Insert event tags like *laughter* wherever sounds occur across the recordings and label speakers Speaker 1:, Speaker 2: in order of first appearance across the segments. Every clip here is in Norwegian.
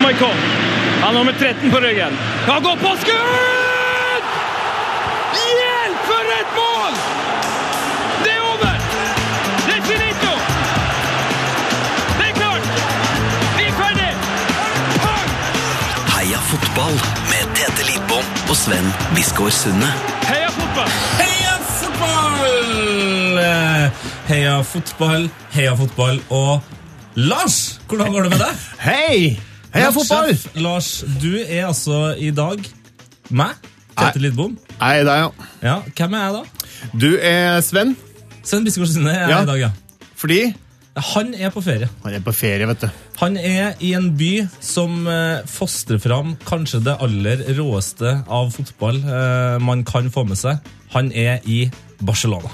Speaker 1: Berkov. Han har nummer 13 på ryggen. Han går på skudd! Hjelp, for et mål! Det er over! Det er finito! Det er klart! Vi er ferdig!
Speaker 2: Heia fotball med Tete Lidbom og Sven Biskår Sunde.
Speaker 1: Heia fotball!
Speaker 3: Heia fotball! Heia fotball, heia fotball og Lars, hvordan går det med deg?
Speaker 4: Hei! *laughs* Heia fotball!
Speaker 3: Sjef, Lars, du er altså i dag meg, Tete
Speaker 4: Nei.
Speaker 3: Lidbom.
Speaker 4: Hei, deg, ja.
Speaker 3: Ja, hvem er jeg da?
Speaker 4: Du er Sven,
Speaker 3: Sven Biskår Sunde er jeg
Speaker 4: Ja.
Speaker 3: i dag, ja.
Speaker 4: fordi
Speaker 3: Han er på ferie.
Speaker 4: Han er på ferie, vet du.
Speaker 3: Han er i en by som eh, fostrer fram kanskje det aller råeste av fotball eh, man kan få med seg. Han er i Barcelona.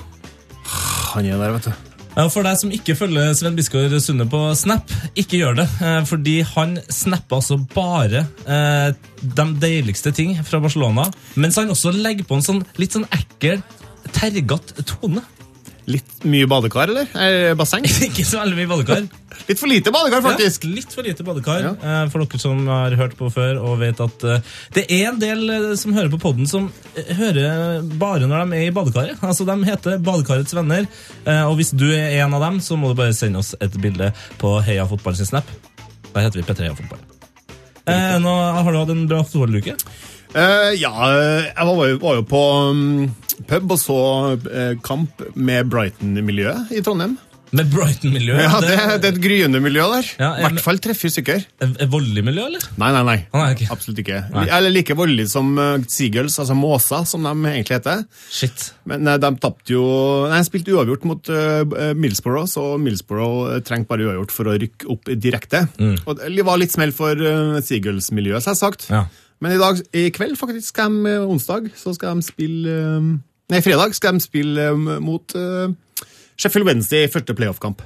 Speaker 4: Han er der, vet du.
Speaker 3: Ja, For deg som ikke følger Sven Biskår Sunde på Snap, ikke gjør det. eh, Fordi han snapper altså bare eh, de deiligste ting fra Barcelona. Mens han også legger på en sånn litt sånn ekkel, tergete tone. *laughs*
Speaker 4: Litt mye badekar, eller? Eh, *laughs* basseng?
Speaker 3: ikke så veldig mye badekar.
Speaker 4: Litt for lite badekar, faktisk.
Speaker 3: Ja, litt for lite badekar
Speaker 4: Ja.
Speaker 3: eh, for dere som har hørt på før og vet at eh, det er en del eh, som hører på podden som eh, hører bare når de er i badekaret. *laughs* Altså, de heter Badekarets venner, eh, og hvis du er en av dem, så må du bare sende oss et bilde på Heia Fotball sin snap. Da heter vi P3 Heia Fotball. Eh, nå har du hatt en bra fotballuke.
Speaker 4: Eh, ja, eh, jeg var jo, var jo på mm, pub og så eh, kamp med Brighton-miljøet i Trondheim.
Speaker 3: Med Brighton-miljøet.
Speaker 4: Ja, det, det er et gryende miljø der. I
Speaker 3: Ja, jeg-
Speaker 4: hvert fall tre-fire stykker.
Speaker 3: er- er Voldelig miljø, eller?
Speaker 4: Nei, nei, nei.
Speaker 3: Å, nei, ok.
Speaker 4: Absolutt ikke.
Speaker 3: Nei.
Speaker 4: Eller like voldelig som eh, Seagulls, altså måser, som de egentlig heter.
Speaker 3: Shit.
Speaker 4: Men eh, de tapte jo Nei, de spilte uavgjort mot eh, Millsborough, så Millsborough eh, trengte bare uavgjort for å rykke opp direkte. Og det var litt smell for uh, Seagulls-miljøet, selvsagt.
Speaker 3: Ja.
Speaker 4: Men i, dag, i kveld, faktisk, skal de, eh, onsdag, så skal de spille eh, Nei, fredag skal de spille eh, mot eh, Sheffield Wednesday i første playoff-kamp.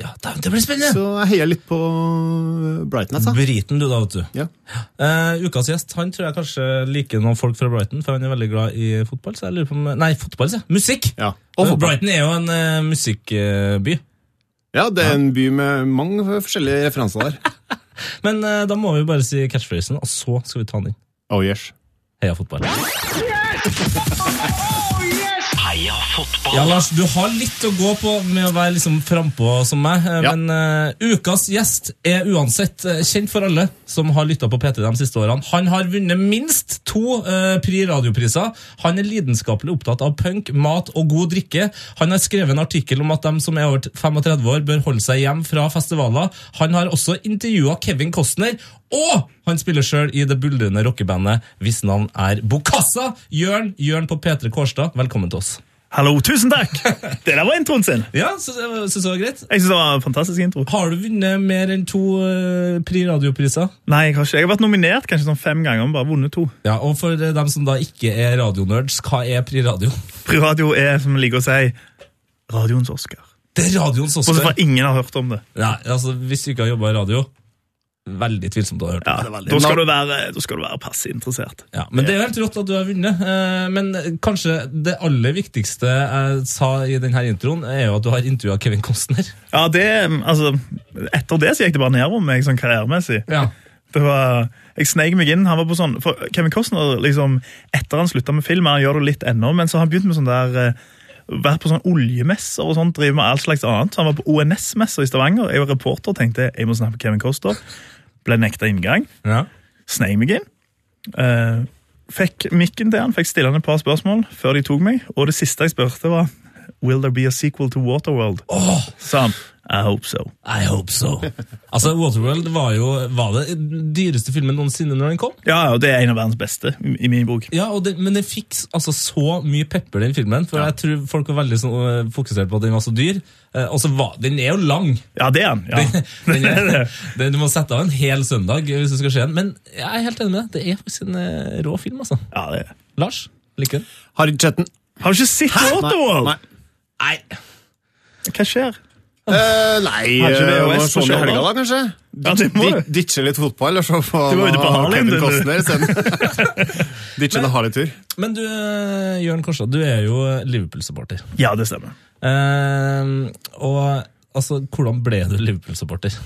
Speaker 3: Ja, da- det blir spennende!
Speaker 4: Så jeg heier litt på eh, Brighton, altså.
Speaker 3: Briten, du da, vet du.
Speaker 4: Ja.
Speaker 3: Eh, ukas gjest han tror jeg kanskje liker noen folk fra Brighton, for han er veldig glad i fotball. Så jeg lurer på om, Nei, fotball, sier jeg. Musikk!
Speaker 4: Ja. Og
Speaker 3: Men
Speaker 4: fotball.
Speaker 3: Brighton er jo en eh, musikkby.
Speaker 4: ja, det er en by med mange forskjellige referanser der.
Speaker 3: Men eh, da må vi bare si catchphrasen, og så skal vi ta den inn.
Speaker 4: *laughs* Oh yes.
Speaker 3: Heia fotball.
Speaker 2: Heia fotball.
Speaker 3: Ja, Lars, du har litt å gå på med å være liksom frampå som meg. eh,
Speaker 4: Ja.
Speaker 3: Men eh, ukas gjest er uansett eh, kjent for alle som har lytta på P3 de siste årene. Han har vunnet minst to eh, Pri radiopriser. Han er lidenskapelig opptatt av punk, mat og god drikke. Han har skrevet en artikkel om at de som er over 35 år, bør holde seg hjem fra festivaler. Han har også intervjua Kevin Costner. Og han spiller sjøl i det buldrende rockebandet hvis navn er Bokassa! Jørn, Jørn på P3 Kårstad, velkommen til oss.
Speaker 5: Hallo, tusen takk! Det der var introen sin.
Speaker 3: Ja, synes jeg var- synes det var greit.
Speaker 5: Jeg synes det var en fantastisk intro.
Speaker 3: Har du vunnet mer enn to eh, Pri radiopriser?
Speaker 5: Nei, Jeg har ikke. Jeg har vært nominert kanskje sånn fem ganger, men bare vunnet to.
Speaker 3: Ja, og for eh, dem som da ikke er radionerds, hva er Pri radio? *laughs*
Speaker 5: Privadio er, som jeg liker å si, radioens Oscar.
Speaker 3: Det er radioens
Speaker 5: Og så
Speaker 3: Oscar.
Speaker 5: for ingen har hørt om det.
Speaker 3: Nei, altså, hvis du ikke har jobba i radio, veldig tvilsomt du har hørt.
Speaker 5: Ja,
Speaker 4: det er veldig-
Speaker 5: da skal du være, da skal du være passe interessert.
Speaker 3: Ja, men det er jo helt rått at du har vunnet. eh, Men kanskje det aller viktigste jeg sa i denne introen, er jo at du har intervjua Kevin Costner.
Speaker 5: Ja, det, altså, Etter det så gikk det bare nedover med meg sånn karrieremessig.
Speaker 3: *laughs* Ja.
Speaker 5: Det var, jeg sneik meg inn. han var på sånn, for Kevin Costner, liksom, etter han slutta med film, han gjør det litt ennå, men så har han begynt med sånn der eh, vært på sånn oljemesser og sånt, driver med alt slags annet. Så han var på ONS-messer i Stavanger. Jeg var reporter og tenkte jeg må snakke med Kevin Costner. Ble nekta inngang.
Speaker 3: Ja.
Speaker 5: Sneik meg inn. Eh, fikk mikken til han, fikk stille han et par spørsmål før de tok meg. Og det siste jeg spurte, var Will there be a sequel to Waterworld?
Speaker 3: Åh,
Speaker 5: Sa han. I hope so.
Speaker 3: I hope so. Altså, Waterworld var jo var det dyreste filmen noensinne når den kom.
Speaker 5: Ja, og det er en av verdens beste, i i min bok.
Speaker 3: Ja, og det, Men den fikk s- altså, så mye pepper, den filmen. For jeg tror folk var veldig sånn, øh, fokusert på at den var så dyr. Eh, og så var, Den er jo lang!
Speaker 5: Ja, det er han. Ja.
Speaker 3: Den *laughs* er, den, du må sette av en hel søndag hvis du skal se den. Men jeg er helt enig med deg. Det er faktisk en eh, rå film. altså.
Speaker 5: ja det er.
Speaker 3: Lars? Liker du den?
Speaker 4: Harry Chetten.
Speaker 5: Har du ikke sett Waterworld?
Speaker 4: Nei.
Speaker 3: Nei.
Speaker 5: Hva skjer?
Speaker 4: Eh, nei,
Speaker 5: Har ikke
Speaker 4: eh,
Speaker 5: VHS
Speaker 4: må
Speaker 5: på
Speaker 4: se den i
Speaker 5: skjermen?
Speaker 4: helga da, kanskje?
Speaker 5: Ja, det må
Speaker 4: Di-
Speaker 5: du.
Speaker 4: Ditche litt fotball og se på
Speaker 5: Du var ute på
Speaker 4: hva
Speaker 5: Harlem,
Speaker 4: Kevin
Speaker 5: du.
Speaker 4: Costner isteden. *laughs* Ditche en Harley-tur.
Speaker 3: Men du, eh, Jørn Korsa, du er jo eh, Liverpool-supporter.
Speaker 5: Ja, det stemmer.
Speaker 3: Eh, og altså, hvordan ble du Liverpool-supporter?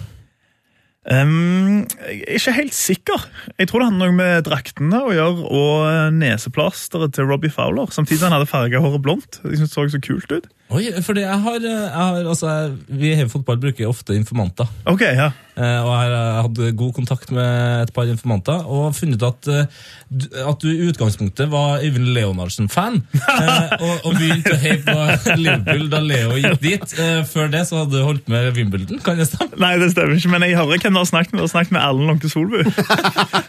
Speaker 5: Ehm, jeg er ikke helt sikker. Jeg tror det hadde noe med draktene å gjøre og eh, neseplasteret til Robbie Fowler. Samtidig han hadde farga håret blondt. Jeg synes det så så kult ut.
Speaker 3: Oi, fordi jeg har, eh, jeg har altså, jeg- Vi i Heavy Fotball bruker ofte informanter.
Speaker 5: Ok, ja.
Speaker 3: Eh, Og jeg har hatt god kontakt med et par informanter og funnet ut at, eh, du- at du i utgangspunktet var Øyvind Leonardsen-fan. eh, og, og begynte å heie på Liverpool da Leo gikk dit. Eh, Før det så hadde du holdt med Wimbledon, kan det stemme?
Speaker 5: Nei, det stemmer ikke, men jeg hører hvem du har snakket med. Du har snakket med Erlend Lånke Solbu. *laughs*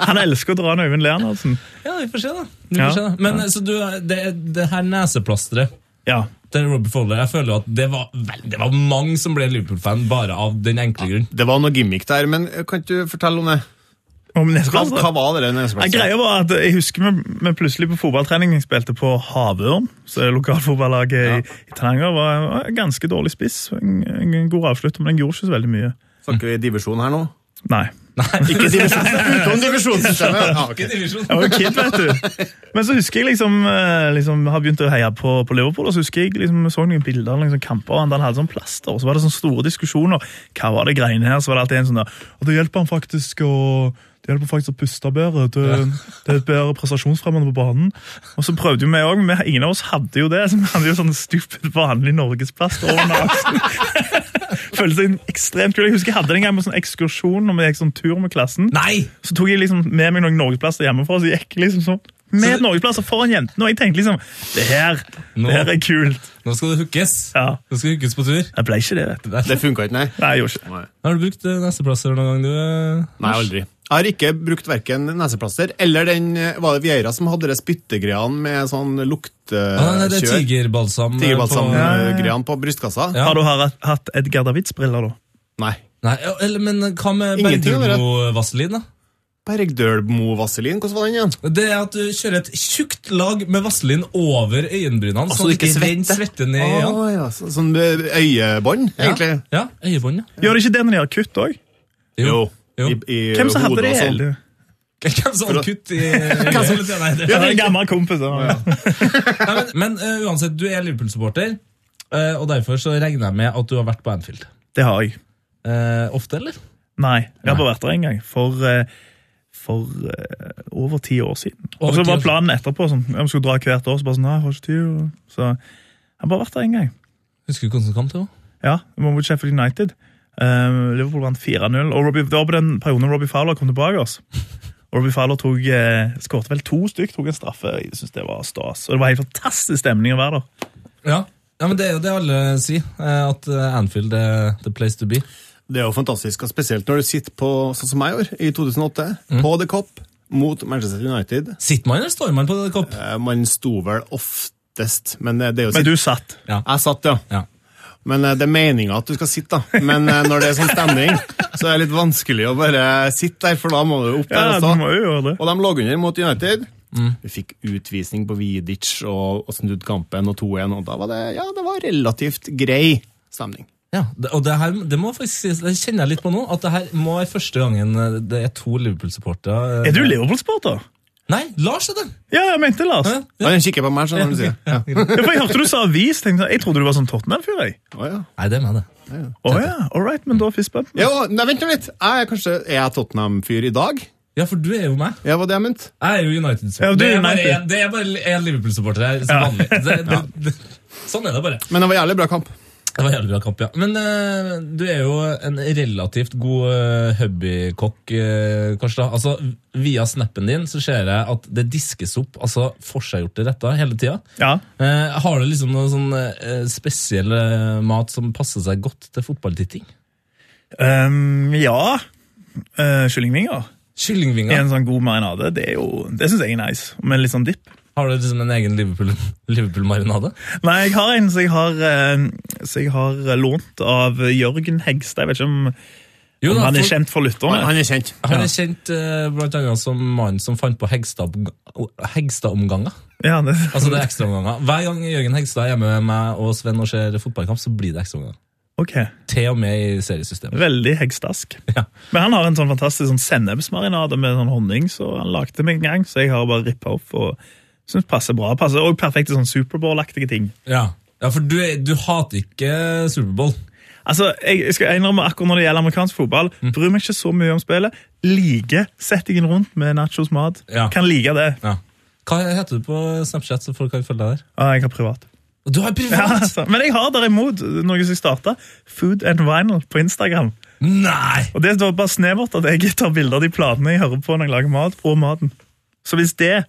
Speaker 5: Han elsker å dra en altså. Øyvind Leonardsen.
Speaker 3: Ja, vi får se, da. Vi får
Speaker 5: Ja.
Speaker 3: se, da. Men eh, så du, eh, det, det her neseplasteret
Speaker 5: Ja.
Speaker 3: til Robbie Fowler, jeg føler jo at det var, vel, det var mange som ble Liverpool-fan bare av den enkle grunn.
Speaker 4: Det var noe gimmick der, men eh, kan ikke du fortelle om det?
Speaker 5: Om
Speaker 4: Hva,
Speaker 3: Altså,
Speaker 5: neseplasteret.
Speaker 4: hva var det der
Speaker 5: Ja,
Speaker 4: neseplasset?
Speaker 5: greia var at Jeg husker vi, vi plutselig på fotballtrening spilte på Havørn. så det Lokalfotballaget i, i Tananger var, var ganske dårlig spiss. En, en, en god avslutter, men den gjorde ikke så veldig mye.
Speaker 4: Snakker vi divisjon her nå?
Speaker 3: *laughs*
Speaker 5: Nei.
Speaker 4: Ikke divisjon, utenom
Speaker 3: *laughs*
Speaker 4: divisjonssystemet. Ja, ok.
Speaker 5: Jeg var jo kid, vet du. Men så husker jeg liksom, eh, liksom har begynt å heie på, på Liverpool, og så husker jeg liksom, så noen bilder av liksom, kamper, og han der hadde sånn plaster, og så var det sånne store diskusjoner. Hva var det greiene her? Så var det alltid en sånn der, og det hjelper han faktisk å... Det hjelper faktisk å puste bedre. Det, det er et bedre prestasjonsfremmende på banen. Og så prøvde jo vi òg, men ingen av oss hadde jo det. Så vi hadde jo sånn stupid vanlig norgesplaster over nesen. *laughs* Følte seg ekstremt kul. Jeg husker jeg hadde det en gang på sånn ekskursjon når vi gikk sånn tur med klassen.
Speaker 3: Nei!
Speaker 5: Så tok jeg liksom med meg noen norgesplasser hjemmefra, så gikk jeg liksom sånn. Med et norgesplasser foran jentene, og jeg tenkte liksom Det her
Speaker 3: Nå-
Speaker 5: det her er kult.
Speaker 3: Nå skal det hookes.
Speaker 5: Ja.
Speaker 3: Nå skal det hookes på tur.
Speaker 5: Jeg ble ikke det, vet du.
Speaker 4: Det funka ikke, nei.
Speaker 5: Nei, jeg gjorde ikke det.
Speaker 4: nei.
Speaker 3: Har du brukt eh, neseplasser noen gang, du? eh?
Speaker 4: Nei, aldri. Jeg har ikke brukt verken neseplaster eller den eh, Var det Vieira som hadde de spyttegreiene med sånn
Speaker 3: Ah, nei, det er
Speaker 4: luktekjør?
Speaker 3: tigerbalsam. eh, på-
Speaker 4: Tigerbalsamgreiene på brystkassa?
Speaker 3: Ja.
Speaker 5: Har du har- hatt Edgar Davids-briller, da?
Speaker 4: Nei.
Speaker 3: Nei, ja, eller, men hva med
Speaker 4: Ingenting, eller?
Speaker 3: Bergdølmo-vaselin, da?
Speaker 4: Bergdølmo-vaselin, hvordan var den igjen?
Speaker 3: Det er at du kjører et tjukt lag med vaselin over øyenbrynene,
Speaker 4: så
Speaker 3: sånn at
Speaker 4: det ikke
Speaker 3: ikke den
Speaker 4: svetter.
Speaker 3: svetter ned. i øynene.
Speaker 4: Å, ja. så- Sånn eh, øyebånd, egentlig.
Speaker 3: Ja, øyebånd, ja.
Speaker 5: Gjør det ikke det når de har kutt òg?
Speaker 4: Jo.
Speaker 3: Jo.
Speaker 4: I, i
Speaker 5: Hvem som hadde
Speaker 4: hodet
Speaker 5: det?
Speaker 4: og sånn.
Speaker 5: hele?
Speaker 3: *laughs* Hvem som har kutt i Nei, det-
Speaker 5: Ja, det er en gammel kompis. da.
Speaker 3: Nei, Men, men eh, uansett, du er Liverpool-supporter, eh, og derfor så regner jeg med at du har vært på Anfield.
Speaker 5: Det har jeg.
Speaker 3: Eh, ofte, eller?
Speaker 5: Nei, jeg har bare vært der en gang. For, eh, for eh, over ti år siden. Og
Speaker 3: Over ti
Speaker 5: så
Speaker 3: år
Speaker 5: var
Speaker 3: siden.
Speaker 5: planen etterpå sånn, ja, vi skulle dra hvert år. Så bare sånn, nei, jeg har ikke tid. og- Så jeg har bare vært der en gang.
Speaker 3: Husker du hvordan det kom til?
Speaker 5: Ja, det var mot Sheffield United. Eh, Liverpool vant 4-0. og Robbie, Det var på den perioden Robbie Fowler kom tilbake. oss. Og Robbie Fowler tok, eh, skårte vel to stykk, tok en straffe. Jeg synes det var stas. Og det var helt fantastisk stemning å være der.
Speaker 3: Ja. ja, men Det er jo det alle sier, eh, at eh, Anfield er the place to be.
Speaker 4: Det er jo fantastisk, og spesielt når du sitter på, sånn som jeg gjorde, i 2008, på The Cop mot Manchester United.
Speaker 3: Sitter man eller står man på kopp?
Speaker 4: Eh, Man sto vel oftest, men eh, det, det er jo
Speaker 5: Men
Speaker 4: sitt-
Speaker 5: du satt.
Speaker 4: Jeg satt, ja.
Speaker 3: Ja.
Speaker 4: Men eh, det er meninga at du skal sitte, da. Men eh, når det er sånn stemning, så er det litt vanskelig å bare sitte der, for da må du opp der
Speaker 5: Ja,
Speaker 4: og
Speaker 5: du
Speaker 4: stå.
Speaker 5: må jo gjøre det.
Speaker 4: Og de lå under mot United. Vi fikk utvisning på Vidic og, og snudd kampen og 2-1, og da var det, ja, det var relativt grei stemning.
Speaker 3: Ja, det, og det her det må jeg faktisk sies, det kjenner jeg litt på nå, at det her må være første gangen eh, det er to Liverpool-supportere. eh.
Speaker 5: Er du Liverpool-sporter?
Speaker 3: Nei, Lars er det!
Speaker 5: Ja, jeg mente det, Lars.
Speaker 3: Hæ?
Speaker 5: Ja,
Speaker 4: Han kikker på meg, skjønner du. sier. Ja.
Speaker 5: for jeg hørte du sa avis. Tenkte, jeg, jeg trodde du var sånn Tottenham-fyr. jeg.
Speaker 4: Å, ja.
Speaker 3: Nei, det er meg, det.
Speaker 5: Å ja, all right, men da fistbump.
Speaker 4: Jo, nei, vent nå litt. Jeg er kanskje er jeg Tottenham-fyr i dag?
Speaker 3: Ja, for du er jo meg.
Speaker 4: Ja, var det jeg mente?
Speaker 3: Jeg er jo
Speaker 5: Ja,
Speaker 3: United-supporter.
Speaker 5: du
Speaker 3: det,
Speaker 5: er
Speaker 3: er bare
Speaker 5: United.
Speaker 3: en- det er bare én Liverpool-supporter her, som
Speaker 5: *laughs* Ja.
Speaker 3: vanlig. Det, det, det, sånn er det bare.
Speaker 4: Men det var jævlig bra kamp.
Speaker 3: Det var jævlig bra kamp, ja. Men eh, du er jo en relativt god eh, hobbykokk, eh, Karstad. Altså, via snappen din så ser jeg at det diskes opp altså forseggjorte retter hele tida.
Speaker 5: Ja.
Speaker 3: Eh, har du liksom noe sånn eh, spesiell eh, mat som passer seg godt til fotballtitting?
Speaker 5: Um, ja. Eh, kyllingvinger i
Speaker 3: Kyllingvinger.
Speaker 5: en sånn god marinade. Det, er jo- det syns jeg er nice, med litt sånn dipp.
Speaker 3: Har du liksom en egen Liverpool- Liverpool-marinade?
Speaker 5: Nei, jeg har en som jeg har, eh, som jeg har lånt av Jørgen Hegstad. Jeg vet ikke om,
Speaker 3: jo
Speaker 5: om
Speaker 3: da,
Speaker 5: han er
Speaker 3: for-
Speaker 5: kjent for lytterne.
Speaker 4: Han er kjent.
Speaker 3: Han er kjent eh, blant annet som mannen som fant på Hegstad- Hegstad-omganger.
Speaker 5: Ja, det,
Speaker 3: Altså det er ekstraomganger. Hver gang Jørgen Hegstad er hjemme med meg og Sven og ser fotballkamp, så blir det ekstraomganger.
Speaker 5: ok,
Speaker 3: Til og med i seriesystemet.
Speaker 5: Veldig hegstask.
Speaker 3: Ja.
Speaker 5: Men han har en sånn fantastisk sånn sennepsmarinade med sånn honning, så han lagde meg en gang, så jeg har bare rippa opp. og Synes passer bra, passer Og perfekt til sånn Superbowl-aktige ting.
Speaker 3: Ja, ja for du, er- du hater ikke Superbowl.
Speaker 5: Altså, jeg, jeg skal innrømme akkurat når det gjelder amerikansk fotball,
Speaker 3: Mm.
Speaker 5: bryr meg ikke så mye om spillet. Liker settingen rundt med nachos mat.
Speaker 3: Ja.
Speaker 5: Kan like det.
Speaker 3: Ja. Hva heter du på Snapchat, så folk kan følge deg der?
Speaker 5: Ah, jeg har privat.
Speaker 3: Du har
Speaker 5: Ja,
Speaker 3: privat!
Speaker 5: altså. Men jeg har derimot noe som jeg starta. Food and vinyl på Instagram.
Speaker 3: Nei!
Speaker 5: Og det var bare snevert at jeg tar bilder av de platene jeg hører på når jeg lager mat, og maten. Så hvis det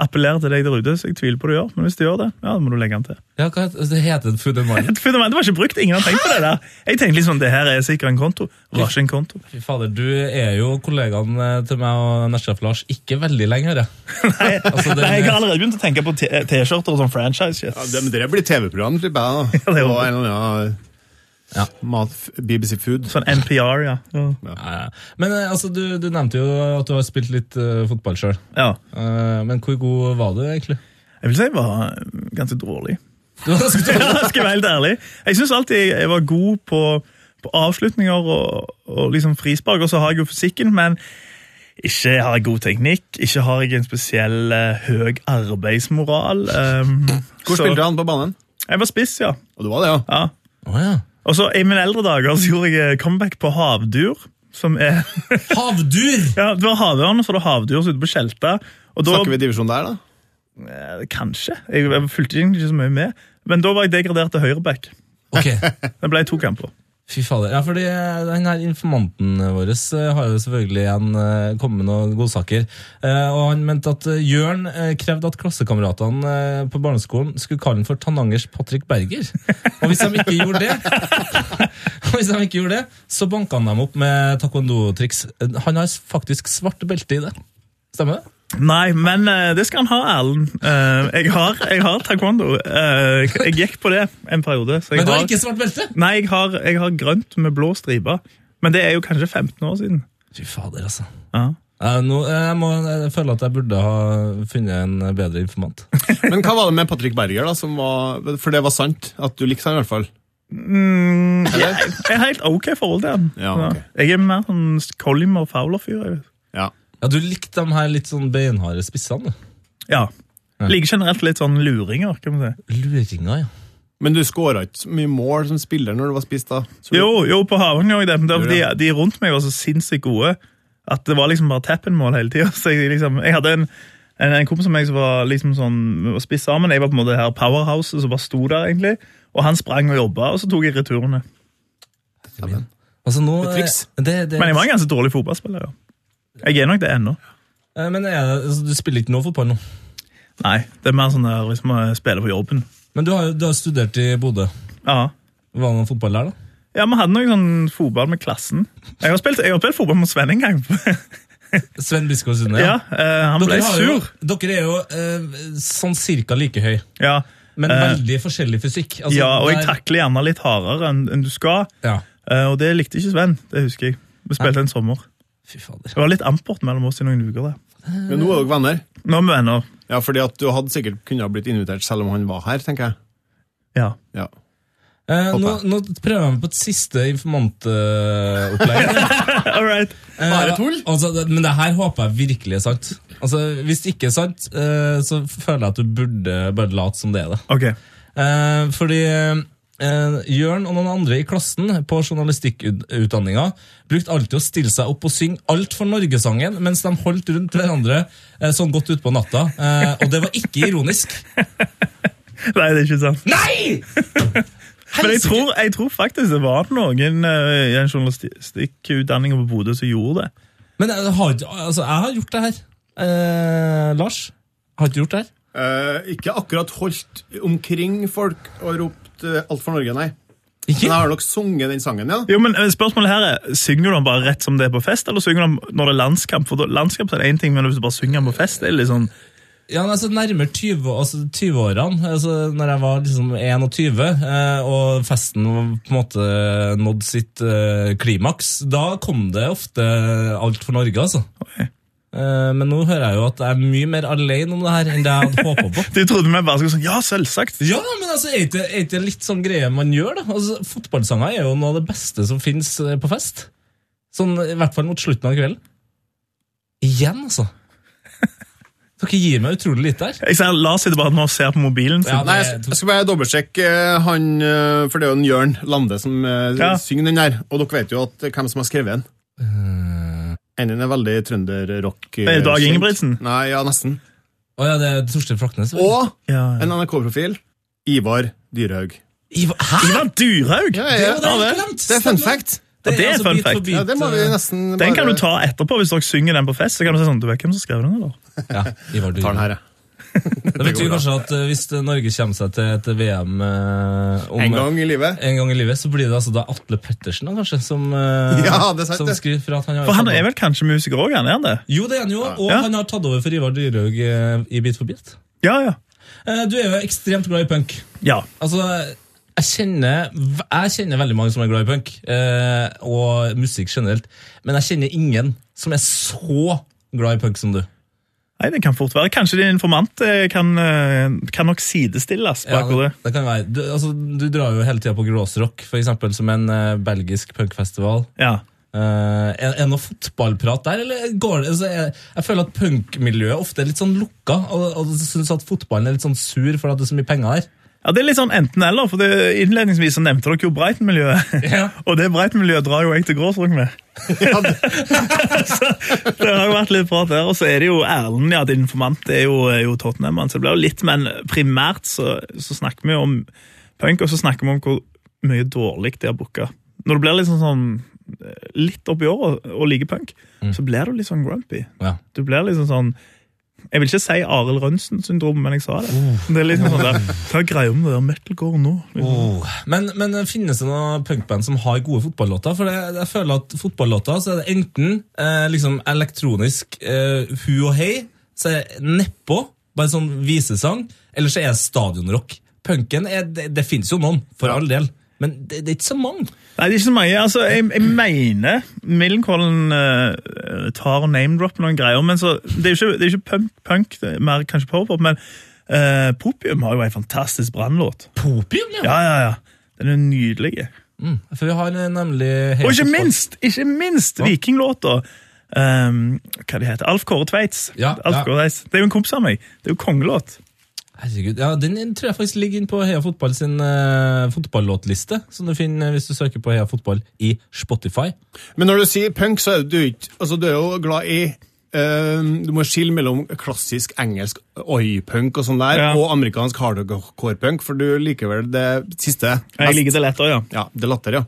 Speaker 5: appellerer til deg der ute, så jeg tviler på det gjør, men hvis det gjør det, ja, da må du legge den til.
Speaker 3: Ja, hva heter det? Heter det Food and Wine?
Speaker 5: Et fundament var ikke brukt, ingen har tenkt på det der. Jeg tenkte liksom, det her er sikkert en konto. Det var ikke en konto.
Speaker 3: Fy fader, du er jo kollegaen eh, til meg og Nesjef Lars ikke veldig lenge, hører jeg.
Speaker 5: Nei,
Speaker 3: Altså, det-
Speaker 5: nei, jeg har allerede begynt å tenke på T- T-skjorter og sånn franchise-shit.
Speaker 4: Ja, det, men det blir TV-program, tipper jeg. *laughs* da.
Speaker 5: Ja, det
Speaker 4: det
Speaker 5: håper
Speaker 4: var
Speaker 5: jeg.
Speaker 4: en eller annen
Speaker 3: Ja.
Speaker 4: ja, mat, BBC Food.
Speaker 5: Sånn NPR, ja. Ja.
Speaker 3: Nei, Men eh, altså, du, du nevnte jo at du har spilt litt eh, fotball sjøl.
Speaker 5: ja.
Speaker 3: men hvor god var du egentlig?
Speaker 5: Jeg vil si jeg var ganske dårlig.
Speaker 3: Du var ganske dårlig.
Speaker 5: *laughs* Ja, skal jeg være helt ærlig. Jeg syns alltid jeg var god på, på avslutninger og, og liksom frispark, og så har jeg jo fysikken, men ikke har jeg god teknikk, ikke har jeg en spesiell eh, høy arbeidsmoral. Um,
Speaker 4: Hvor spilte han på banen?
Speaker 5: Jeg var spiss, ja.
Speaker 4: Og det var det, ja.
Speaker 5: ja.
Speaker 3: Å ja.
Speaker 5: Og så I mine eldre dager så gjorde jeg eh, comeback på havdur. Som er, *laughs*
Speaker 3: Havdur!
Speaker 5: ja, Det var havørn, og så var det havdur som ute på Skjelta. og da-
Speaker 4: Snakker vi divisjon der, da?
Speaker 5: eh, Kanskje. Jeg, jeg fulgte egentlig ikke så mye med. Men da var jeg degradert til høyreback.
Speaker 3: Ok,
Speaker 5: Det ble to kamper.
Speaker 3: fy fader. Ja, fordi eh, den her informanten vår eh, har jo selvfølgelig igjen eh, kommet med noen godsaker. Eh, og han mente at eh, Jørn eh, krevde at klassekameratene eh, på barneskolen skulle kalle han for Tanangers Patrick Berger. Og hvis de ikke gjorde det, *laughs* og hvis de ikke gjorde det, så banka han dem opp med taekwondo-triks. Eh, Han har faktisk svart belte i det. Stemmer det?
Speaker 5: Nei, men eh, det skal han ha, Erlend. Eh, jeg, har, jeg har taekwondo. Eh, jeg gikk på det en periode. Så jeg
Speaker 3: Men du har
Speaker 5: har,
Speaker 3: ikke svart belte?
Speaker 5: nei, jeg har, jeg har grønt med blå striper. Men det er jo kanskje 15 år siden.
Speaker 3: Fy fader, altså.
Speaker 5: Ja.
Speaker 3: Ja, nå, eh, jeg, må, jeg føler at jeg burde ha funnet en eh, bedre informant.
Speaker 4: Men hva var det med Patrick Berger, da? Som var, for det var sant? At du likte han i hvert fall?
Speaker 5: Mm, jeg, jeg har helt ok forhold til han.
Speaker 4: Ja, ok.
Speaker 5: Jeg er mer sånn Collimer Fowler-fyr. jeg vet.
Speaker 4: Ja.
Speaker 3: Ja, Du likte de her litt sånn beinharde spissene? du.
Speaker 5: Ja. Liker generelt litt sånn luringer. kan man si.
Speaker 3: Luringer, ja.
Speaker 4: Men du skåra ikke så mye mål som spiller når du var spiss, da? Så du-
Speaker 5: Jo, jo, på Havang gjorde jeg det, men det var fordi
Speaker 4: Gjorde
Speaker 5: de rundt meg var så sinnssykt gode at det var liksom bare teppen-mål hele *laughs* tida. Jeg, liksom, jeg hadde en, en, en kompis som jeg som var liksom sånn, vi var spiss sammen. Jeg var på en måte det her powerhouse som bare sto der, egentlig. Og han sprang og jobba, og så tok jeg returene.
Speaker 3: Altså nå,
Speaker 4: Det er triks.
Speaker 3: eh, Det, det,
Speaker 5: Men jeg var en ganske dårlig fotballspiller. ja. Jeg er nok det ennå.
Speaker 3: Eh, men er det, altså, du spiller ikke noe fotball nå?
Speaker 5: Nei, det er mer sånn der hvis man spiller på jobben.
Speaker 3: Men du har jo du har studert i Bodø.
Speaker 5: Ja.
Speaker 3: Var det noen fotball der, da?
Speaker 5: Ja, Vi hadde noe sånn fotball med klassen. Jeg har spilt, jeg har spilt fotball mot Sven en gang. *laughs*
Speaker 3: Sven Biskår Sunde?
Speaker 5: ja, eh, Han ble
Speaker 3: har jo,
Speaker 5: sur.
Speaker 3: dere er jo eh, sånn cirka like høy,
Speaker 5: Ja,
Speaker 3: men
Speaker 5: Eh,
Speaker 3: veldig forskjellig fysikk. Altså,
Speaker 5: ja, Og jeg
Speaker 3: der-
Speaker 5: takler gjerne litt hardere enn enn du skal.
Speaker 3: Ja.
Speaker 5: Eh, Og det likte ikke Sven. det husker jeg. Vi spilte en sommer.
Speaker 3: Fy fader.
Speaker 5: Det var litt amport mellom oss i noen uker. det.
Speaker 4: Men nå er dere venner?
Speaker 5: Nå er vi venner.
Speaker 4: Ja, fordi at du hadde sikkert kunne ha blitt invitert selv om han var her, tenker jeg.
Speaker 5: Ja.
Speaker 4: Ja.
Speaker 3: Eh, nå,
Speaker 4: Håper
Speaker 3: nå prøver jeg meg på et siste informantopplegg.
Speaker 5: *laughs* All right.
Speaker 4: Bare tull?
Speaker 3: Eh, Altså, det- men det her håper jeg virkelig er sant. Altså, Hvis det ikke er sant, eh, så føler jeg at du burde bare late som det er det.
Speaker 5: Ok.
Speaker 3: Eh, fordi eh, Jørn og noen andre i klassen på journalistikkutdanninga brukte alltid å stille seg opp og synge alt for Norgesangen mens de holdt rundt hverandre eh, sånn godt utpå natta. Eh, og det var ikke ironisk.
Speaker 4: *laughs*
Speaker 5: Nei, det er ikke sant.
Speaker 3: Nei!
Speaker 5: Men jeg tror, jeg tror faktisk det var noen eh, i en journalistikkutdanning på Bodø som gjorde det.
Speaker 3: Men jeg har, ikke- altså, jeg har gjort det her. Eh, Lars, har ikke gjort det her?
Speaker 4: Eh, ikke akkurat holdt omkring folk og ropt eh, alt for Norge, nei.
Speaker 3: Ikke?
Speaker 4: Men jeg har nok sunget den sangen, ja.
Speaker 5: Jo, men eh, spørsmålet her er, Synger du den bare rett som det er på fest, eller synger du den når det er landskamp? For da, landskamp så er det én ting, men hvis du bare synger den på fest, det er litt sånn
Speaker 3: Ja, men altså Nærmere 20-årene, altså, 20-årene, altså, når jeg var liksom 21 eh, og festen var på en måte nådd sitt eh, klimaks, da kom det ofte alt for Norge, altså. Eh, men nå hører jeg jo at jeg er mye mer alene om det her enn det jeg hadde håpa på.
Speaker 5: Du trodde vi bare skulle sånn Ja, selvsagt!
Speaker 3: *laughs* Ja, men altså, er ikke er ikke det litt sånn greie man gjør, da? Altså, Fotballsanger er jo noe av det beste som fins på fest. *laughs* Sånn, I hvert fall mot slutten av kvelden. Igjen, altså. Dere gir meg utrolig litt der.
Speaker 5: Jeg ser Lars sitter bare nå og ser på mobilen sin.
Speaker 3: Ja,
Speaker 4: Nei,
Speaker 3: det-
Speaker 4: jeg, sk- jeg skal bare dobbeltsjekke eh, han eh, For det er jo en Jørn Lande som eh,
Speaker 5: Ja.
Speaker 4: synger den der. Og dere vet jo at, eh, hvem som har skrevet den. En er veldig trønderrock. eh,
Speaker 5: Er Eh. det Dag
Speaker 4: kjent.
Speaker 5: Ingebrigtsen?
Speaker 4: Nei, ja, nesten.
Speaker 3: Å ja, det er Torstein Fraknes. vel?
Speaker 4: Og
Speaker 5: Ja, ja.
Speaker 4: en NRK-profil. Ivar Dyrhaug.
Speaker 3: Ivar- Hæ?!
Speaker 5: Ivar Dyrhaug!
Speaker 4: Ja,
Speaker 3: Det
Speaker 4: ja,
Speaker 3: var det jeg
Speaker 4: ja, vel.
Speaker 3: glemte.
Speaker 4: det er fun fact.
Speaker 5: Ja, det er fun
Speaker 3: bit for
Speaker 5: fact.
Speaker 3: bit,
Speaker 4: Ja, det må vi
Speaker 3: eh,
Speaker 4: nesten
Speaker 5: Den kan
Speaker 4: bare-
Speaker 5: du ta etterpå hvis dere synger den på fest. så kan du si sånn, du vet hvem som skrev den, eller?
Speaker 3: Ja, Ivar
Speaker 4: Ta den
Speaker 3: Dyrhaug.
Speaker 4: her, jeg.
Speaker 3: Det betyr kanskje at eh, hvis eh, Norge kommer seg til et VM eh, om
Speaker 4: En gang i livet.
Speaker 3: en gang i livet, så blir det altså da Atle Pettersen da, kanskje, som, eh,
Speaker 4: Ja, det er sant,
Speaker 3: som
Speaker 4: det.
Speaker 3: skriver for at han har
Speaker 5: For han er vel kanskje musiker òg, er han det?
Speaker 3: Jo, det er han jo, og
Speaker 5: Ja.
Speaker 3: han har tatt over for Ivar Dyrhaug eh, i Bit for bit.
Speaker 5: Ja, ja.
Speaker 3: Eh, Du er jo ekstremt glad i punk.
Speaker 5: Ja,
Speaker 3: Altså, jeg kjenner, jeg kjenner veldig mange som er glad i punk, eh, og musikk generelt, men jeg kjenner ingen som er så glad i punk som du.
Speaker 5: Nei, det kan fort være. Kanskje din informant eh, kan, eh, kan nok sidestilles
Speaker 3: Ja,
Speaker 5: bakover det.
Speaker 3: det, det kan være. Du, altså, du drar jo hele tida på Gråsrock, for eksempel, som en eh, belgisk punkfestival.
Speaker 5: Ja.
Speaker 3: Eh, er, er det noe fotballprat der, eller går det altså, jeg, jeg føler at punkmiljøet ofte er litt sånn lukka, og, og syns at fotballen er litt sånn sur for at det er så mye penger her.
Speaker 5: ja, det er litt sånn enten-eller. for det, Innledningsvis så nevnte dere jo Breiten-miljøet.
Speaker 3: Ja.
Speaker 5: *laughs* Og det Breiten-miljøet drar jo jeg til Gråsrud med. *laughs* så det har jo vært litt prat der. Og så er det jo Erlend, ja, din informant er jo, er jo Tottenham-mann, så det blir jo litt, men primært så, så snakker vi om punk, og så snakker vi om hvor mye dårlig det er booka. Når du blir liksom sånn eh, litt oppi året og liker punk, så blir du litt sånn grumpy.
Speaker 3: Ja.
Speaker 5: Du blir liksom sånn Jeg vil ikke si Arild Rønsen-syndrom, men jeg sa det. Det er liksom sånn der, Hva er greia med det der metalcore nå? Liksom.
Speaker 3: Oh. Men, men finnes det noen punkband som har gode fotballåter? For jeg, jeg føler at fotballåter så er det enten eh, liksom elektronisk eh, hu og hei, så er det nedpå, bare sånn visesang, eller så er det stadionrock. Punken er, det, det finnes jo noen, for all del, men det, det er ikke så mange.
Speaker 5: Nei, det er ikke så mange. altså, Jeg, jeg mener Millencolin uh, tar name-drop noen greier, men så, det er jo ikke, det er ikke punk, punk, det er mer kanskje powerpop, men eh, Popium har jo en fantastisk brannlåt.
Speaker 3: Popium, ja!
Speaker 5: Ja, ja, ja. Den er nydelig.
Speaker 3: Mm, for vi har eh, nemlig
Speaker 5: Og ikke
Speaker 3: fotball-
Speaker 5: minst, ikke minst vikinglåta. Um, hva de heter Alf Kåre Tveits.
Speaker 3: Ja,
Speaker 5: Alf
Speaker 3: ja.
Speaker 5: Kåre Tveits. Det er jo en kompis av meg. Det er jo kongelåt.
Speaker 3: Herregud, ja, Den tror jeg faktisk ligger inn på Heia Fotball sin eh, fotballåtliste, som du finner hvis du søker på Heia Fotball i Spotify.
Speaker 4: Men når du sier punk, så er du ikke Altså, du er jo glad i eh, du må skille mellom klassisk engelsk oi-punk og sånn der,
Speaker 5: Ja.
Speaker 4: og amerikansk hardcore-punk, for du liker vel det siste.
Speaker 5: Jeg liker det lettere, ja.
Speaker 4: Ja, det latter, ja.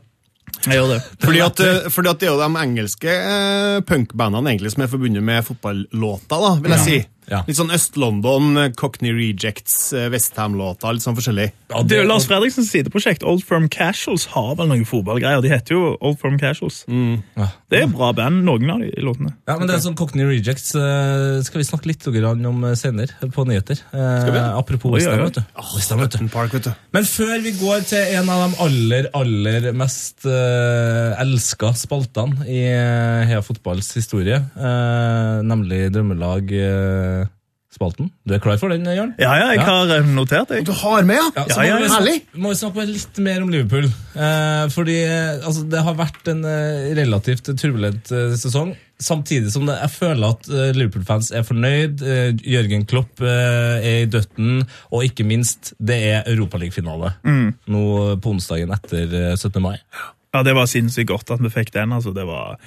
Speaker 5: Jeg gjør det.
Speaker 4: Fordi at, eh, fordi at det er jo de engelske eh, punkbandene egentlig som er forbundet med fotballåter, da, vil jeg si.
Speaker 3: Ja.
Speaker 4: Litt sånn Øst-London, eh, Cockney Rejects, eh, Westham-låter, litt sånn forskjellig.
Speaker 3: Ja,
Speaker 5: Det er jo Lars Fredriksens sideprosjekt. Old Firm Casuals har vel noen fotballgreier. De heter jo Old Firm Casuals.
Speaker 4: Mm.
Speaker 3: Ja.
Speaker 5: Det er bra band, noen av de låtene.
Speaker 3: Ja, men det er sånn Cockney Rejects eh, skal vi snakke litt grann om eh, senere på nyheter. Eh,
Speaker 4: vi?
Speaker 3: Apropos
Speaker 5: Oi,
Speaker 3: Western,
Speaker 5: oi, oi.
Speaker 3: vet du. Western, vet du.
Speaker 4: Park, vet du.
Speaker 3: Men før vi går til en av de aller, aller mest uh, elska spaltene i eh, Heia Fotballs historie, eh, nemlig Drømmelag-spalten. du er klar for den, Jørn?
Speaker 5: Ja, ja, jeg
Speaker 3: Ja.
Speaker 5: har eh, notert det.
Speaker 4: Du har med, ja?
Speaker 3: Ja, så
Speaker 5: Ja, ja,
Speaker 3: må, vi
Speaker 5: ja.
Speaker 4: Herlig.
Speaker 3: snakke, må vi snakke bare litt mer om Liverpool. Eh, fordi eh, altså, det har vært en eh, relativt turbulent eh, sesong. Samtidig som det, jeg føler at eh, Liverpool-fans er fornøyd. Eh, Jørgen Klopp eh, er i døtten. Og ikke minst, det er Europaliga-finale
Speaker 5: Mm.
Speaker 3: nå på onsdagen etter eh, 17. mai.
Speaker 5: Ja, Det var sinnssykt godt at vi fikk den. altså, det var...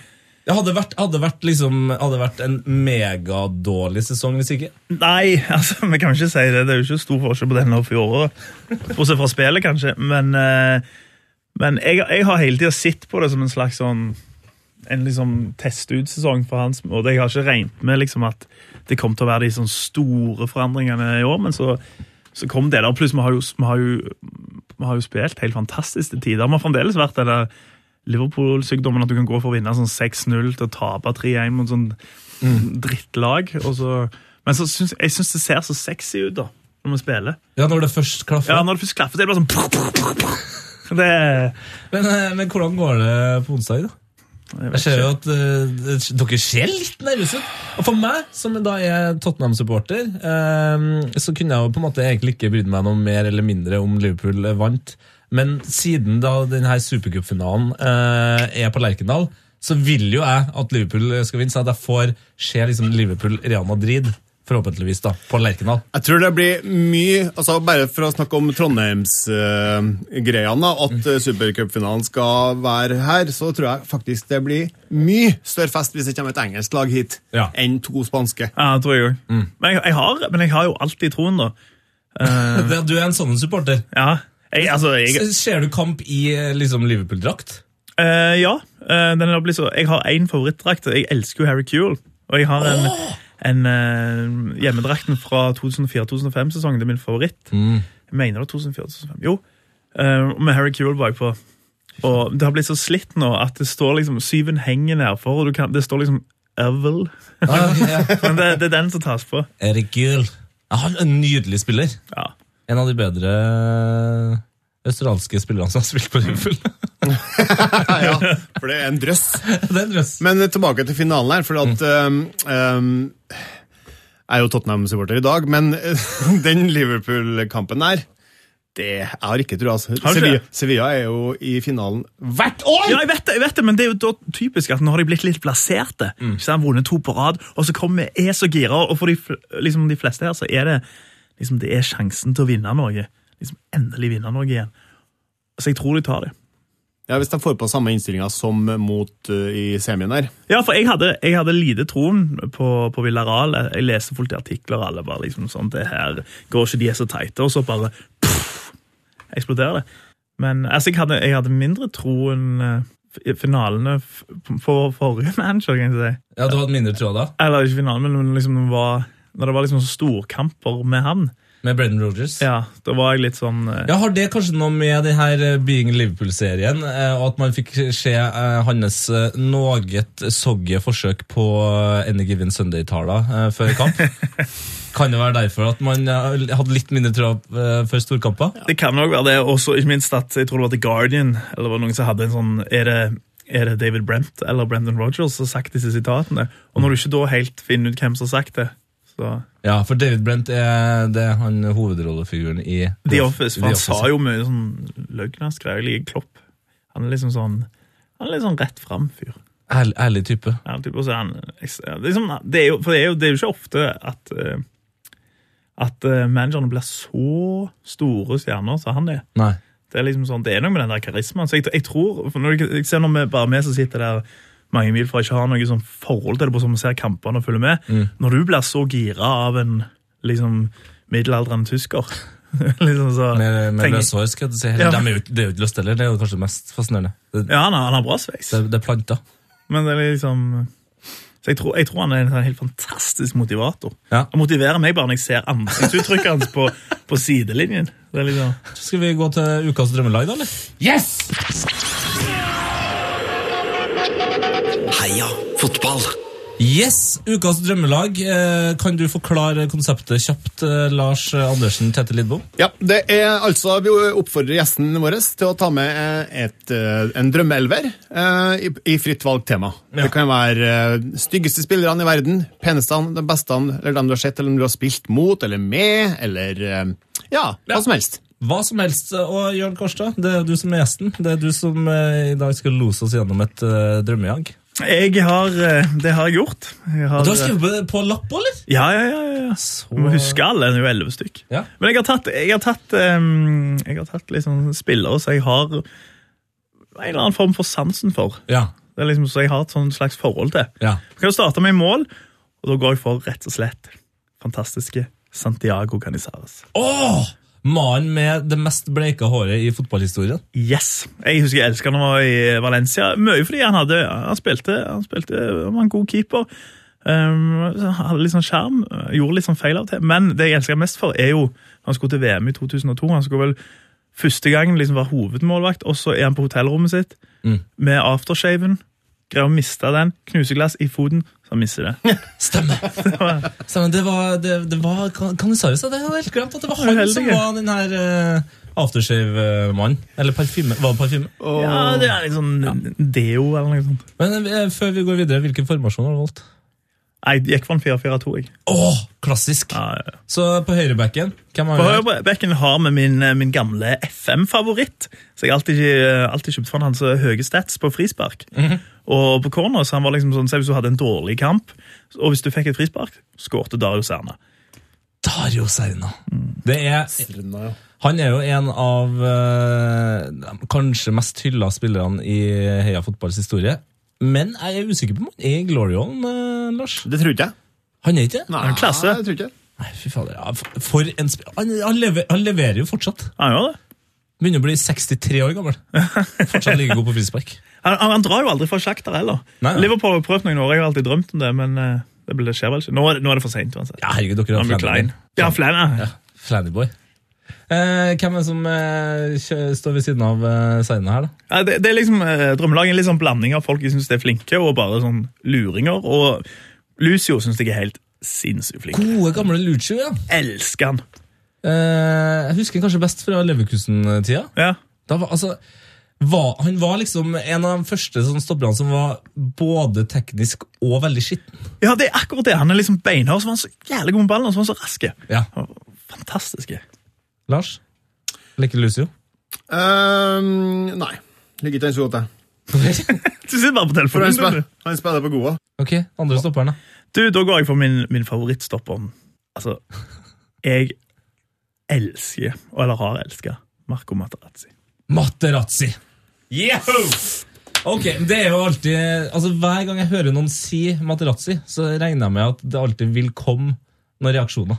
Speaker 3: Det hadde vært, hadde vært, liksom, hadde vært en megadårlig sesong hvis ikke.
Speaker 5: Nei, altså, vi kan ikke si det. Det er jo ikke stor forskjell på denne og fjoråret. Bortsett fra spillet, kanskje. Men, eh, men jeg, jeg har hele tida sett på det som en slags sånn en liksom test-ut-sesong for hans måte. Jeg har ikke regnet med liksom at det kom til å være de sånn store forandringene i år, men så, så kom det der. Pluss, vi har jo, vi har jo, vi har jo spilt helt fantastisk til tider. Vi har fremdeles vært den der Liverpool-sykdommen at du kan gå for å vinne sånn 6-0 til å tape 3-1 mot sånn drittlag. Og så, men så syns, jeg syns det ser så sexy ut da, når vi spiller.
Speaker 3: Ja, når det først klaffer.
Speaker 5: Ja, Når det først klaffer, så er det bare sånn det,
Speaker 3: Men, eh, men hvordan går det på onsdag, da?
Speaker 5: jeg
Speaker 3: Jeg
Speaker 5: vet
Speaker 3: ser
Speaker 5: ikke.
Speaker 3: jo at eh, det- dere ser litt nervøse ut. Og for meg, som da er Tottenham-supporter, eh, så kunne jeg jo på en måte egentlig ikke brydd meg noe mer eller mindre om Liverpool eh, vant. Men siden da denne supercupfinalen eh, er på Lerkendal, sånn så vil jo jeg at Liverpool skal vinne, så at jeg får se liksom Liverpool-Real Madrid forhåpentligvis, da, på Lerkendal.
Speaker 4: Jeg tror det blir mye altså Bare for å snakke om Trondheims-greiene, at eh, supercupfinalen skal være her, så tror jeg faktisk det blir mye større fest hvis det kommer et engelsk lag hit
Speaker 3: Ja.
Speaker 4: enn to spanske. *laughs*
Speaker 5: Ja, det tror jeg òg. Men, jeg- jeg har- men jeg har jo alltid troen, da.
Speaker 3: Det- Du er en sånn supporter.
Speaker 5: Ja. Jeg, altså, jeg,
Speaker 3: S- Ser du kamp i eh, liksom Liverpool-drakt?
Speaker 5: Eh, ja. eh, den er blitt så, jeg har én favorittdrakt. Jeg elsker jo Harry Kuehl. Og jeg har en, en eh, hjemmedrakten fra 2004-2005-sesongen. Det er min favoritt. Jeg mener det var 2004-2005. Jo. eh, med Harry Kuehl bakpå. Og det har blitt så slitt nå at det står liksom syven henger nedfor, og du kan, det står liksom Evel.
Speaker 3: Ah, ja, ja.
Speaker 5: Men det, det er den som tas på.
Speaker 3: Erik Gull. Ja, han er en nydelig spiller.
Speaker 5: Ja.
Speaker 3: En av de bedre eh, australske spillerne som har spilt på
Speaker 5: *laughs*
Speaker 3: Liverpool.
Speaker 4: Ja, for det er en drøss.
Speaker 3: det er en drøss.
Speaker 4: Men tilbake til finalen her, for at
Speaker 5: Mm.
Speaker 4: ehm, ehm, Jeg er jo Tottenham-supporter i dag, men eh, *laughs* den Liverpool-kampen der det Jeg har ikke trua. Altså.
Speaker 5: Har du ikke?
Speaker 4: Sevilla, Sevilla er jo i finalen hvert år!
Speaker 5: Ja, jeg vet, det, jeg vet det, men det er jo da typisk at nå har de blitt litt plasserte. Ikke sant? Vunnet to på rad, og så kommer er så gira, og for de, fl- liksom de fleste her så er det liksom det er sjansen til å vinne noe. Liksom Endelig vinne noe igjen. Så jeg tror de tar det.
Speaker 4: Ja, Hvis de får på samme innstillinga som mot eh, i semien her.
Speaker 5: Ja, for jeg hadde, jeg hadde lite troen på, på Villaral. Jeg, jeg leste fullt i artikler, og alle bare liksom sånn Det her går ikke, de er så teite. Og så bare pff, eksploderer det. Men altså, jeg hadde, jeg hadde mindre troen eh, i finalene f- på forrige *laughs* manager, kan jeg si.
Speaker 3: Ja, Du hadde mindre trua da,
Speaker 5: Eller ikke finalen, men liksom når det var, når det var liksom storkamper med han,
Speaker 3: med Brendan Rogers.
Speaker 5: ja, da var jeg litt sånn eh,
Speaker 3: Ja, Har det kanskje noe med den her eh, Being Liverpool-serien eh, og at man fikk se eh, hans eh, noe soggy forsøk på eh, Any Given Sunday-taler eh, før
Speaker 5: *laughs*
Speaker 3: kamp? kan det være derfor at man eh, hadde litt mindre trua eh, før storkamper?
Speaker 5: Det kan nok være det, og så ikke minst at jeg tror det var The Guardian, eller det var noen som hadde en sånn Er det, er det David Brent eller Brendan Rogers som har sagt disse sitatene? Og når du ikke da helt finner ut hvem som har sagt det, så
Speaker 3: Ja, for David Brent er det er han hovedrollefiguren i
Speaker 5: The Office, for han
Speaker 3: The Office.
Speaker 5: sa jo mye sånn løgnaskreier. Jeg liker Klopp. Han er liksom sånn han er litt sånn rett fram-fyr.
Speaker 3: Ærlig, ærlig type.
Speaker 5: Ja, typ, og så er han, liksom, det, er jo, for det, er jo, det er jo ikke ofte at, eh, at eh, managerne blir så store stjerner som han er.
Speaker 3: Nei.
Speaker 5: Det er liksom sånn, det er noe med den der karismaen. Så jeg, jeg tror, for når jeg, jeg ser når vi bare vi som sitter der mange mil fra ikke har noe sånn forhold til det, på sånn vi ser kampene og følger med,
Speaker 3: Mm.
Speaker 5: når du blir så gira av en liksom, middelaldrende tysker *laughs* liksom så,
Speaker 3: Med, med
Speaker 5: tenker-
Speaker 3: løshår, skal jeg til å si. Eller,
Speaker 5: Ja.
Speaker 3: de er jo, ikke- det er jo ikke løst heller, det er jo kanskje det mest fascinerende. Det,
Speaker 5: Ja, han har, han har bra sveis.
Speaker 3: det, det er planter.
Speaker 5: Men det er liksom Så jeg tror, jeg tror han er en sånn helt fantastisk motivator.
Speaker 3: Ja.
Speaker 5: Han motiverer meg bare når jeg ser ansiktsuttrykket hans på, på sidelinjen. Det er liksom
Speaker 3: Skal vi gå til ukas drømmelag, da? eller?
Speaker 2: Heia fotball.
Speaker 3: Yes! Ukas drømmelag. Eh, Kan du forklare konseptet kjapt, eh, Lars Andersen Tete Lidbom?
Speaker 4: Ja, det er altså, Vi oppfordrer gjesten vår til å ta med eh, et, eh, en drømmeelver eh, i, i fritt valgt tema.
Speaker 3: Ja.
Speaker 4: Det kan være eh, styggeste spillerne i verden, peneste, de beste, eller dem du har sett, eller dem du har spilt mot eller med, eller eh, ja, hva som helst.
Speaker 3: Hva som helst. Og Jørn Kårstad, det er du som er gjesten. Det er du som eh, i dag skal lose oss gjennom et eh, drømmejag.
Speaker 5: Jeg har eh, Det har jeg gjort. Jeg har, eh,
Speaker 3: Du har skrevet på- på lapp, eller?
Speaker 5: Ja, ja, ja. ja, ja.
Speaker 3: Så...
Speaker 5: Du må huske alle. Det er jo elleve stykk.
Speaker 3: Ja.
Speaker 5: Men jeg har tatt, jeg har tatt, eh, jeg har tatt liksom spillere som jeg har en eller annen form for sansen for.
Speaker 3: Ja.
Speaker 5: Det er liksom Så jeg har et sånn slags forhold til.
Speaker 3: ja.
Speaker 5: Vi kan jo starte med mål, og da går jeg for rett og slett fantastiske Santiago Canizares.
Speaker 3: Åh! Mannen med det mest bleika håret i fotballhistorien.
Speaker 5: Yes! Jeg husker jeg elsket han var i Valencia. Mye fordi han hadde Han spilte, han spilte, han var en god keeper. Um, så han hadde litt sånn skjerm, gjorde litt sånn feil av og til. Men det jeg elsker mest for, er jo han skulle til VM i 2002. Han skulle vel første gangen liksom være hovedmålvakt, og så er han på hotellrommet sitt med aftershaven. Greier å miste den, knuseglass i foten, så han mister det. *laughs*
Speaker 3: Stemmer! Stemmer. Det var, det, det var Kan kan du svare seg det? Jeg hadde helt glemt at det var han
Speaker 5: Uheldig.
Speaker 3: som var den her uh, aftershave-mannen. Eller parfyme. Var det parfyme?
Speaker 5: Ja, det er litt sånn deo eller noe sånt.
Speaker 3: Men eh, før vi går videre, hvilken formasjon har du valgt?
Speaker 5: Nei, jeg gikk for en 4-4-2, jeg.
Speaker 3: Åh, klassisk!
Speaker 5: Ja, ja, ja.
Speaker 3: Så på høyrebacken, hvem har
Speaker 5: På
Speaker 3: vi her?
Speaker 5: høyrebekken har vi min, eh, min gamle eh,
Speaker 3: Mhm.
Speaker 5: FM-favoritt. Så jeg har alltid, alltid kjøpt for han hans høye stats på frispark. Og på corner, så han var liksom sånn, se hvis du hadde en dårlig kamp, og hvis du fikk et frispark, skårte Darius Erne.
Speaker 3: Dario Serna.
Speaker 5: Mm.
Speaker 3: Det er,
Speaker 4: Serna, ja.
Speaker 3: han er jo en av eh, de kanskje mest hylla spillerne i Heia fotballs historie. Men jeg er usikker på om han er i Glorion, eh, Lars.
Speaker 4: Det tror ikke jeg.
Speaker 3: Han er ikke det?
Speaker 4: Nei,
Speaker 5: klasse.
Speaker 4: jeg tror ikke.
Speaker 3: Nei, fy fader. Ja, for- for en sp han, han, lever, han leverer jo fortsatt.
Speaker 5: Han gjør det.
Speaker 3: Begynner å bli 63 år gammel. Fortsatt like god på frispark.
Speaker 5: Han, han, han drar jo aldri fra sjakter heller.
Speaker 3: Nei, nei.
Speaker 5: Liverpool har prøvd noen år, jeg har alltid drømt om det, men eh, det, ble- det skjer vel ikke. Nå er det, nå er det for sent, uansett.
Speaker 3: Ja, herregud, dere
Speaker 5: Han
Speaker 3: har
Speaker 5: blir klein. Ja, Flann, ja.
Speaker 3: Flannyboy. Eh, hvem er det som eh, kjø- står ved siden av eh, Serna her, da?
Speaker 5: Ja, det, det er liksom eh, Drømmelaget er en litt sånn blanding av folk jeg syns er flinke, og bare sånn luringer. Og Lucio syns jeg er helt sinnssykt flink.
Speaker 3: Gode, gamle Lucio, ja.
Speaker 5: Elsker han.
Speaker 3: Eh, jeg husker kanskje best fra Leverkusen-tida.
Speaker 5: Ja.
Speaker 3: Da var, altså, var, han var liksom en av de første sånn stopperne som var både teknisk og veldig skitten.
Speaker 5: ja, det er akkurat det. Han er liksom beinhard, så var han så jævlig god med ballen, og så var han så rask.
Speaker 3: Ja.
Speaker 5: Han var Fantastisk.
Speaker 3: Lars? Leker Lucio? *laughs*
Speaker 4: Ehm, nei. Ligger ikke den så godt, jeg.
Speaker 5: Du sitter bare på
Speaker 4: For han
Speaker 5: telefonen.
Speaker 4: spiller, han spiller på Goa.
Speaker 3: ok, andre stopperen, da.
Speaker 5: Du, Da går jeg for min, min favorittstopper. Altså, jeg elsker, eller har elska, Marco Materazzi.
Speaker 3: Materazzi! Yeho! Ok, det er jo alltid Altså Hver gang jeg hører noen si Materazzi, så regner jeg med at det alltid vil komme noen reaksjoner.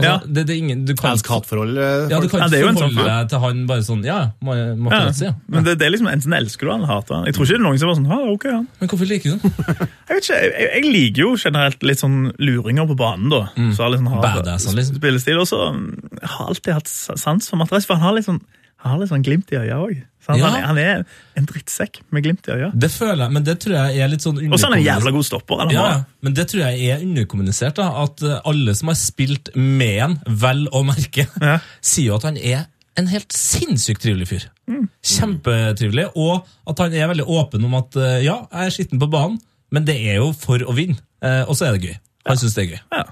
Speaker 3: Altså,
Speaker 5: Ja.
Speaker 3: det, det er ingen, du kan, ikke-
Speaker 4: Elsk-hatforhold.
Speaker 3: ja, du kan
Speaker 5: Ja, det er jo
Speaker 3: ikke
Speaker 5: en sånn
Speaker 3: forholde
Speaker 5: fyr.
Speaker 3: deg til han bare sånn Ja, Ma- Materazzi, ja.
Speaker 5: Men det, det er liksom enten elsker du han eller hater han. Jeg tror ikke det er noen som er sånn, ja, ok, han.
Speaker 3: Men hvorfor liker du den?
Speaker 5: Jeg vet ikke, jeg, jeg- jeg liker jo generelt litt sånn luringer på banen, da. Så alle sånn har
Speaker 3: Mm. Badass, han liksom.
Speaker 5: Spillestil. Og så mm, jeg har alltid hatt s- sans for Matras, for han har litt sånn, han har litt sånn glimt i øya òg. Han,
Speaker 3: Ja.
Speaker 5: han, han er en drittsekk med glimt i øya.
Speaker 3: Det føler jeg, men det tror jeg er litt sånn
Speaker 5: Og så er han en
Speaker 3: underkommunis-
Speaker 5: jævla god stopper. Han
Speaker 3: Ja,
Speaker 5: har.
Speaker 3: ja, men det tror jeg er underkommunisert. da, At eh, alle som har spilt med han, vel å merke,
Speaker 5: *laughs* Ja.
Speaker 3: *laughs* sier jo at han er en helt sinnssykt trivelig fyr.
Speaker 5: Mm.
Speaker 3: Kjempetrivelig. Og at han er veldig åpen om at eh, ja, jeg er skitten på banen, men det er jo for å vinne. Eh, Og så er det gøy. Han synes syns det er gøy.
Speaker 5: Ja.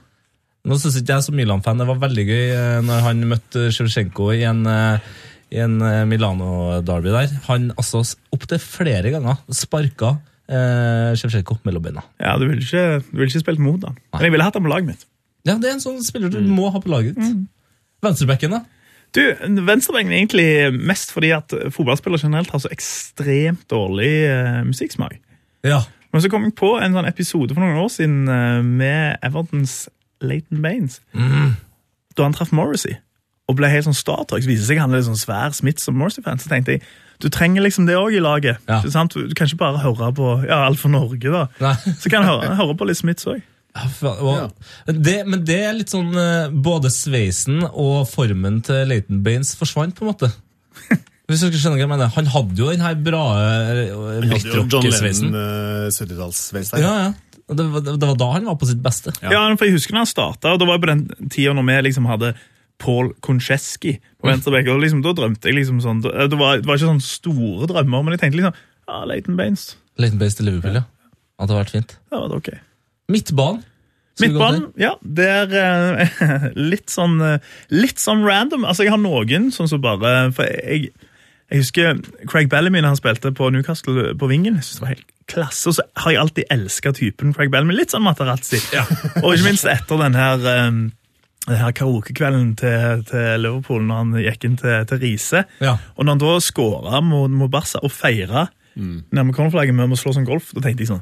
Speaker 3: Nå synes ikke jeg som Milan-fan det var veldig gøy eh, når han møtte Sjevsjenko i en eh, i en eh, Milano-derby der. Han altså opptil flere ganger sparka eh, Sjevsjenko mellom beina.
Speaker 5: Ja, du ville ikke, du ville ikke spilt mot han. Men jeg ville hatt han på laget mitt.
Speaker 3: Ja, det er en sånn spiller du må ha på laget ditt. Venstrebekken, da?
Speaker 5: Du, Venstrebenken er egentlig mest fordi at fotballspillere generelt har så ekstremt dårlig eh, musikksmak.
Speaker 3: Ja.
Speaker 5: Men så kom jeg på en sånn episode for noen år siden eh, med Evertons Leighton Baines.
Speaker 3: Mm.
Speaker 5: Da han traff Morrissey og ble helt sånn startruck. Viste seg han er litt sånn svær smitt som Morrissey-fan. Så tenkte jeg du trenger liksom det òg i laget.
Speaker 3: Ja.
Speaker 5: Ikke sant? Du, du kan ikke bare høre på ja, alt for Norge, da.
Speaker 3: Nei.
Speaker 5: Så kan han høre, høre på litt Smiths òg.
Speaker 3: Ja, fa- og, det, men det er litt sånn eh, Både sveisen og formen til Leighton Baines forsvant, på en måte. Hvis dere skjønner hva jeg mener. Han hadde jo den her bra eh,
Speaker 4: John Lennon,
Speaker 3: rock-sveisen.
Speaker 4: eh, 70-tallssveis der.
Speaker 3: Ja, ja. Og Det, var- det var da han var på sitt beste.
Speaker 5: Ja. for jeg husker når han starta, og det var jo på den tida når vi liksom hadde Paul Koncheski på venstreback, og liksom, da drømte jeg liksom sånn Det var, det var ikke sånne store drømmer, men jeg tenkte liksom ja, Leighton Baines.
Speaker 3: Leighton Baines til Liverpool, ja. Det hadde vært fint.
Speaker 5: Det var det ok.
Speaker 3: Midtbanen. Skal vi gå til
Speaker 5: Midtbanen, ja. Det er eh, *laughs* litt sånn eh, Litt sånn random. Altså, jeg har noen sånn som bare For jeg, jeg husker Craig Bellamy da han spilte på Newcastle eh, på vingen. Jeg synes det var helt klasse, Og så har jeg alltid elska typen Craig Bellamy. Litt sånn Materazzi. *laughs* Og ikke minst etter den her um, den her karaokekvelden til, til Liverpool når han gikk inn til, til Riise.
Speaker 3: Ja.
Speaker 5: Og når han da skåra mot, mot Barca og feira
Speaker 3: Mm.
Speaker 5: nærme cornerflagget med å slå som golf, da tenkte jeg sånn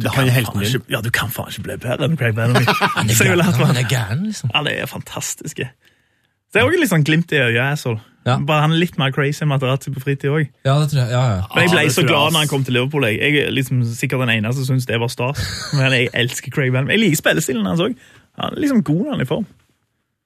Speaker 4: Det er han er helten
Speaker 5: faen
Speaker 4: min.
Speaker 5: ikke, ja, du kan faen ikke bli bedre enn Craig Bellamy.
Speaker 3: *laughs* Han er
Speaker 5: Så jeg ville hatt
Speaker 3: gæren,
Speaker 5: han.
Speaker 3: han er gæren, liksom.
Speaker 5: Han er fantastisk. Det er òg litt sånn glimt i øyet. asshole.
Speaker 3: Ja.
Speaker 5: Bare han er litt mer crazy enn Materazzi på fritid òg.
Speaker 3: Ja, Ah, det tror jeg. Ja, ja.
Speaker 5: Men jeg ble
Speaker 4: det
Speaker 5: så
Speaker 4: tror jeg,
Speaker 5: glad
Speaker 4: ass.
Speaker 5: når han kom til Liverpool. Jeg, jeg er liksom sikkert den eneste som syns det var stas.
Speaker 3: *laughs*
Speaker 5: Men jeg elsker Craig Bellamy. Jeg liker spillestilen hans òg. Han er liksom god når han er i form.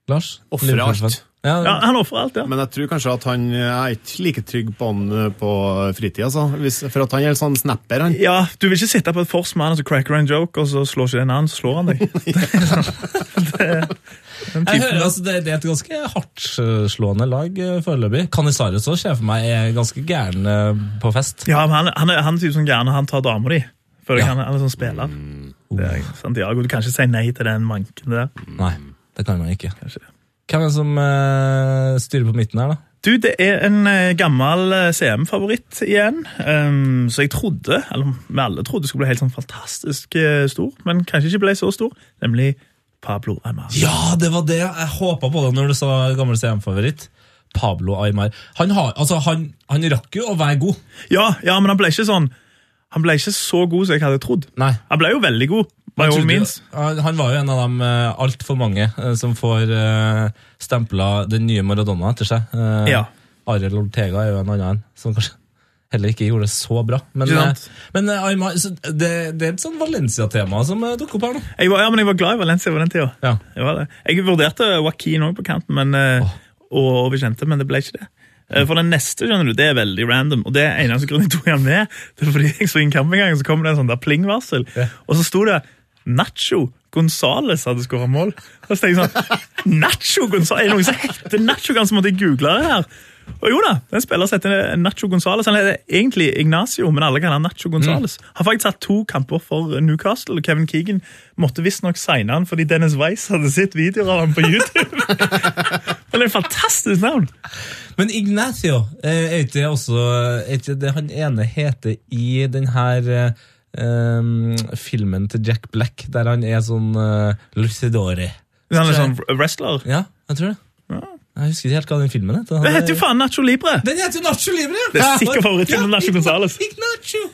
Speaker 3: Lars?
Speaker 4: Offrer
Speaker 3: Liverpool-fan.
Speaker 4: alt.
Speaker 3: Ja,
Speaker 5: Ja, han ofrer alt, ja.
Speaker 4: Men jeg tror kanskje at han Jeg er ikke like trygg på han eh, på fritid, altså. Hvis, for at han er en sånn snapper, han.
Speaker 5: Ja, Du vil ikke sitte på et fors med han og så cracker han en joke, og så slår ikke en annen, så slår
Speaker 3: *laughs*
Speaker 5: han deg. *laughs* sånn- Det- den
Speaker 3: Jeg
Speaker 5: typen-
Speaker 3: hører, altså, det, det er et ganske hardtslående lag eh, foreløpig. Canizares òg ser jeg for meg er ganske gæren eh, på fest.
Speaker 5: Ja, men han, han, er, han er typ sånn gæren, han tar damer di. Føler jeg
Speaker 3: Ja. Mm.
Speaker 5: han, er- han er sånn spiller. Det er, Santiago, du kan ikke si nei til den manken der.
Speaker 3: Nei, det kan man ikke.
Speaker 5: Kanskje.
Speaker 3: Hvem er det som eh, styrer på midten her, da?
Speaker 5: Du, det er en eh, gammel eh, CM-favoritt igjen. Um, så jeg trodde, eller vi alle trodde, skulle bli helt sånn fantastisk eh, stor, men kanskje ikke ble så stor, nemlig Pablo Aymar.
Speaker 3: Ja, det var det! Jeg håpa på det når du sa gammel CM-favoritt. Pablo Aymar. Han, har, altså, han, han rakk jo å være god.
Speaker 5: Ja, ja, men han ble ikke sånn Han ble ikke så god som jeg hadde trodd.
Speaker 3: Nei.
Speaker 5: Han ble jo veldig god. By all
Speaker 3: Trodde-
Speaker 5: means.
Speaker 3: han, han var jo en av de uh, altfor mange eh, som får uh, stempla den nye Maradona etter seg. Eh,
Speaker 5: Ja.
Speaker 3: Ariel Ortega er jo en annen en som kanskje heller ikke gjorde det så bra. Men,
Speaker 5: Ikke
Speaker 3: eh,
Speaker 5: sant?
Speaker 3: men eh, Aymar, så det, det er et sånn Valencia-tema som eh, dukker opp her nå.
Speaker 5: Jeg var, ja, men jeg var glad i Valencia på den tida.
Speaker 3: Ja.
Speaker 5: Jeg, var det. jeg vurderte Joaquin òg på kanten, men, eh, og, og Vicente, men det ble ikke det. Eh, For den neste skjønner du, det er veldig random, og det er eneste grunnen jeg tok han med. Det er fordi jeg så inn kamp en gang, så kom det en sånn der pling-varsel,
Speaker 3: Ja.
Speaker 5: og så sto det Nacho Gonzales hadde skåra mål. Og så tenkte jeg sånn Nacho Gonzales? Er det noen som heter Nacho Gonzales? Så måtte jeg google det her. Og jo da, det er en spiller som heter Nacho Gonzales. Han heter egentlig Ignacio, men alle kaller han Nacho Gonzales. Har faktisk hatt to kamper for Newcastle. og Kevin Keegan måtte visstnok signe han fordi Dennis Weiss hadde sett videoer av ham på YouTube. *laughs* men det er et fantastisk navn!
Speaker 3: Men Ignacio, eh, er ikke det også er ikke det han ene heter i den her eh, em, filmen til Jack Black, der han er sånn eh, lucidore?
Speaker 5: Han er sånn wrestler.
Speaker 3: Ja, jeg tror det. Jeg husker ikke helt hva den filmen heter.
Speaker 5: Det heter jo faen Nacho Libre!
Speaker 3: Den heter jo Nacho Libre! ja.
Speaker 5: Det er sikkert favoritten til Nacho Gonzales.
Speaker 3: Ignacio!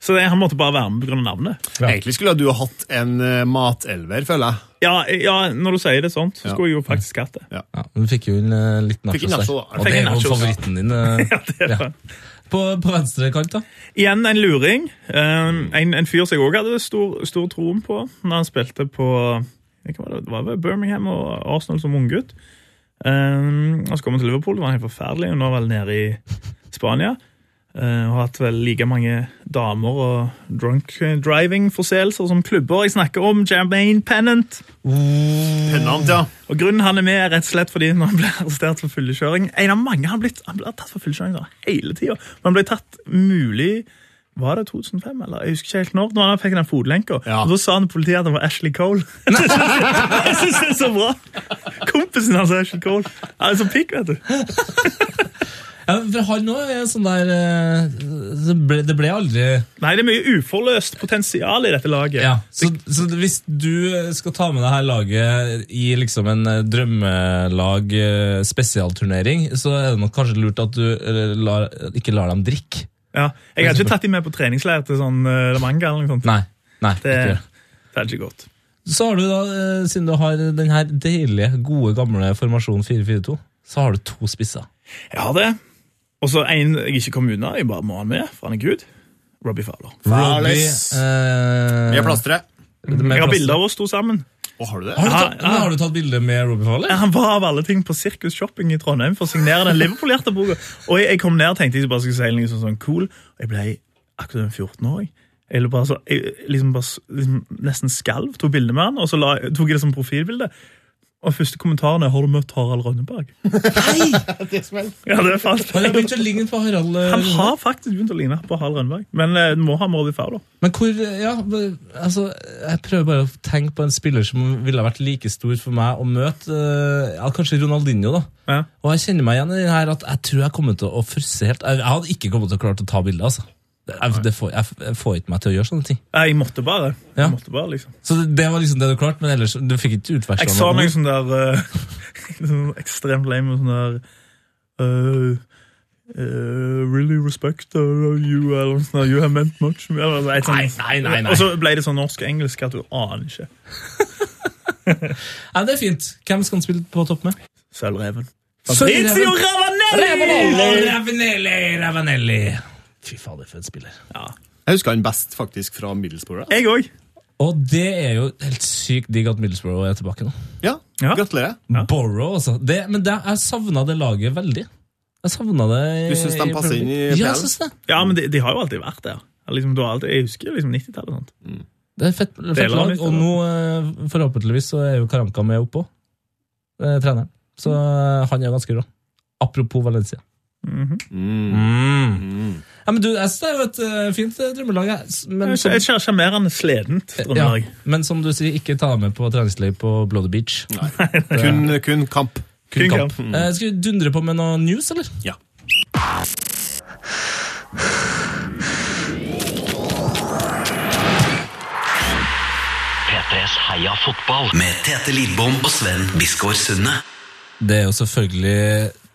Speaker 5: Så det, han måtte bare være med pga. navnet.
Speaker 3: Ja.
Speaker 4: Egentlig skulle du ha hatt en eh, matelver, føler jeg.
Speaker 5: Ja, ja, når du sier det sånn, så
Speaker 4: Ja.
Speaker 5: skulle jeg jo faktisk hatt det.
Speaker 3: Ja, men du fikk jo inn eh, litt nachos
Speaker 4: Fikk inn nacho,
Speaker 3: der.
Speaker 4: da.
Speaker 3: Og
Speaker 5: Fikk
Speaker 3: det er
Speaker 5: inn
Speaker 3: jo
Speaker 5: nachos, ja.
Speaker 3: favoritten
Speaker 5: *laughs*
Speaker 3: din. eh,
Speaker 5: Ja, det er
Speaker 3: ja.
Speaker 5: det.
Speaker 3: På, på venstre kant, da.
Speaker 5: Igjen en luring. Um, en, en fyr som jeg òg hadde stor, stor troen på når han spilte på hva var det, det var vel Birmingham og Arsenal som unggutt. Um, og så kom han til Liverpool, det var helt forferdelig, og nå er han vel nede i Spania. Uh, og har hatt vel like mange damer og drunk driving-forseelser som klubber. Jeg snakker om Jermaine Pennant.
Speaker 4: Pennant, ja.
Speaker 5: Og grunnen han er med er rett og slett fordi når han ble arrestert for fullkjøring En av mange han ble, han ble tatt for fullkjøring da, hele tiden. Men han ble tatt mulig Var det 2005, eller? Jeg husker ikke helt når. Når han fikk den fotlenka.
Speaker 4: Ja.
Speaker 5: Og Da sa han til politiet at han var Ashley Cole. *laughs* jeg syns det er så bra! Kompisen hans er Ashley Cole. Han er så pikk, vet du.
Speaker 3: Ja, for han òg er sånn der eh, Det ble, det ble aldri
Speaker 5: Nei, det er mye uforløst potensial i dette laget.
Speaker 3: Ja, så, så hvis du eh, skal ta med det her laget i liksom en eh, drømmelag eh, spesialturnering, så er det nok kanskje lurt at du eh, lar, ikke lar dem drikke.
Speaker 5: Ja. Jeg hadde ikke tatt dem med på treningsleir til sånn eh, La Manga eller noe sånt.
Speaker 3: Nei. Nei,
Speaker 5: Det,
Speaker 3: ikke gjør det.
Speaker 5: det er ikke godt.
Speaker 3: Så har du da, eh, siden du har den her deilige, gode, gamle formasjonen 4-4-2, så har du to spisser.
Speaker 5: Jeg har det. Og så en jeg ikke kom unna. Jeg bare må ha han med, for han er gud. Robbie Fowler.
Speaker 4: Farles.
Speaker 3: eh,
Speaker 4: Vi har plasteret.
Speaker 3: med
Speaker 5: Jeg har
Speaker 3: plass-
Speaker 5: bilder av oss to sammen.
Speaker 4: Å, har du det?
Speaker 3: Har du, tatt,
Speaker 5: Ja, ja.
Speaker 3: men har du tatt bilde med Robbie Farley?
Speaker 5: Han var av alle ting på Sirkus Shopping i Trondheim for å signere den Liverpool-hjerta boka. Og jeg, jeg kom ned og tenkte jeg bare skulle si noe sånn, sånn cool. Og jeg ble akkurat en 14-åring. Jeg, lå bare så, jeg liksom bare s- liksom, nesten skalv, tok bilde med han, og så la, tok jeg det som profilbilde. Og første kommentaren er 'Har du møtt Harald Rønneberg?' *laughs* Ja, det er falt.
Speaker 3: Han har begynt å ligne på Harald. eh,
Speaker 5: Han
Speaker 3: Rune.
Speaker 5: har faktisk begynt å ligne på Harald Rønneberg, men eh, må ha med Robbie Fowler.
Speaker 3: Men hvor, ja, men, altså, jeg prøver bare å tenke på en spiller som ville ha vært like stor for meg å møte, eh, ja, kanskje Ronaldinho da.
Speaker 5: Ja.
Speaker 3: Og jeg kjenner meg igjen i det her at jeg tror jeg kommer til å frysse helt. Jeg, jeg hadde ikke kommet til å klare til å ta bilder, altså. Det- Jeg, det får, jeg, jeg får ikke meg til å gjøre sånne ting.
Speaker 5: Nei, Jeg måtte bare.
Speaker 3: Ja.
Speaker 5: Jeg måtte bare, liksom.
Speaker 3: Så det, det var liksom det du klarte, men ellers, du fikk ikke utvekslet
Speaker 5: Jeg sa
Speaker 3: noe.
Speaker 5: noe sånn der eh, *laughs* sånn ekstremt lame og sånn der eh, eh, Really respect uh, you eller noe sånt der, You have meant much eller, noe sånt.
Speaker 3: Nei, nei, nei, nei.
Speaker 5: Og så ble det sånn norsk-engelsk at du aner ikke.
Speaker 3: Ja, det er fint. Hvem skal han spille på topp med?
Speaker 5: Sølvreven.
Speaker 3: Sølvreven.
Speaker 5: Fabrizio Ravanelli!
Speaker 3: Ravanelli! Ravanelli! Fy fader, for en spiller.
Speaker 4: Jeg husker han best faktisk fra Middlesbrough.
Speaker 5: Jeg òg.
Speaker 3: Og det er jo helt sykt digg at Middlesbrough er tilbake nå.
Speaker 4: Ja,
Speaker 5: Ja.
Speaker 4: gratulerer.
Speaker 5: Ja.
Speaker 3: Borough, altså. Det, men det, jeg savna det laget veldig. Jeg savna det i-
Speaker 4: Du synes de passer inn i
Speaker 3: Ja, jeg
Speaker 4: PL?
Speaker 3: synes det.
Speaker 5: Ja, men de, de har jo alltid vært der. Eller Liksom, du har alltid, jeg husker liksom 90-tallet. og sånt.
Speaker 3: Det er et fett, fett
Speaker 5: Deler av
Speaker 3: lag.
Speaker 5: nytt,
Speaker 3: Og nå, eh, forhåpentligvis, så er jo Karanka med oppå. eh, Treneren. Så eh, han er ganske rå. Apropos Valencia.
Speaker 5: Mhm.
Speaker 4: Mm.
Speaker 3: Ja, men du, jeg synes det er jo et eh, fint eh, drømmelag, jeg. S- Men,
Speaker 5: Et
Speaker 3: som,
Speaker 5: sjar- sjarmerende sledent.
Speaker 3: ja,
Speaker 5: Trøndelag.
Speaker 3: men som du sier, ikke ta deg med på treningsleir på Bloody Beach.
Speaker 4: Kun, kun kamp.
Speaker 3: Kun
Speaker 5: Kun
Speaker 3: kamp.
Speaker 5: kamp.
Speaker 3: Eh, skal vi dundre på med noe news, eller?
Speaker 4: Ja.
Speaker 2: P3s Heia fotball med Tete Lidbom og Sven Biskår Sunde.
Speaker 3: Det er jo selvfølgelig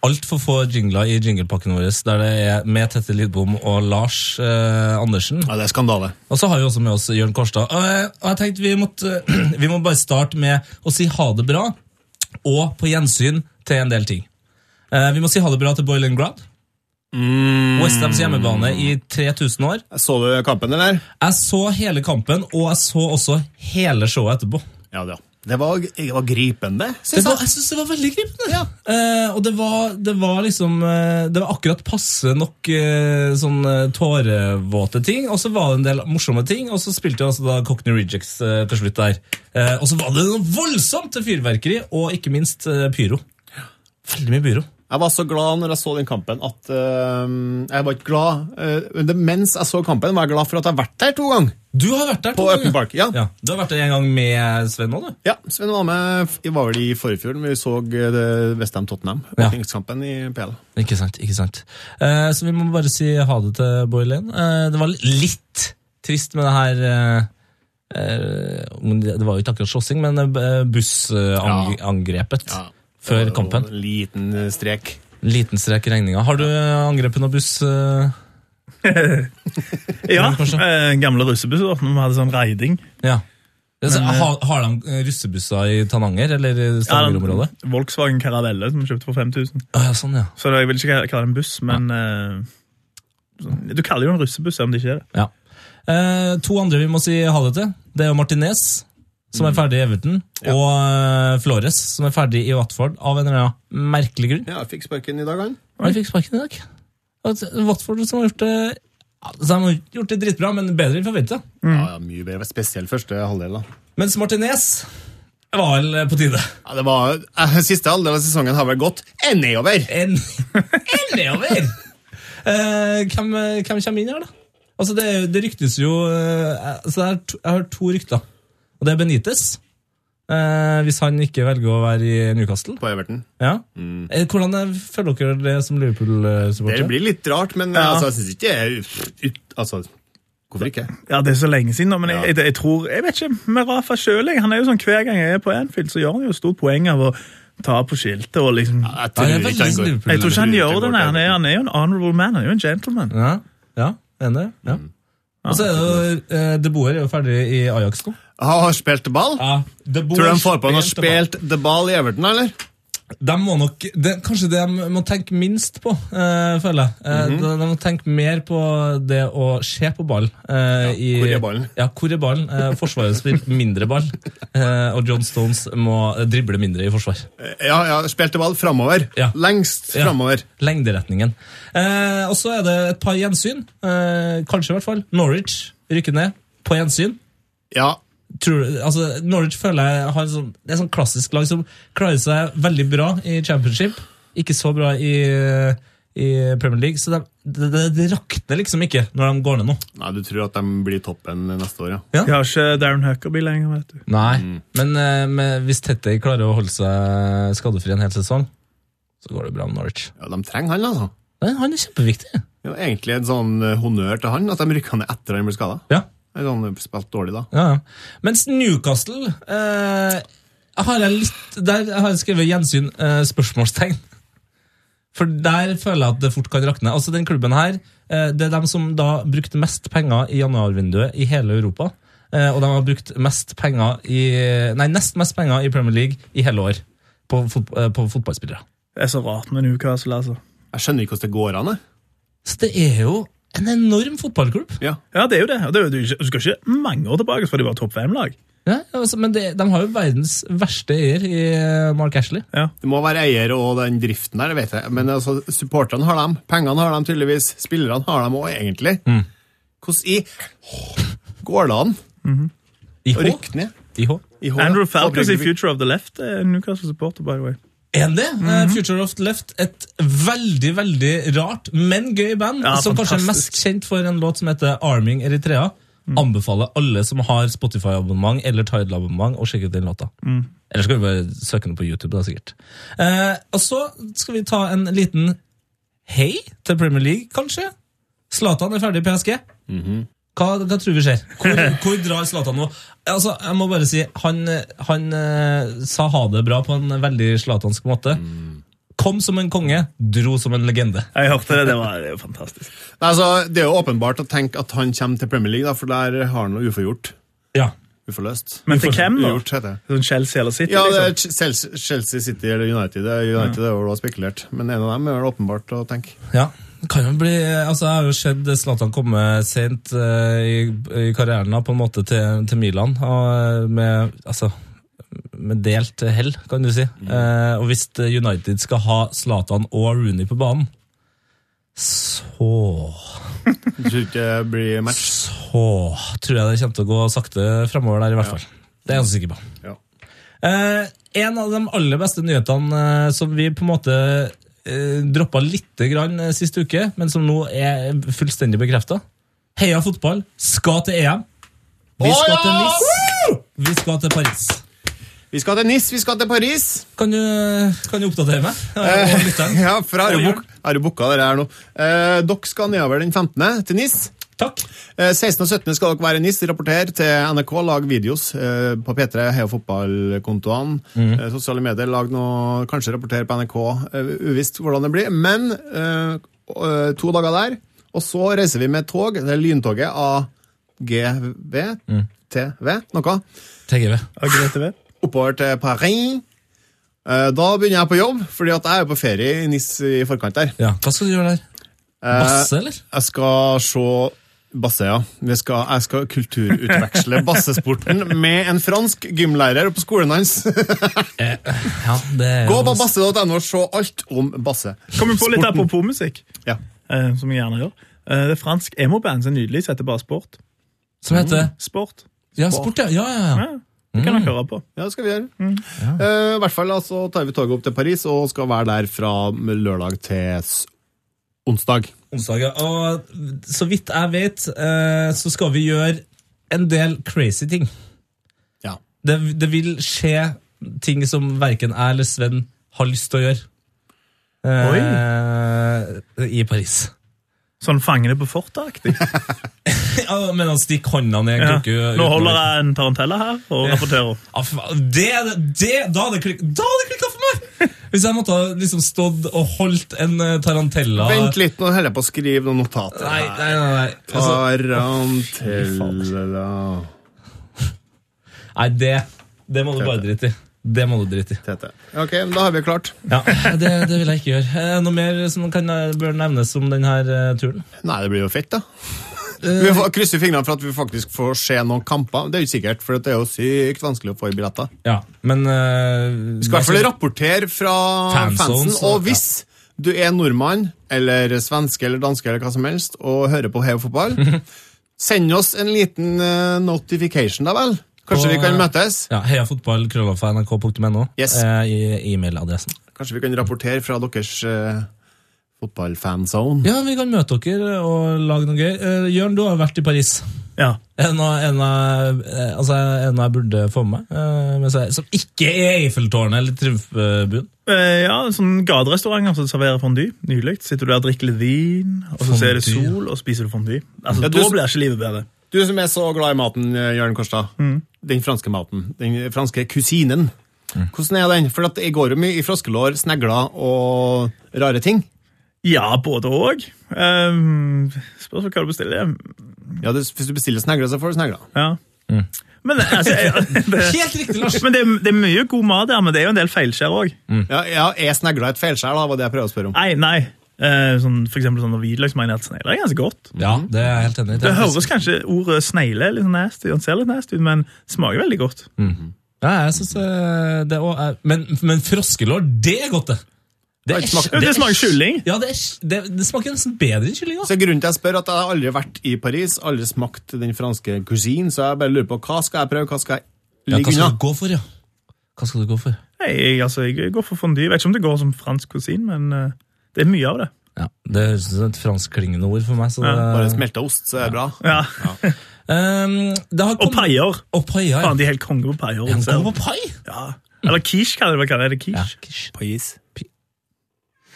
Speaker 3: altfor få jingler i jinglepakken vår der det er med Tette Lidbom og Lars eh, Andersen.
Speaker 4: ja, det er skandale.
Speaker 3: Og så har vi også med oss Jørn Kårstad. Og, eh, og jeg tenkte vi måtte, *clears throat* vi må bare starte med å si ha det bra, og på gjensyn til en del ting. Eh, vi må si ha det bra til Boylan Grad. Westhams hjemmebane i 3000 år.
Speaker 4: Så du kampen, eller?
Speaker 3: Jeg så hele kampen, og jeg så også hele showet etterpå.
Speaker 4: Ja, det, ja. det var, det var gripende.
Speaker 3: Det var, jeg syns det var veldig gripende. Eh, og det var, det var liksom eh, Det var akkurat passe nok eh, sånn eh, tårevåte ting. Og så var det en del morsomme ting, og så spilte jo altså da Cockney Rejects eh, til slutt der. Eh, og så var det noe voldsomt til fyrverkeri, og ikke minst eh, pyro. Veldig mye pyro.
Speaker 4: Jeg var så glad når jeg så den kampen at eh, Jeg var ikke glad eh, men det- Mens jeg så kampen, var jeg glad for at jeg har vært der to ganger.
Speaker 3: Du har vært der.
Speaker 4: På
Speaker 3: to ganger.
Speaker 4: Upton Park, ja.
Speaker 3: ja. Du har vært der en gang med Sven òg, du.
Speaker 4: Ja, Sven var med f- var vel i forrige fjor, når vi så eh, det Westham Tottenham.
Speaker 3: Ja.
Speaker 4: Åpningskampen i PL.
Speaker 3: Ikke sant, ikke sant. Eh, så vi må bare si ha det til Boylén. Eh, det var litt trist med det her eh, eh, men Det det var jo ikke akkurat slåssing, men eh, bussangrepet angrepet
Speaker 4: Ja.
Speaker 3: før
Speaker 4: Det var
Speaker 3: kampen.
Speaker 4: En liten eh, strek.
Speaker 3: Liten strek i regninga. Har du eh, angrepet noen buss? eh?
Speaker 5: Ja,
Speaker 3: kanskje.
Speaker 5: eh, gamle russebusser når vi hadde sånn raiding.
Speaker 3: ja. Altså, har, har de eh, russebusser i Tananger eller i
Speaker 5: Ja, den
Speaker 3: Stavanger-området?
Speaker 5: Volkswagen Caravelle som vi kjøpte for 5000.
Speaker 3: Å, ja, sånn, ja.
Speaker 5: Så det, jeg vil ikke kalle det en buss, men eh, sånn- Du kaller det jo en russebuss, selv om det ikke er det.
Speaker 3: ja. Eh, to andre vi må si ha det til. Det er jo Martinez, som er ferdig i Everton, og eh, Flores, som er ferdig i Watford, av en eller annen merkelig grunn.
Speaker 4: Ja, jeg fikk sparken i dag, han.
Speaker 3: Han fikk sparken i dag. Og Watford som har gjort det altså, de har gjort det dritbra, men bedre enn forventa.
Speaker 4: Ja, ja, mye bedre. Spesielt første halvdel, da.
Speaker 3: Mens Martinez var vel eh, på tide.
Speaker 4: Ja, det var, eh, siste halvdel av sesongen har vel gått eh, nedover.
Speaker 3: En, en nedover! Eh, hvem, hvem kommer inn her, da? Altså, Det, er jo- det ryktes jo eh, altså, det er to, Jeg har hørt to rykter. Og det er Benitez. Eh, hvis han ikke velger å være i Newcastle.
Speaker 4: På Everton.
Speaker 3: Ja. Eh, Hvordan er- føler dere det som
Speaker 4: Mm. Det
Speaker 3: Liverpool-supporter?
Speaker 4: blir litt rart, men eh,
Speaker 5: Ja.
Speaker 4: altså, jeg syns ikke det er ut, ut, Altså, hvorfor ikke?
Speaker 5: Ja, Det er så lenge siden, nå, men
Speaker 4: Ja.
Speaker 5: jeg, jeg, jeg tror Jeg vet ikke. Med Rafa sjøl, han er jo sånn hver gang jeg er på Anfield, så gjør han jo stort poeng av å ta på skiltet og
Speaker 4: Jeg
Speaker 5: liksom
Speaker 3: Ja, jeg er veldig Liverpool.
Speaker 5: Jeg tror ikke han
Speaker 4: Jeg tror
Speaker 5: gjør
Speaker 4: ikke
Speaker 5: det.
Speaker 4: han
Speaker 5: nei.
Speaker 4: går
Speaker 5: Han
Speaker 4: til-
Speaker 5: er, han er jo en honorable man. Han er jo en gentleman.
Speaker 3: Ja, ja, enig. Ja.
Speaker 4: Mm.
Speaker 3: Og så er det jo eh, De Boer er jo ferdig i Ajax nå.
Speaker 4: Han har spilt ball?
Speaker 3: Ja, de
Speaker 4: Tror du de får på han har spilt the ball i Everton, eller?
Speaker 3: De må nok, det, er Kanskje det de må tenke minst på, eh, føler jeg. Eh,
Speaker 4: Mhm.
Speaker 3: de, de må tenke mer på det å se på ball. eh, i,
Speaker 4: hvor er ballen?
Speaker 3: Ja, hvor er ballen? Eh, forsvaret spiller mindre ball, eh, og John Stones må eh, drible mindre i forsvar.
Speaker 4: Ja, Eh, ja, spilte ball framover.
Speaker 3: Ja.
Speaker 4: Lengst
Speaker 3: Ja.
Speaker 4: framover.
Speaker 3: Lengderetningen. Eh, og så er det et par gjensyn. Eh, kanskje, i hvert fall. Norwich rykker ned på gjensyn.
Speaker 4: Ja.
Speaker 3: tror, du- altså, Norwich føler jeg har en sånn, det er et sånn klassisk lag som klarer seg veldig bra i championship, ikke så bra i, i Premier League. Så det, det, det, det rakner liksom ikke når de går ned nå.
Speaker 4: Nei, du tror at de blir toppen neste år, ja.
Speaker 5: Jeg har ikke Darren Huckerby lenger, vet du.
Speaker 3: Nei, men, eh, men hvis Tette klarer å holde seg skadefri en hel sesong, så går det bra med Norwich.
Speaker 4: ja de trenger han, altså.
Speaker 3: Nei, han er kjempeviktig.
Speaker 4: Det er jo egentlig en sånn eh, honnør til han, at de rykka ned etter han ble skada.
Speaker 3: Ja,
Speaker 4: Sånn, eh, spilt dårlig, da.
Speaker 3: ja, ja. Mens Newcastle eh, har jeg litt, Der har jeg skrevet gjensyn eh, spørsmålstegn. For der føler jeg at det fort kan rakne. Altså den klubben her, eh, Det er dem som da brukte mest penger i januarvinduet i hele Europa. eh, Og de har brukt mest penger i, nei, nest mest penger i Premier League i hele år på, fot, eh, på fotballspillere.
Speaker 5: Det er så rart med Newcastle, altså.
Speaker 4: Jeg skjønner ikke hvordan det går an, jeg.
Speaker 3: Så det er jo en enorm fotballklubb.
Speaker 4: Ja.
Speaker 5: Ja, det er jo det. Og det er jo, du, ikke- du skal ikke mange år tilbake før de var topp fem-lag.
Speaker 3: Ja, altså, men det, de har jo verdens verste eier i eh, Mark Ashley.
Speaker 5: Ja.
Speaker 4: Det må være eier og den driften der, det vet jeg. Men altså, supporterne har dem, pengene har dem tydeligvis, spillerne har dem òg, egentlig.
Speaker 5: Mm.
Speaker 4: Hvordan i går det an
Speaker 3: IH.
Speaker 4: å rykke ned?
Speaker 3: IH.
Speaker 4: I H?
Speaker 5: Andrew Falcons
Speaker 4: Håper
Speaker 5: i
Speaker 4: ikke vi-
Speaker 5: Future of the Left er en Newcastle-supporter, by the way.
Speaker 3: Er det?
Speaker 5: Mhm.
Speaker 3: Eh, Future of the Left, et veldig, veldig rart, men gøy band,
Speaker 5: Ja,
Speaker 3: som kanskje er mest
Speaker 5: fantastisk. Mm.
Speaker 3: kjent for en låt som heter Arming
Speaker 5: Mm.
Speaker 3: Eritrea. Anbefaler alle som har Spotify-abonnement eller Tidal-abonnement å sjekke ut den låta. Eller skal vi bare søke noe på YouTube, da, sikkert. Eh, og så skal vi ta en liten hei til Premier League, kanskje. Zlatan er ferdig i PSG. hva, hva tror vi skjer? Hvor, hvor drar Zlatan nå? Altså, jeg må bare si, han, han eh, sa ha det bra på en veldig zlatansk måte. Kom som en konge, dro som en legende.
Speaker 5: Jeg hørte det, det var det er jo fantastisk.
Speaker 4: Nei, altså, det er jo åpenbart å tenke at han kommer til Premier League, da, for der har han noe uforgjort.
Speaker 3: Ja.
Speaker 4: Uforløst.
Speaker 5: Men til hvem, da?
Speaker 4: Ugjort, heter det.
Speaker 5: Sånn Chelsea eller City?
Speaker 4: Ja, det er
Speaker 5: liksom.
Speaker 4: Ch- Chelsea, Chelsea City eller United. Det er United er jo da spekulert, men en av dem er vel åpenbart å tenke.
Speaker 3: Ja. det Kan jo bli, altså Jeg har jo sett Zlatan komme sent eh, i, i karrieren da, på en måte til, til Milan. Og eh, med, altså, med delt hell, kan du si. Eh, og hvis eh, United skal ha Zlatan og Rooney på banen, så
Speaker 4: Du tror ikke det blir match?
Speaker 3: Så tror jeg det kommer til å gå sakte fremover der, i hvert fall. Det er jeg ganske sikker på.
Speaker 4: Ja.
Speaker 3: Eh, en av de aller beste nyhetene eh, som vi på en måte eh, droppa lite grann eh, sist uke, men som nå er fullstendig bekrefta. Heia fotball skal til EM. Vi skal til Nice. Vi skal til Paris.
Speaker 4: Vi skal til Nis, vi skal til Paris!
Speaker 3: Kan du, kan du oppdatere meg? Og lytteren?
Speaker 4: Eh, *laughs* Ja, for jeg har jo
Speaker 3: Og
Speaker 4: bok- jeg har jo booka dere her nå. Eh, dere skal nedover den 15. til Nis.
Speaker 3: Takk.
Speaker 4: Eh, 16. og 17. skal dere være i NIS, rapportere til NRK, lag videos eh, på P3, Heia fotballkontoene,
Speaker 3: Mm.
Speaker 4: eh, sosiale medier, lag noe, kanskje rapportere på NRK, eh, uvisst hvordan det blir. Men eh, eh, to dager der, og så reiser vi med tog, det er lyntoget AGV,
Speaker 3: Mm.
Speaker 4: TV, noe,
Speaker 3: TGV.
Speaker 5: Ja, greit, det vet.
Speaker 4: oppover til Paris. Eh, Da begynner jeg på jobb, fordi at jeg er jo på ferie i NIS i forkant der.
Speaker 3: Ja, Hva skal du gjøre der?
Speaker 4: Eh,
Speaker 3: Basse, eller?
Speaker 4: Jeg skal se Basse, ja. Vi skal, jeg skal kulturutveksle
Speaker 3: *laughs*
Speaker 4: bassesporten med en fransk gymlærer på skolen hans.
Speaker 3: Ja, det er
Speaker 4: Gå
Speaker 3: jo-
Speaker 4: på basse.no og se alt om basse.
Speaker 5: Kommer på litt apropos musikk,
Speaker 4: Ja.
Speaker 5: eh, som jeg gjerne gjør. Eh, det er fransk emo-band som er nydelig, som heter bare Sport.
Speaker 3: Som heter
Speaker 5: Sport.
Speaker 3: Ja, sport, ja. ja, ja, ja.
Speaker 5: Ja, det
Speaker 3: Mm.
Speaker 5: kan dere høre på.
Speaker 4: ja, det skal vi gjøre. Eh, I hvert fall altså, tar vi toget opp til Paris og skal være der fra lørdag til s- onsdag.
Speaker 3: onsdag. ja. Og så vidt jeg vet, eh, så skal vi gjøre en del crazy ting.
Speaker 4: Ja.
Speaker 3: Det, det vil skje ting som verken jeg eller Sven har lyst til å gjøre. Eh, I Paris.
Speaker 5: Sånn Fangene på
Speaker 3: *laughs*
Speaker 5: fortet-aktig.
Speaker 3: Ja, men å stikke hånda ned i en
Speaker 5: Ja.
Speaker 3: krukke
Speaker 5: Nå holder jeg en tarantella her og rapporterer.
Speaker 3: Ja, fy faen, det, er det- det, da hadde det klik- da hadde det klikka for meg! Hvis jeg måtte ha liksom stått og holdt en eh, tarantella
Speaker 4: Vent litt, nå holder jeg på å skrive noen notater.
Speaker 3: Nei,
Speaker 4: her.
Speaker 3: nei, nei. nei. Altså,
Speaker 4: Tarantella
Speaker 3: nei det, det må du bare drite i. Det må du drite i.
Speaker 4: Tete. Ok, men da har vi klart.
Speaker 3: *laughs* Ja, det, det vil jeg ikke gjøre. Eh, Noe mer som kan eh, bør nevnes om denne eh, turen?
Speaker 4: Nei, det blir jo fett, da. *laughs* Eh. Vi får krysse fingrene for at vi faktisk får se noen kamper. Det er jo ikke sikkert, for det er jo sykt vanskelig å få i billetter.
Speaker 3: Ja, men eh,
Speaker 4: Vi skal i hvert fall rapportere fra
Speaker 3: Fanzones,
Speaker 4: fansen.
Speaker 3: og-
Speaker 4: Og hvis du er nordmann, eller svenske eller danske eller hva som helst, og hører på Heia fotball, *laughs* send oss en liten eh, notification, da vel. Kanskje
Speaker 3: På-
Speaker 4: vi kan møtes?
Speaker 3: Ja, Heia fotball, krøllalfa, nrk.no.
Speaker 4: Yes.
Speaker 3: eh, I e-mailadressen.
Speaker 4: Kanskje vi kan rapportere fra deres eh, fotballfanzone?
Speaker 3: Ja, vi kan møte dere og lage noe gøy. Eh, Jørn, du har vært i Paris.
Speaker 5: Ja.
Speaker 3: En av, en av, eh, altså, en av jeg burde få med meg, eh, mens jeg- som ikke er Eiffeltårnet eller Triumfbuen.
Speaker 5: Eh, ja, sånn gaterestauranter som serverer fondue. Nylig. Sitter du der og drikker litt vin, og så ser du
Speaker 3: Fondue, ja.
Speaker 5: sol, og spiser du fondue. Altså,
Speaker 4: Ja, du-
Speaker 5: Da blir ikke livet bedre.
Speaker 4: Du som er så glad i maten, eh, Jørn Kårstad.
Speaker 3: Mm.
Speaker 4: Den franske maten. Den franske kusinen. Hvordan er den? For at det går jo mye i froskelår, snegler og rare ting.
Speaker 5: Ja, både òg. Um, spørs hva du bestiller.
Speaker 4: Ja, det, Hvis du bestiller snegler, så får du snegler.
Speaker 5: Ja. Men, altså, *laughs* jeg, det,
Speaker 3: Helt riktig, Lars!
Speaker 5: men det, er- det er mye god mat der, men det er jo en del feilskjær òg.
Speaker 3: Mm.
Speaker 4: Ja, ja, Er snegler et feilskjær, da? var det jeg prøvde å spørre om.
Speaker 5: Nei, nei. Eh, sånn, for eksempel sånn hvitløksmarinert snegle er ganske godt.
Speaker 3: Ja, det er jeg helt enig i.
Speaker 5: Det
Speaker 3: er-
Speaker 5: høres kanskje ordet snegle litt sånn nasty, den ser litt nasty ut, men smaker veldig godt.
Speaker 3: Ja, jeg synes eh, det også er Men, men froskelår, det er godt, det! Det,
Speaker 4: Alt smaker-
Speaker 5: Ja, det smaker kylling.
Speaker 3: Ja, det, er, det, det smaker nesten bedre enn kylling. også.
Speaker 4: Så grunnen til jeg spør er at Jeg har aldri vært i Paris, aldri smakt den franske kusinen, så jeg bare lurer på hva skal jeg prøve, hva skal jeg
Speaker 3: Ja, hva
Speaker 4: ligge
Speaker 3: skal
Speaker 4: unna?
Speaker 3: du gå for, ja? Hva skal du gå for?
Speaker 5: Nei, jeg, altså, jeg går for fondue. Jeg vet ikke om det går som fransk kusin, men eh, det er mye av det.
Speaker 3: Ja, Det høres ut som et franskklingende ord for meg. Så det,
Speaker 4: Bare smelta ost, så er det bra.
Speaker 5: Ja.
Speaker 3: Ehm, det har
Speaker 5: Og
Speaker 3: kommet-
Speaker 5: paier.
Speaker 3: Og paier. ja.
Speaker 5: Faen, de er helt konge på paier.
Speaker 3: Er han
Speaker 5: ser
Speaker 3: god
Speaker 5: du.
Speaker 3: på pai?
Speaker 5: Ja. Eller quiche, kaller de det. Hva Er det
Speaker 3: Ja,
Speaker 5: quiche?
Speaker 4: Pais.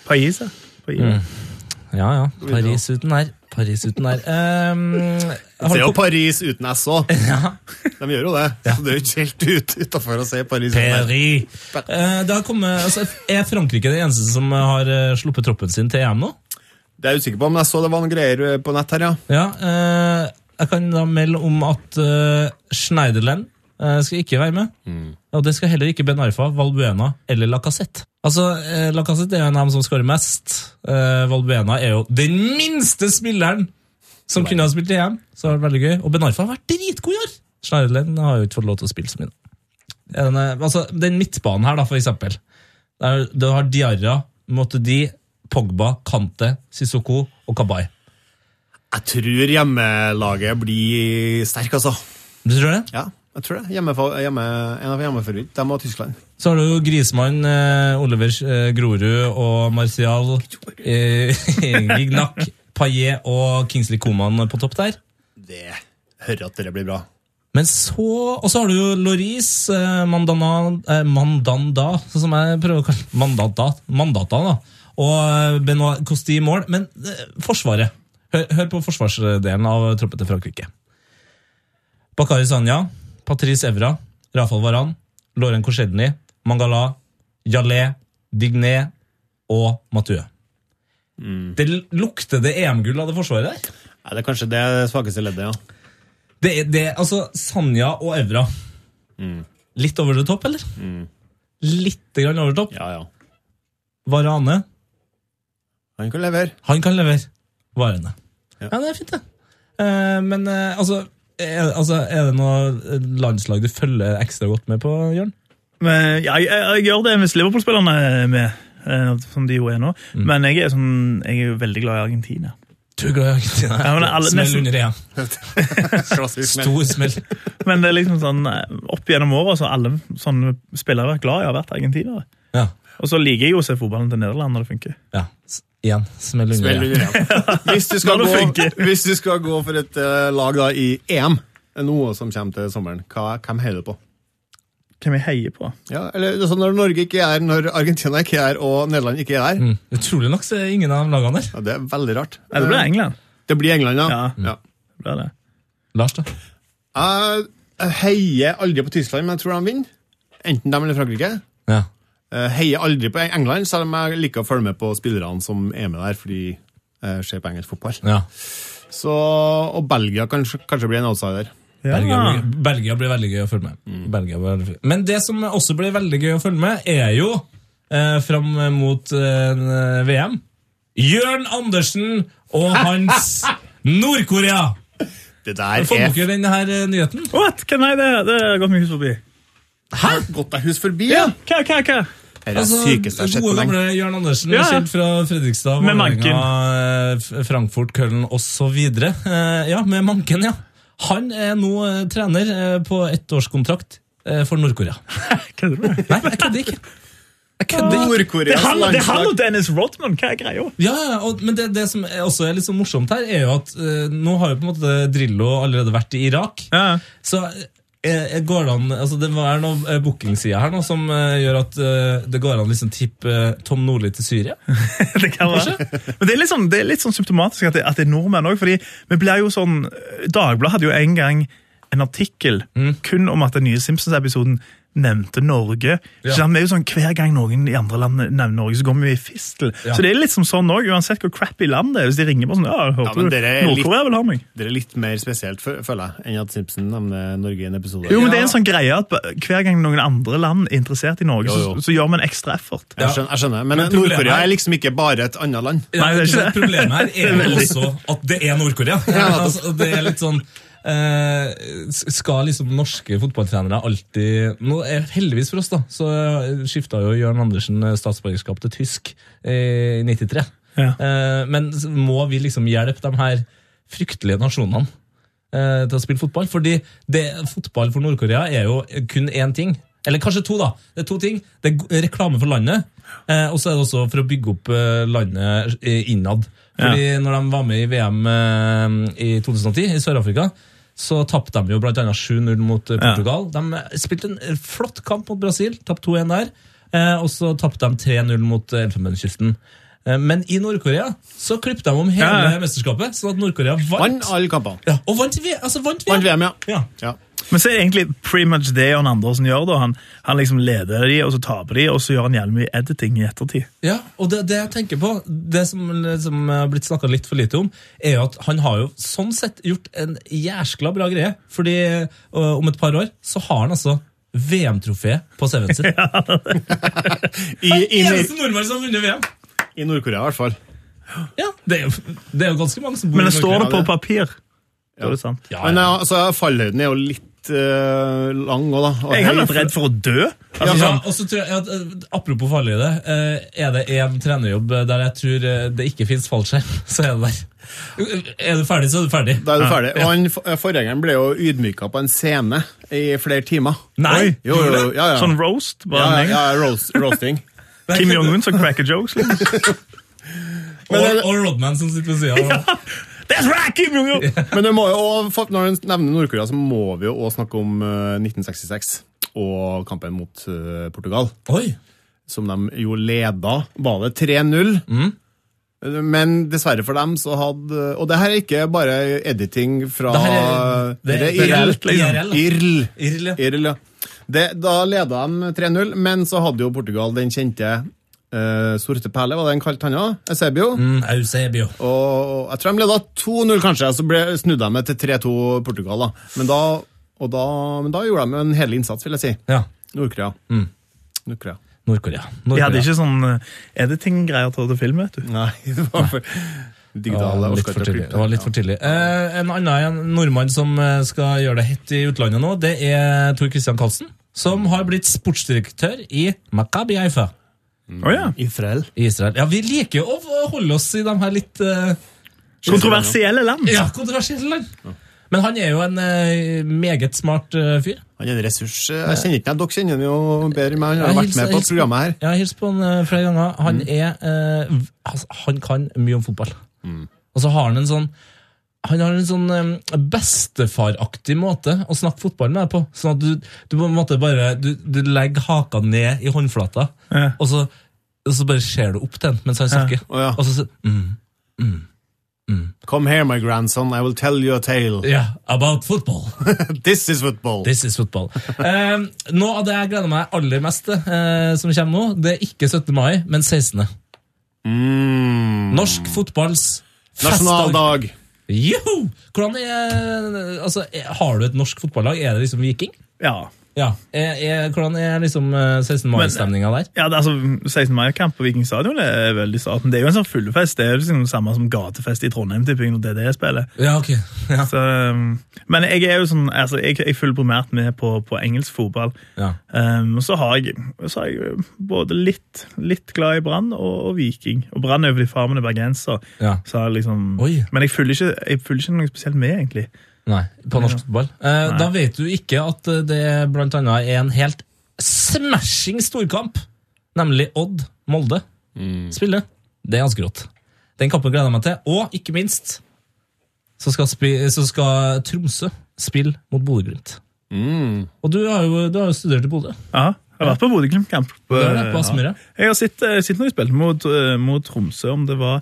Speaker 5: Paise? Paise.
Speaker 3: ja. ja. Paris uten R. Paris uten R. Ehm,
Speaker 4: Det
Speaker 3: har
Speaker 4: er jo
Speaker 3: du
Speaker 4: Paris uten S òg.
Speaker 3: *laughs* Ja.
Speaker 4: De gjør jo det. Så det er jo ikke helt ut utafor å si Paris. uten S.
Speaker 3: Perry. Eh, det har kommet, altså, er Frankrike det eneste som har eh, sluppet troppen sin til EM nå?
Speaker 4: Det er jeg usikker på, men jeg så det var noen greier eh, på nett her, ja.
Speaker 3: Ja, eh, jeg kan da melde om at eh, Schneiderland eh, skal ikke være med. Og det skal heller ikke Ben Arfa, Valbuena eller Lacassette. Altså, eh, Lacassette er jo en av dem som skårer mest. Eh, Valbuena er jo den minste spilleren som kunne ha spilt i EM. Så det har vært veldig gøy. Og Ben Arfa har vært dritgod i år! Schneiderland har jo ikke fått lov til å spille så mye. Den, eh, altså, den midtbanen her, da, for eksempel. Der, du har Diarra, Motedi, Pogba, Kante, Sissoko og Kabay.
Speaker 4: Jeg tror hjemmelaget blir sterk, altså.
Speaker 3: Du tror det?
Speaker 4: Ja, jeg tror det. Hjemmefa- hjemme, en av hjemmeforvidt. De og Tyskland.
Speaker 3: Så har du jo Grismann, eh, Oliver eh, Grorud og Martial, eh, *laughs* Gignac, Paillet og Kingsley Coman på topp der.
Speaker 4: Det hører at dere blir bra.
Speaker 3: Men så, Og så har du jo Loris, eh, Mandana, eh, Mandanda, sånn som jeg prøver å kalle Mandata, Mandata da, og eh, Benoit Costi i mål. Men eh, Forsvaret. Hør, hør på forsvarsdelen av troppen til Frankrike. Bakari Sanja, Patrice Evra, Rafael Varan, Lauren Korselny, Mangala, Jalé, Digné og Mathieu. Det l- lukter det EM-gull av det forsvaret der.
Speaker 4: Ja, det er kanskje det svakeste leddet, ja.
Speaker 3: Det er det, altså Sanja og Evra. Mm. Litt over the top, eller? Litt grann over the top.
Speaker 4: Ja, ja.
Speaker 3: Varane,
Speaker 4: Han kan levere.
Speaker 3: han kan levere. Varane. Ja,
Speaker 4: Ja.
Speaker 3: det er fint, det. Eh, men eh, altså, er, altså Er det noe landslag du følger ekstra godt med på, Jørn?
Speaker 5: Men, ja, jeg, jeg, jeg gjør det hvis Liverpool-spillerne er med, eh, som de jo er nå. Men jeg er, sånn, jeg er jo veldig glad i Argentina.
Speaker 3: Du er glad i Argentina.
Speaker 5: Ja, men alle-
Speaker 3: smell
Speaker 5: nesten-
Speaker 3: under EM.
Speaker 4: Klassisk, men-
Speaker 3: Stor smell.
Speaker 5: Men det er liksom sånn, eh, opp gjennom åra så har alle sånne spillere vært glad i å ha vært argentinere.
Speaker 3: Ja.
Speaker 5: Og så liker jeg jo å se fotballen til Nederland når det funker.
Speaker 3: ja. S- Igjen. Smell under
Speaker 4: Veldig
Speaker 3: EM.
Speaker 4: bra. *laughs* Hvis du, skal
Speaker 5: La det
Speaker 4: gå,
Speaker 5: funke.
Speaker 4: hvis du skal gå for et eh, lag da, i EM, noe som kommer til sommeren, hva, hvem heier du på?
Speaker 5: Hvem jeg heier på?
Speaker 4: Ja, eller altså, Når Norge ikke er når Argentina ikke er og Nederland ikke er der,
Speaker 3: Mm. Utrolig nok så er ingen av lagene der.
Speaker 4: ja, det er veldig rart.
Speaker 5: Eller blir det
Speaker 4: Eh,
Speaker 5: England?
Speaker 4: det blir England, ja.
Speaker 5: Ja.
Speaker 4: ja.
Speaker 5: Det Blir det.
Speaker 3: Lars, da?
Speaker 4: Jeg jeg heier aldri på Tyskland, men jeg tror de vinner. Enten dem eller Frankrike.
Speaker 3: Ja.
Speaker 4: Jeg heier aldri på England, selv om jeg liker å følge med på spillerne som er med der, fordi jeg ser på engelsk fotball.
Speaker 3: ja.
Speaker 4: Så, og Belgia kan kanskje bli en outsider.
Speaker 5: Ja.
Speaker 3: Belgia, blir, Belgia blir veldig gøy å følge med.
Speaker 4: Mm.
Speaker 3: Belgia blir veldig gøy. Men det som også blir veldig gøy å følge med, er jo eh, fram mot eh, VM Jørn Andersen og hans
Speaker 5: *laughs*
Speaker 3: Nord-Korea!
Speaker 4: Det der
Speaker 3: Får
Speaker 4: er
Speaker 3: dere den her eh, nyheten?
Speaker 5: What? Hva, nei, det, det har gått meg hus forbi.
Speaker 4: Hæ? gått deg hus forbi, ja!
Speaker 5: Hva, hva, hva?
Speaker 4: Det er det sykeste jeg har sett
Speaker 3: Altså,
Speaker 4: på
Speaker 3: gode
Speaker 4: lenge.
Speaker 3: gamle Jørn Andersen,
Speaker 5: Ja, ja.
Speaker 3: kjent fra Fredrikstad,
Speaker 5: Med
Speaker 3: Vålerenga, eh, Frankfurt, Køllen osv. Eh, Ja, med manken, ja. Han er nå eh, trener eh, på ettårskontrakt eh, for Nord-Korea.
Speaker 5: Kødder du? med?
Speaker 3: Nei, jeg kødder ikke. Jeg kødder ikke.
Speaker 5: Det er
Speaker 4: Nord-Koreas
Speaker 5: han, det er han og
Speaker 4: landslag.
Speaker 5: Dennis Rodman. Hva er greia?
Speaker 3: Ja, ja, og, men det, det som er- også er litt så morsomt her, er jo at eh, nå har jo på en måte Drillo allerede vært i Irak.
Speaker 5: Ja.
Speaker 3: Så eh, går det an altså Det er noen eh, bookingside her nå som eh, gjør at eh, det går an å liksom tippe eh, Tom Nordli til Syria.
Speaker 5: *laughs* Det kan være. Men det er litt sånn, det er litt sånn symptomatisk at det, at det er nordmenn òg. Sånn, Dagbladet hadde jo en gang en artikkel kun om at den nye Simpsons-episoden nevnte Norge. Så det er jo sånn, Hver gang noen i andre land nevner Norge, så går vi i fistel.
Speaker 3: Ja.
Speaker 5: Så det er litt som sånn òg, uansett hvor crappy land det er. Hvis de ringer på sånn, ja,
Speaker 4: Ja, men
Speaker 5: hørte
Speaker 4: dere er
Speaker 5: du,
Speaker 4: litt-
Speaker 5: Nord-Korea vil ha meg.
Speaker 4: Det er litt mer spesielt, fø- føler jeg, enn at Simpson nevner Norge i en episode.
Speaker 5: Jo, men det er en sånn greie at Hver gang noen andre land er interessert i Norge,
Speaker 4: Jo, jo.
Speaker 5: Så, så gjør vi en ekstra effort.
Speaker 4: Jeg skjønner, jeg skjønner. men,
Speaker 3: problemet
Speaker 4: Nord-Korea
Speaker 3: er-
Speaker 4: er liksom ikke bare et annet land.
Speaker 3: Ja,
Speaker 5: Nei, det er ikke
Speaker 3: så
Speaker 5: det.
Speaker 3: Problemet her
Speaker 5: *laughs*
Speaker 3: er jo også at det er Nord-Korea. *laughs*
Speaker 4: Ja,
Speaker 3: altså, det er litt sånn eh, Skal liksom norske fotballtrenere alltid Nå er Heldigvis for oss, da, så skifta jo Jørn Andersen eh, statsborgerskap til tysk eh, i 93.
Speaker 5: Ja.
Speaker 3: Eh, men så må vi liksom hjelpe de her fryktelige nasjonene eh, til å spille fotball? Fordi det, fotball for Nord-Korea er jo kun én ting. Eller kanskje to, da. Det er to ting. Det er go- reklame for landet, eh, og så er det også for å bygge opp eh, landet eh, innad. Fordi når de var med i VM eh, i 2010 i Sør-Afrika, så tapte de jo bl.a. 7-0 mot eh, Portugal. De spilte en eh, flott kamp mot Brasil, tapte 2-1 der. Eh, og så tapte de 3-0 mot eh, Elfenbenskysten. Eh, men i Nord-Korea så klippet de om hele
Speaker 5: Ja, ja.
Speaker 3: mesterskapet, sånn at Nord-Korea vant.
Speaker 4: Vant alle kampene.
Speaker 3: Ja, og vant, v altså, vant,
Speaker 4: Vant VM, ja.
Speaker 3: Ja.
Speaker 4: ja.
Speaker 5: Men så er det egentlig pretty much det Jan Andersen gjør. da. Han, han liksom leder de, og så taper de, og så gjør han jævlig mye editing i ettertid.
Speaker 4: Mm.
Speaker 3: Ja, og det, det jeg tenker på, det som liksom har blitt snakka litt for lite om, er jo at han har jo sånn sett gjort en jæskla bra greie. Fordi ø, om et par år så har han altså VM-trofé på CV-en sin. ja,
Speaker 4: I, i,
Speaker 3: Eneste nordmann som har vunnet VM!
Speaker 4: i Nord-Korea, i hvert fall.
Speaker 3: Ja, det er, jo, det er jo ganske mange som bor i
Speaker 5: Men det står det
Speaker 3: Nord-Korea.
Speaker 5: på papir. Da er det sant.
Speaker 3: Ja,
Speaker 4: Men
Speaker 3: ja.
Speaker 4: ja, altså, fallhøyden er jo litt eh, lang òg, da. Og
Speaker 5: Jeg
Speaker 4: høy.
Speaker 5: hadde vært redd for å dø. Altså,
Speaker 3: Ja,
Speaker 5: sånn,
Speaker 3: og så tror jeg at, ø, Apropos farlig i det. ø, Er det én trenerjobb der jeg tror ø, det ikke fins fallskjerm, *laughs* så er det der. Er du ferdig, så er du ferdig.
Speaker 4: Da er du ferdig. Og han, for- forgjengeren ble jo ydmyka på en scene i flere timer.
Speaker 3: Nei!
Speaker 5: Oi.
Speaker 4: Jo, jo, jo, ja, ja.
Speaker 5: sånn roast.
Speaker 4: ja,
Speaker 5: bare
Speaker 4: ja,
Speaker 5: en
Speaker 4: ja
Speaker 5: gang.
Speaker 4: roast, roasting.
Speaker 5: Kim Jong-un som cracker
Speaker 4: *laughs*
Speaker 5: jokes. Liksom.
Speaker 3: Og, og Rodman som sitter ved siden av.
Speaker 5: That's right, Kim Jong-un!
Speaker 4: Men det må jo også, for- når du nevner Nord-Korea, så må vi jo òg snakke om eh, 1966 og kampen mot eh, Portugal.
Speaker 3: Oi!
Speaker 4: som de jo leda, var det 3-0.
Speaker 3: Mm.
Speaker 4: Men dessverre for dem så hadde Og det her er ikke bare editing fra
Speaker 3: Det her er- det er
Speaker 4: IRL.
Speaker 3: reelt, liksom.
Speaker 4: IRL.
Speaker 3: IRL, ja.
Speaker 4: IRL, ja. Det, da leda de 3-0, men så hadde jo Portugal den kjente eh, Sorte Perle, var det den kalte han òg? Eusebio.
Speaker 3: Mm, Eusebio.
Speaker 4: Og jeg tror de leda 2-0, kanskje, så ble, snudde de til 3-2 Portugal. da. Men da, og da, men da gjorde de en hel innsats, vil jeg si.
Speaker 3: Ja.
Speaker 4: Nord-Korea.
Speaker 3: Mm.
Speaker 4: Nord-Korea.
Speaker 3: Nord-Korea.
Speaker 5: De hadde
Speaker 3: Nord-Korea.
Speaker 5: ikke sånn eh, editing-greier til å filme. vet du.
Speaker 4: *laughs* Nei, det var for digitale
Speaker 3: Ja, litt for tidlig. Det var litt for tidlig. Eh, en annen en nordmann som eh, skal gjøre det hett i utlandet nå, det er Tor Christian Karlsen. Som har blitt sportsdirektør i Maccabi Haifa
Speaker 4: Mm.
Speaker 5: Å ja.
Speaker 4: Israel.
Speaker 3: i Israel. Ja, Vi liker jo å å holde oss i de her litt eh,
Speaker 5: Kontroversielle land.
Speaker 3: ja, kontroversielle land. Men han er jo en eh, meget smart eh, fyr.
Speaker 4: Han er en ressurs. eh, Jeg kjenner ikke ham. Dere kjenner ham jo bedre enn meg. Han har
Speaker 3: Jeg
Speaker 4: vært med
Speaker 3: hilser-
Speaker 4: på
Speaker 3: hilser-
Speaker 4: programmet her. Mm.
Speaker 3: Jeg har hilst på han eh, flere ganger. Han er eh, v- altså, Han kan mye om fotball.
Speaker 4: Mm.
Speaker 3: Og så har han en sånn han har en sånn eh, bestefaraktig måte å snakke fotball med deg på. Sånn at du, du på en måte bare du, du legger haka ned i håndflata,
Speaker 5: Ja.
Speaker 3: og, så, og så bare ser du opp til han mens han snakker.
Speaker 4: Å, ja.
Speaker 3: Og så sier mm,
Speaker 4: Come here, my grandson, I will tell you a tale.
Speaker 3: Yeah, about football.
Speaker 4: This is football.
Speaker 3: This is
Speaker 4: *laughs*
Speaker 3: football. Eh, noe av det jeg gleder meg aller mest til, eh, som kommer nå, det er ikke 17. mai, men 16.
Speaker 4: Mm.
Speaker 3: Norsk fotballs festdag.
Speaker 4: Nasjonaldag.
Speaker 3: Joho! Hvordan er, altså, er- Har du et norsk fotballag? Er det liksom Viking?
Speaker 5: Ja.
Speaker 3: Ja. Er, er, hvordan er liksom eh, 16. mai-stemninga der?
Speaker 5: Ja, det er altså 16. mai-kamp på Viking stadion det er veldig staten. Det er jo en sånn fullfest. Det er jo liksom det samme som gatefest i Trondheim typ, når DDE spiller.
Speaker 3: Ja, ok. *laughs* Ja.
Speaker 5: Så, um, men jeg er jo sånn, altså, jeg, jeg følger primært med på, på engelsk fotball.
Speaker 3: Ja.
Speaker 5: Um, og så har jeg, så er jeg både litt, litt glad i Brann og, og Viking. Og Brann er jo fordi far min er bergenser.
Speaker 3: Ja.
Speaker 5: Så jeg liksom,
Speaker 3: Oi.
Speaker 5: men jeg følger, ikke, jeg følger ikke noe spesielt med, egentlig.
Speaker 3: Nei, på norsk fotball. Eh,
Speaker 5: Nei.
Speaker 3: Da vet du ikke at eh, det blant annet er en helt smashing storkamp, nemlig Odd-Molde spiller. Det er ganske rått. Den kampen gleder jeg meg til. Og ikke minst så skal, spi, så skal Tromsø spille mot Bodø-Glimt. Og du har, jo, du har jo studert i Bodø.
Speaker 5: Ja, jeg har vært på Bodø-Glimt-kamp.
Speaker 3: Du har vært på Aspmyra.
Speaker 5: Jeg har sett, eh, sett når de spilte mot, eh, mot Tromsø, om det var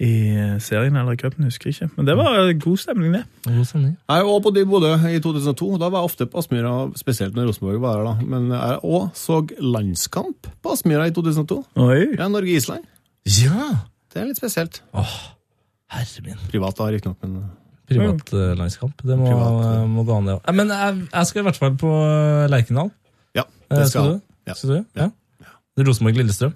Speaker 5: i eh, serien eller i cupen, husker jeg ikke. Men det var god stemning, det.
Speaker 3: God stemning.
Speaker 4: Jeg var bodde i Bodø i 2002. Da var jeg ofte på Aspmyra, spesielt når Rosenborg var der. da. Men jeg òg så landskamp på Aspmyra i 2002.
Speaker 5: Oi.
Speaker 4: Ja, Norge-Island.
Speaker 3: Ja!
Speaker 4: Det er litt spesielt.
Speaker 3: Herre min.
Speaker 4: Privat da, riktignok, men
Speaker 3: Privatlandskamp. Det må,
Speaker 4: Privat.
Speaker 3: må gå an, det òg. Men jeg, jeg skal i hvert fall på Lerkendal.
Speaker 4: ja.
Speaker 3: Eh,
Speaker 4: Det
Speaker 3: skal
Speaker 4: skal
Speaker 3: du?
Speaker 4: Ja.
Speaker 3: Skal du? Ja. Det er Rosenborg-Lillestrøm.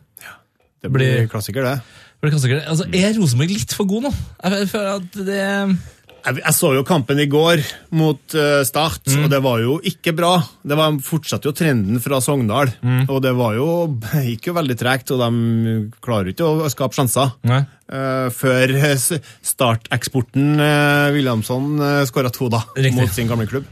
Speaker 4: Det
Speaker 3: Blir-
Speaker 4: blir klassiker, det.
Speaker 3: For det kan sikkert- Altså, er Rosenborg litt for god nå? Jeg jeg føler at det
Speaker 4: Jeg, jeg så jo kampen i går mot eh, Start, og det var jo ikke bra. Det var, fortsatte jo trenden fra Sogndal, og det var jo, *laughs* gikk jo veldig tregt, og de klarer jo ikke å skape sjanser.
Speaker 3: Nei.
Speaker 4: Eh, før eh, s- starteksporten uh, Williamson uh, skåra to, da,
Speaker 3: Riktig.
Speaker 4: mot sin gamle klubb.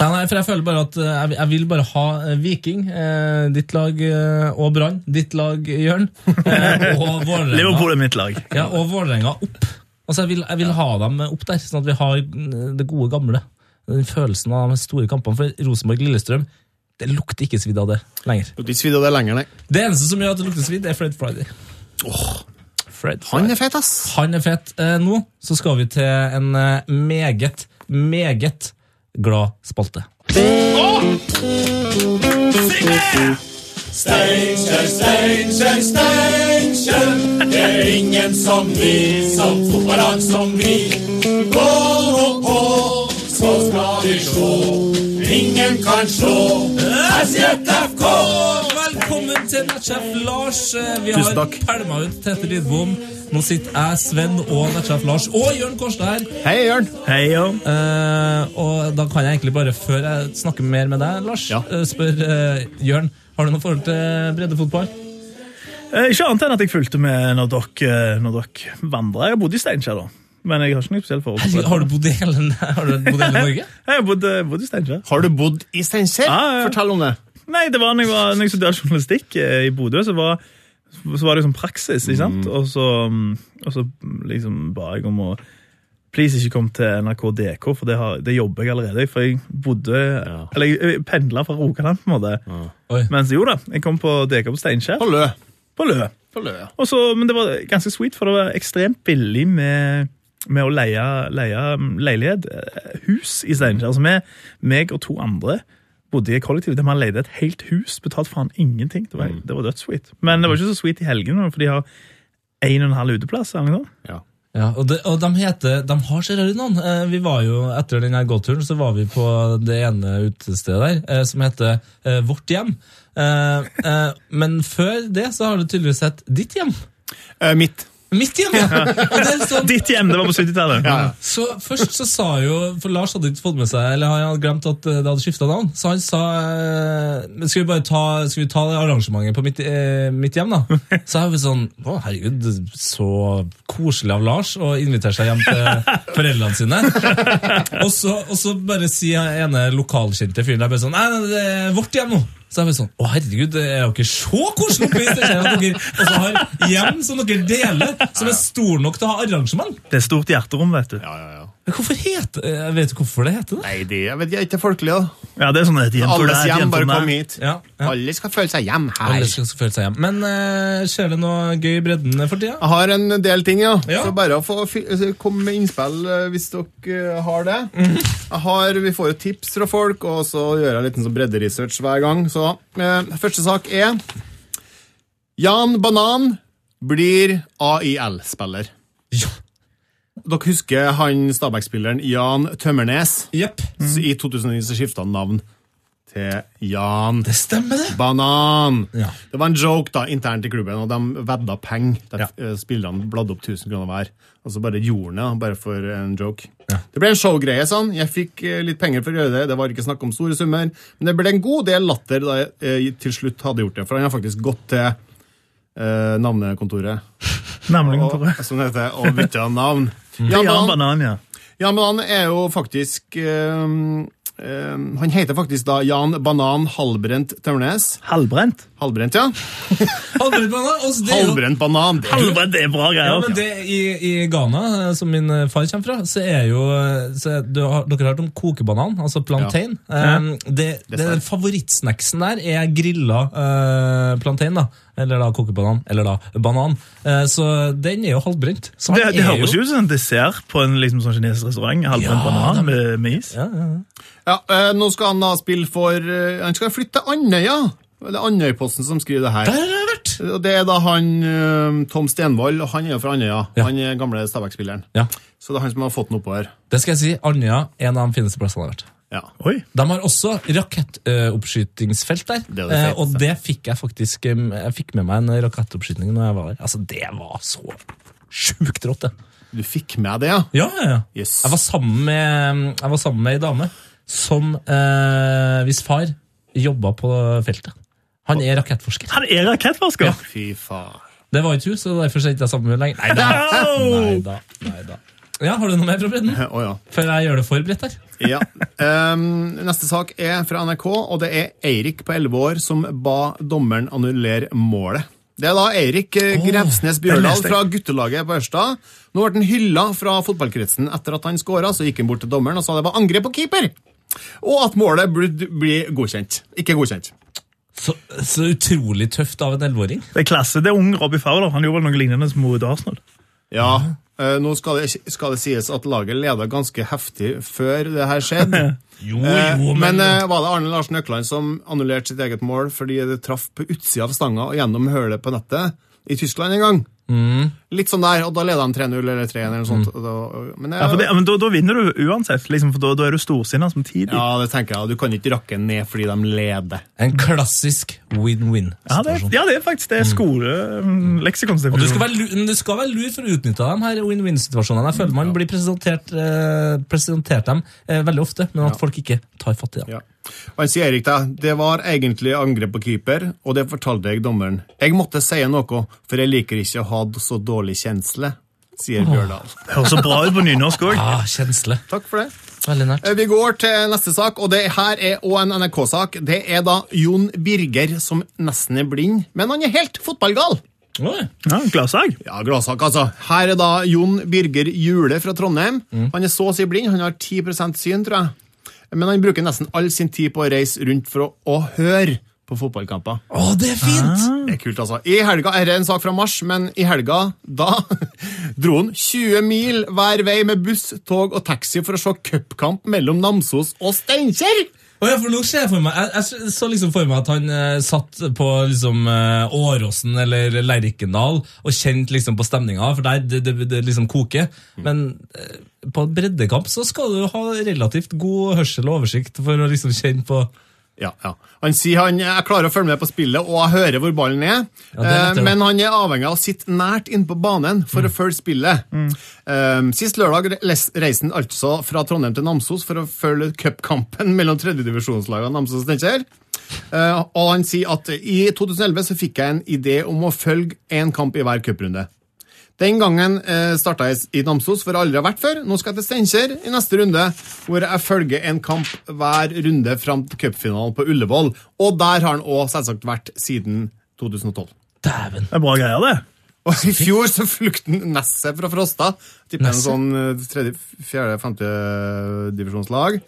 Speaker 3: Ja, nei, for jeg føler bare at eh, jeg, jeg vil bare ha eh, Viking, eh, ditt lag eh, og Brann, ditt lag Jørn, eh, og Vålerenga.
Speaker 5: Liverpool er mitt lag.
Speaker 3: Ja, og Vålerenga opp. Altså, jeg vil, jeg vil ha dem opp der, sånn at vi har eh, det gode gamle. den følelsen av de store kampene. For Rosenborg-Lillestrøm, det lukter ikke svidd av det lenger.
Speaker 4: Det er ikke svidd av det lenger, nei.
Speaker 3: Det eneste som gjør at det lukter svidd, er Fred Friday. Fred
Speaker 4: Han
Speaker 3: Friday.
Speaker 4: er fet, ass!
Speaker 3: Han er fet. Eh, Nå så skal vi til en eh, meget, meget glad spalte. Velkommen til Nettsjef Lars. Eh, Vi
Speaker 4: Tusen
Speaker 3: har
Speaker 4: takk.
Speaker 3: pælma ut Tete Lidbom. Nå sitter jeg, Sven og Nettsjef Lars og Jørn Kårstad her.
Speaker 4: Hei, Jørn!
Speaker 5: Hei, jo.
Speaker 3: Eh, og da kan jeg egentlig bare, før jeg snakker mer med deg, Lars,
Speaker 4: Ja.
Speaker 3: eh, spørre eh, Jørn. Har du noe forhold til breddefotball?
Speaker 5: Eh, Ikke annet enn at jeg fulgte med når dere, eh, når dere vandra. Jeg har bodd i Steinkjer, da. Men jeg har ikke noe spesielt forhold til
Speaker 3: Har du bodd i hele, *laughs* har du bodd i hele Norge?
Speaker 5: *laughs* Jeg har bodd, eh, bodd i Steinkjer.
Speaker 4: Har du bodd i Steinkjer?
Speaker 5: Ja, ja.
Speaker 4: Fortell om det.
Speaker 5: Nei, det var når jeg, var, når jeg studerte journalistikk eh, i Bodø, så var, så var det sånn praksis, ikke sant? Og, så, mm, og så mm, liksom ba jeg om å Please, ikke kom til NRK DK, for det, har, det jobber jeg allerede i. For jeg bodde Eller jeg- jeg pendla fra Rogaland, på en måte.
Speaker 3: Oi.
Speaker 5: Mens jo da, jeg kom på DK på Steinkjer.
Speaker 4: På Lø.
Speaker 5: På Lø.
Speaker 4: På Lø, ja.
Speaker 5: Og så, men det var ganske sweet, for det var ekstremt billig med, med å leie, leie mm, leilighet, eh, hus i Steinkjer. Altså, meg, meg og to andre bodde i et kollektiv der man leide et helt hus. Betalte faen ingenting. Det var,
Speaker 4: Mm.
Speaker 5: det var dødssweet. Men det var ikke så sweet i helgene, for de har en og en halv uteplass. Eller noe. sånt.
Speaker 4: ja.
Speaker 3: Ja, og de, og de, heter, de har så rare navn. Eh, Vi var jo, Etter den her gåturen så var vi på det ene utestedet der, eh, som heter eh, Vårt hjem. Eh, eh, men før det så har du tydeligvis sett Ditt hjem.
Speaker 4: Eh, mitt.
Speaker 3: Mitt hjem, ja! Og det er sånn,
Speaker 5: Ditt hjem, det var på 70-tallet.
Speaker 4: Ja, ja.
Speaker 3: Så først så sa jo For Lars hadde ikke fått med seg Eller han hadde glemt at eh, det hadde skifta navn. Så han sa eh, Men skal vi bare ta, skal vi ta det arrangementet på mitt, eh, mitt hjem, da? Så er vi sånn Å, herregud, så koselig av Lars å invitere seg hjem til foreldrene sine. Og så, og så bare sier han ene lokalkjente fyren der bare sånn Nei, nei, det er vårt hjem nå. Så er vi sånn Å, herregud, det er jo ikke så koselig oppe i Steinkjer at dere også har hjem som dere deler, som er stor nok til å ha arrangement.
Speaker 5: Det er stort hjerterom, vet du.
Speaker 4: Ja, ja, ja.
Speaker 3: Men Hvorfor heter Jeg vet jo hvorfor det heter det.
Speaker 4: Nei, det jeg vet jeg ikke er folkelig, da.
Speaker 5: Ja, det er sånn et hjem for
Speaker 4: Alles
Speaker 5: deg, et
Speaker 4: hjem,
Speaker 5: hjem for
Speaker 4: bare
Speaker 5: meg.
Speaker 4: kom hit.
Speaker 3: Ja, ja.
Speaker 4: Alle skal føle seg hjem her.
Speaker 3: Alle skal skal føle seg hjem. Men eh, skjer det noe gøy i bredden for tida?
Speaker 5: Ah.
Speaker 4: Jeg har en del ting, ja.
Speaker 3: Ja.
Speaker 4: Så bare å få fy- altså, komme med innspill eh, hvis dere eh, har det. Jeg har, vi får jo tips fra folk, og så gjør jeg litt sånn bredderesearch hver gang. Så eh, første sak er Jan Banan blir AIL-spiller.
Speaker 3: Ja.
Speaker 4: Dere husker han Stabæk-spilleren Jan Tømmernes?
Speaker 3: Jepp.
Speaker 4: Så I 2009 så skifta han navn til Jan
Speaker 3: Det stemmer, det.
Speaker 4: Banan.
Speaker 3: Ja.
Speaker 4: Det var en joke da, internt i klubben, og de vedda penger. Der
Speaker 3: Ja.
Speaker 4: eh, spillerne bladde opp 1000 kroner hver. Og så bare gjorde han det, bare for en joke. Det ble en showgreie, sånn. Jeg fikk eh, litt penger for å gjøre det. Det var ikke snakk om store summer. Men det ble en god del latter da jeg eh, til slutt hadde gjort det, for han har faktisk gått til eh, navnekontoret,
Speaker 5: Namlingen,
Speaker 4: og,
Speaker 5: tror jeg.
Speaker 4: som det heter, og bytta navn. Jan
Speaker 5: Ja,
Speaker 4: Banan-
Speaker 5: banan, ja.
Speaker 4: ja, men han er jo faktisk ehm, ehm, Han heter faktisk da Jan Banan Halbrent Tømmernes.
Speaker 5: Halvbrent.
Speaker 4: Halbrent, ja.
Speaker 3: Halvbrent banan. og så det er jo-
Speaker 4: Halbrent banan. Det er
Speaker 5: Halvbrent, det er bra greier. altså.
Speaker 3: Ja, men det, i, I Ghana, eh, som min eh, far kommer fra, så er jo eh, så er, du har, Dere har hørt om kokebanan, altså plantain. Eh, det, det,
Speaker 4: stemmer.
Speaker 3: Favorittsnacksen der er grilla eh, plantain, da. Eller da kokebanan. Eller da banan. Eh, så den er jo halvbrent. Så
Speaker 5: Det,
Speaker 3: han
Speaker 5: det
Speaker 3: er
Speaker 5: høres
Speaker 3: jo-
Speaker 5: jo ut som en dessert på en liksom, sånn kinesisk restaurant. Halvbrent
Speaker 3: Ja,
Speaker 5: banan med, med is.
Speaker 3: Ja, ja, ja.
Speaker 4: Ja, eh, nå skal han da spille for eh, Han skal flytte til Andøya. Det er Andøyposten som skriver det her.
Speaker 3: Der har jeg vært!
Speaker 4: Og Det er da han eh, Tom Stenvold, og han er jo fra Andøya.
Speaker 3: Ja.
Speaker 4: Han er gamle Stabæk-spilleren.
Speaker 3: Ja.
Speaker 4: Så det er han som har fått den oppover.
Speaker 3: Det skal jeg si. Andøya en av de fineste plassene jeg har vært.
Speaker 4: Ja.
Speaker 5: Oi.
Speaker 3: De har også rakettoppskytingsfelt der.
Speaker 4: Det er det
Speaker 3: eh, og
Speaker 4: feteste.
Speaker 3: det fikk jeg faktisk eh, Jeg fikk med meg en rakettoppskyting når jeg var der. Altså, det var så sjukt rått, det.
Speaker 4: Du fikk med det, ja?
Speaker 3: Ja, ja, ja.
Speaker 4: Yes.
Speaker 3: Jeg var sammen med Jeg var sammen med ei dame som eh, Hvis far jobba på feltet. Han er rakettforsker.
Speaker 5: Han er rakettforsker!
Speaker 4: Fy faen.
Speaker 3: Det var ikke hun, så derfor er jeg ikke sammen med henne lenger. Nei
Speaker 5: *laughs*
Speaker 3: da. Nei da. Nei da. Ja, har du noe mer fra bredden?
Speaker 4: Å ja.
Speaker 3: Før jeg gjør det forberedt her.
Speaker 4: Ja. Ehm, neste sak er fra NRK, og det er Eirik på 11 år som ba dommeren annullere målet. Det er da Eirik eh, Grevsnes Bjørdal
Speaker 5: leste jeg.
Speaker 4: fra guttelaget på Ørstad. Nå ble han hylla fra fotballkretsen etter at han skåra. Så gikk han bort til dommeren og sa det var angrep på keeper, og at målet burde bli godkjent. Ikke godkjent.
Speaker 3: Så, så utrolig tøft av en elleveåring.
Speaker 5: Det er klasse. Det er ung Robbie Fowler. Han gjorde vel noe lignende mot Arsenal.
Speaker 4: Ja, eh, nå skal det, skal det sies at laget leda ganske heftig før det her skjedde.
Speaker 3: Jo,
Speaker 4: Eh,
Speaker 3: jo,
Speaker 4: men
Speaker 3: men
Speaker 4: eh, var det Arne Larsen Økland som annullerte sitt eget mål fordi det traff på utsida av stanga og gjennom hølet på nettet i Tyskland en gang? Litt sånn der, og da leda de 3-0 eller 3-1 eller noe sånt. og da- Men,
Speaker 5: Ja, for det,
Speaker 4: det,
Speaker 5: men da, da vinner du uansett, liksom, for da, da er du storsinna samtidig.
Speaker 4: ja, det tenker jeg. Du kan ikke rakke ned fordi de leder.
Speaker 3: En klassisk
Speaker 5: Ja, det,
Speaker 3: win-win-situasjon.
Speaker 5: ja, det er faktisk det.
Speaker 3: Mm. Og du
Speaker 5: mm,
Speaker 3: skal,
Speaker 5: Skoleleksikonsdefinisjon.
Speaker 3: være lur, men du skal være lur for å utnytte de her win-win-situasjonene. Jeg føler man blir presentert, eh, presentert dem eh, veldig ofte, men at folk ikke tar fatt i dem.
Speaker 4: Ja. Og han sier Erik da, det var egentlig angrep på keeper, og det fortalte jeg dommeren. Jeg måtte si noe, for jeg liker ikke å ha så dårlig kjensle, sier Bjørdal.
Speaker 5: Høres så bra ut på nynorsk
Speaker 3: *laughs*
Speaker 5: òg.
Speaker 3: Ah, kjensle.
Speaker 4: Takk for det.
Speaker 3: Veldig nært.
Speaker 4: Eh, Vi går til neste sak, og det her er òg en NRK-sak. Det er da Jon Birger som nesten er blind, men han er helt fotballgal.
Speaker 3: Oi.
Speaker 5: Ja, Gladsag.
Speaker 4: Ja, gladsak, altså. Her er da Jon Birger Jule fra Trondheim. Han er så å si blind. Han har 10 syn, tror jeg. Men han bruker nesten all sin tid på å reise rundt for å, å høre på fotballkamper.
Speaker 3: Å, det er fint!
Speaker 4: Det er kult, altså. I helga, Dette er en sak fra mars, men i helga da *laughs* dro han 20 mil hver vei med buss, tog og taxi for å se cupkamp mellom Namsos og Steinkjer!
Speaker 3: Å, ja, for nå ser jeg for meg Jeg, jeg så liksom for meg at han eh, satt på liksom eh, Åråsen eller Lerkendal og kjente liksom på stemninga, for der det, det, det liksom koker. Men eh, på breddekamp så skal du ha relativt god hørsel og oversikt for å liksom kjenne på
Speaker 4: Ja, ja. Han sier han jeg klarer å følge med på spillet og jeg hører hvor ballen er,
Speaker 3: det Mm. er lettere.
Speaker 4: eh, men han er avhengig av å sitte nært inne på banen for å følge spillet.
Speaker 3: Mm.
Speaker 4: Eh, sist lørdag re- les- reiste han altså fra Trondheim til Namsos for å følge cupkampen *laughs* mellom tredjedivisjonslagene Namsos og Steinkjer. Eh, og han sier at i 2011 så fikk jeg en idé om å følge én kamp i hver cuprunde. Den gangen eh, starta jeg i Namsos, for aldri har vært før. Nå skal jeg til Steinkjer i neste runde, hvor jeg følger en kamp hver runde fram til cupfinalen på Ullevål. Og der har han òg selvsagt vært siden 2012.
Speaker 3: Dæven!
Speaker 5: Det er bra greier, det.
Speaker 4: Og i fjor så flukte han Nesset fra Frosta. Tipper en
Speaker 3: Nesset?
Speaker 4: sånn eh, tredje, fjerde, femte eh, divisjonslag.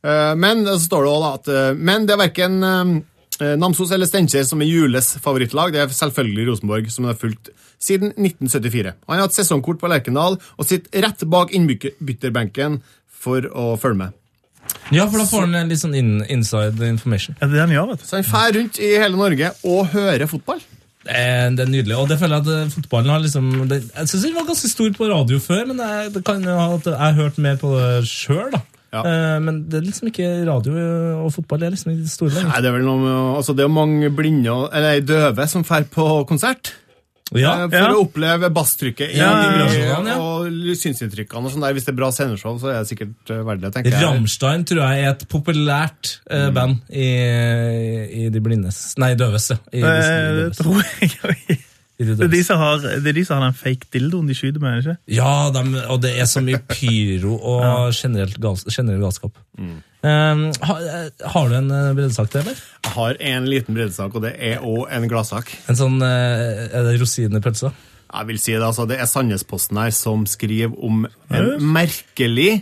Speaker 4: Eh, Men så står det også da at eh, Men det er verken eh, Namsos eller Steinkjer som er Jules favorittlag. Det er selvfølgelig Rosenborg, som han har fulgt siden 1974. Han har hatt sesongkort på Lerkendal og sitter rett bak innbytterbenken for å følge med.
Speaker 3: Ja, for da får han eh, litt sånn in, inside information.
Speaker 5: Ja, det er det han gjør, vet du.
Speaker 4: Så han fær rundt i hele Norge og hører fotball.
Speaker 3: Det er, Eh, det er nydelig, og det føler jeg at eh, fotballen har liksom det, Jeg synes den var ganske stor på radio før, men jeg, det kan jo ha at jeg har hørt mer på det sjøl, da.
Speaker 4: Ja.
Speaker 3: Eh, men det er liksom ikke radio og fotball. Det er liksom ikke det store lenger.
Speaker 4: Nei, Det er vel noe med, å- altså det er jo mange blinde, og- eller døve som fær på konsert.
Speaker 3: Ja,
Speaker 4: Eh, for
Speaker 5: ja.
Speaker 4: å oppleve basstrykket i-
Speaker 3: Ja, vibrasjonene, ja.
Speaker 4: og synsinntrykkene. og sånn der. Hvis det er bra sendeshow, så er Mm. det sikkert eh, verdt det. tenker jeg.
Speaker 3: Rammstein tror jeg er et populært eh, band i, i de blindes Nei, døves, ja. I de,
Speaker 5: Eh, Det
Speaker 3: døves.
Speaker 5: tror jeg *laughs* også.
Speaker 3: I de
Speaker 5: Det er de
Speaker 3: døves.
Speaker 5: som har, det er de som har den fake dildoen de skyter med, er det ikke?
Speaker 3: Ja, dem- og det er så mye pyro
Speaker 5: *laughs*
Speaker 3: og generelt gals, generell galskap.
Speaker 5: Mm.
Speaker 3: Eh, ha, eh, har du en eh, breddesak til, eller?
Speaker 4: Jeg har en liten breddesak, og det er òg en gladsak.
Speaker 3: En sånn eh, Er det rosin i pølsa?
Speaker 4: Jeg vil si Det altså, det er Sandnesposten her som skriver om en merkelig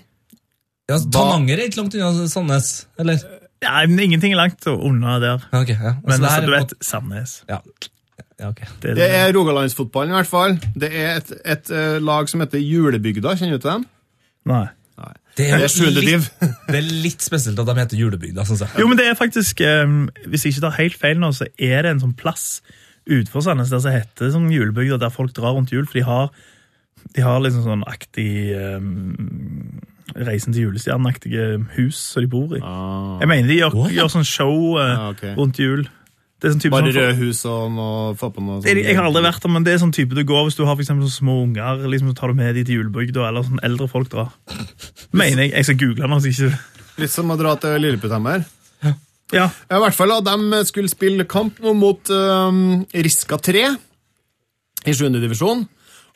Speaker 3: Ja, altså, Tananger er ikke langt unna Sandnes, eller?
Speaker 5: Nei, men ingenting er langt unna der.
Speaker 3: Ja, ok, ja. Så
Speaker 5: Men
Speaker 3: det her
Speaker 5: altså,
Speaker 3: er
Speaker 5: du
Speaker 3: på-
Speaker 5: vet, Sandnes.
Speaker 3: Ja, ja ok.
Speaker 5: Det er
Speaker 4: Det er rogalandsfotballen, i hvert fall. Det er et, et eh, lag som heter Julebygda. Kjenner du til dem?
Speaker 5: Nei.
Speaker 3: Det
Speaker 4: Det er
Speaker 3: jo
Speaker 4: sjuende div.
Speaker 3: litt, *laughs* det er litt spesielt at de heter Julebygda, syns jeg.
Speaker 5: Jo, men det er faktisk, ehm, hvis jeg ikke tar helt feil nå, så er det en sånn plass utenfor Sandnes der som heter sånn julebygda, der folk drar rundt jul, for de har, de har liksom sånn aktig ehm, Reisen til julestjernen-aktige hus som de bor i. Jeg mener de gjør,
Speaker 3: What?
Speaker 5: gjør sånn show eh,
Speaker 4: Ja, Ah. ok.
Speaker 5: rundt jul. Det er sånn type
Speaker 4: Bare
Speaker 5: sånn,
Speaker 4: røde hus og noe, få på noe sånt.
Speaker 5: Jeg, jeg har aldri vært der, men det er sånn type du går hvis du har for eksempel sånn små unger. liksom så tar du med de til julebygda, eller sånn eldre folk drar. Mener jeg. Jeg skal google den. Altså ikke.
Speaker 4: Litt som å dra til Lilleputthammer.
Speaker 5: Ja,
Speaker 4: Ja, I hvert fall da, de skulle spille kamp nå mot eh, Riska 3 i 7. divisjon.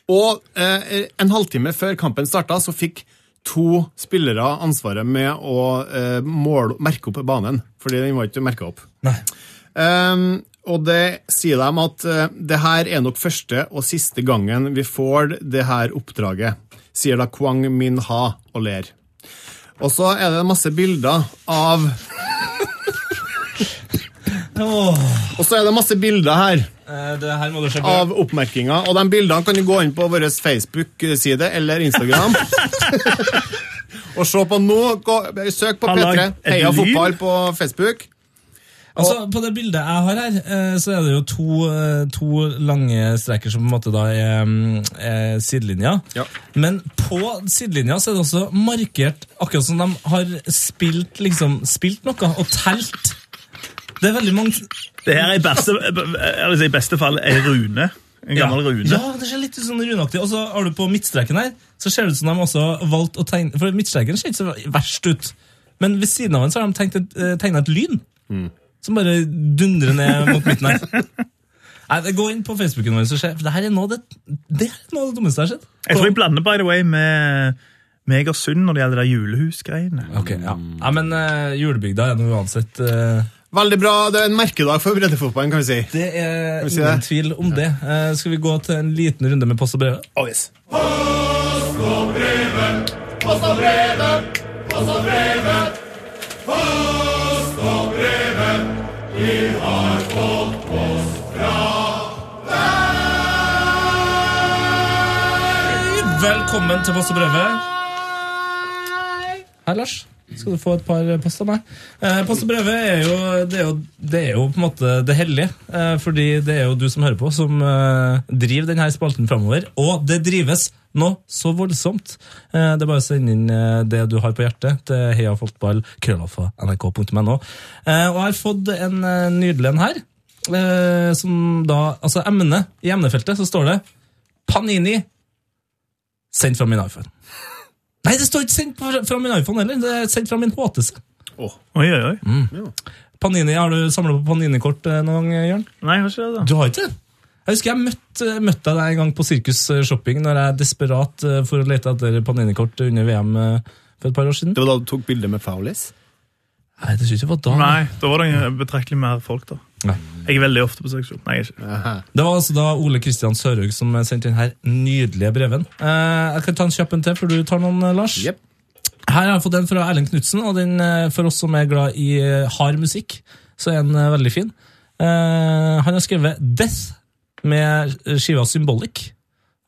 Speaker 4: Og eh, en halvtime før kampen starta, så fikk to spillere ansvaret med å eh, måle, merke opp banen, fordi den var ikke merka opp.
Speaker 3: Nei.
Speaker 4: Ehm, Og det sier dem at eh, det her er nok første og siste gangen vi får det her oppdraget, sier da Kwang Min Ha og ler. Og så er det masse bilder av Og så er det masse bilder her
Speaker 3: Eh, Det her må du sjekke.
Speaker 4: av oppmerkinga, og de bildene kan du gå inn på vår Facebook-side eller Instagram. og se på nå. Gå, søk på
Speaker 5: Har
Speaker 4: P3
Speaker 5: lagd et
Speaker 4: Heia
Speaker 5: lyd.
Speaker 4: fotball på Facebook.
Speaker 3: Altså, På det bildet jeg har her, eh, så er det jo to, eh, to lange streker som på en måte da er, mm, er sidelinja.
Speaker 4: Ja.
Speaker 3: Men på sidelinja så er det også markert akkurat som de har spilt, liksom, spilt noe og telt. Det er veldig mange
Speaker 5: Det her er i beste, altså i beste fall ei rune. En gammel rune.
Speaker 3: Ja, det ser litt ut som runeaktig. Og så har du på midtstreken her, så ser det ut som de også har valgt å tegne For midtstreken ser ikke så verst ut, men ved siden av den så har de tenkt et, eh, tegnet et lyn.
Speaker 5: Mm.
Speaker 3: Som bare dundrer ned mot midten
Speaker 5: *laughs*
Speaker 3: her. Nei, det- Gå inn på Facebooken vår, så se. For det her er noe av det, det, her er noe av det dummeste jeg har sett.
Speaker 5: Jeg tror jeg blander by the way med Megersund når det gjelder de julehusgreiene.
Speaker 3: Ok, ja. Nei, men eh, julebygda er nå uansett eh,
Speaker 4: Veldig bra. Det er en merkedag for breddefotballen, kan vi si.
Speaker 3: Det er
Speaker 4: vi si
Speaker 3: ingen
Speaker 4: det?
Speaker 3: tvil om det. Eh, skal vi gå til en liten runde med post og brev?
Speaker 4: Oh, yes.
Speaker 3: Velkommen til Post og brevet. Hei, Lars. Skal du få et par post av meg? Eh, post og brevet er jo det, er jo det er jo på en måte det hellige. Eh, fordi det er jo du som hører på, som eh, driver denne spalten framover. Og det drives nå så voldsomt. Eh, det er bare å sende inn eh, det du har på hjertet til heiafotball.nrk.no. Eh, og jeg har fått en eh, nydelig en her. Eh, som da Altså emne. I emnefeltet så står det Panini Sendt fra min iPhone. Nei, det står ikke sendt fra- fra min iPhone heller. Det er sendt fra min HTC.
Speaker 5: Oi, oi, oi.
Speaker 3: Panini, Har du samla på Panini-kort eh, noen gang, Jørn?
Speaker 5: Nei, jeg har ikke det. da.
Speaker 3: Du har ikke det? Jeg husker jeg møtte, møtte deg en gang på Sirkus eh, Shopping når jeg desperat eh, for å lete etter Panini-kort under VM eh, for et par år siden.
Speaker 4: Det var da du tok bilde med Faulis?
Speaker 3: Nei, det synes jeg var da.
Speaker 5: Nei, da var det betraktelig mer folk, da.
Speaker 3: Nei.
Speaker 5: Jeg er veldig ofte på seksjon. Nei, jeg er ikke.
Speaker 3: Det var altså da Ole Kristian Sørhaug som sendte inn her nydelige breven. Eh, jeg kan ta en kjapp en til før du tar noen, eh, Lars.
Speaker 4: Jepp.
Speaker 3: Her har jeg fått den fra Erlend Knudsen, og den eh, for oss som er glad i eh, hard musikk, så er den eh, veldig fin. Eh, han har skrevet 'Death' med skiva 'Symbolic'.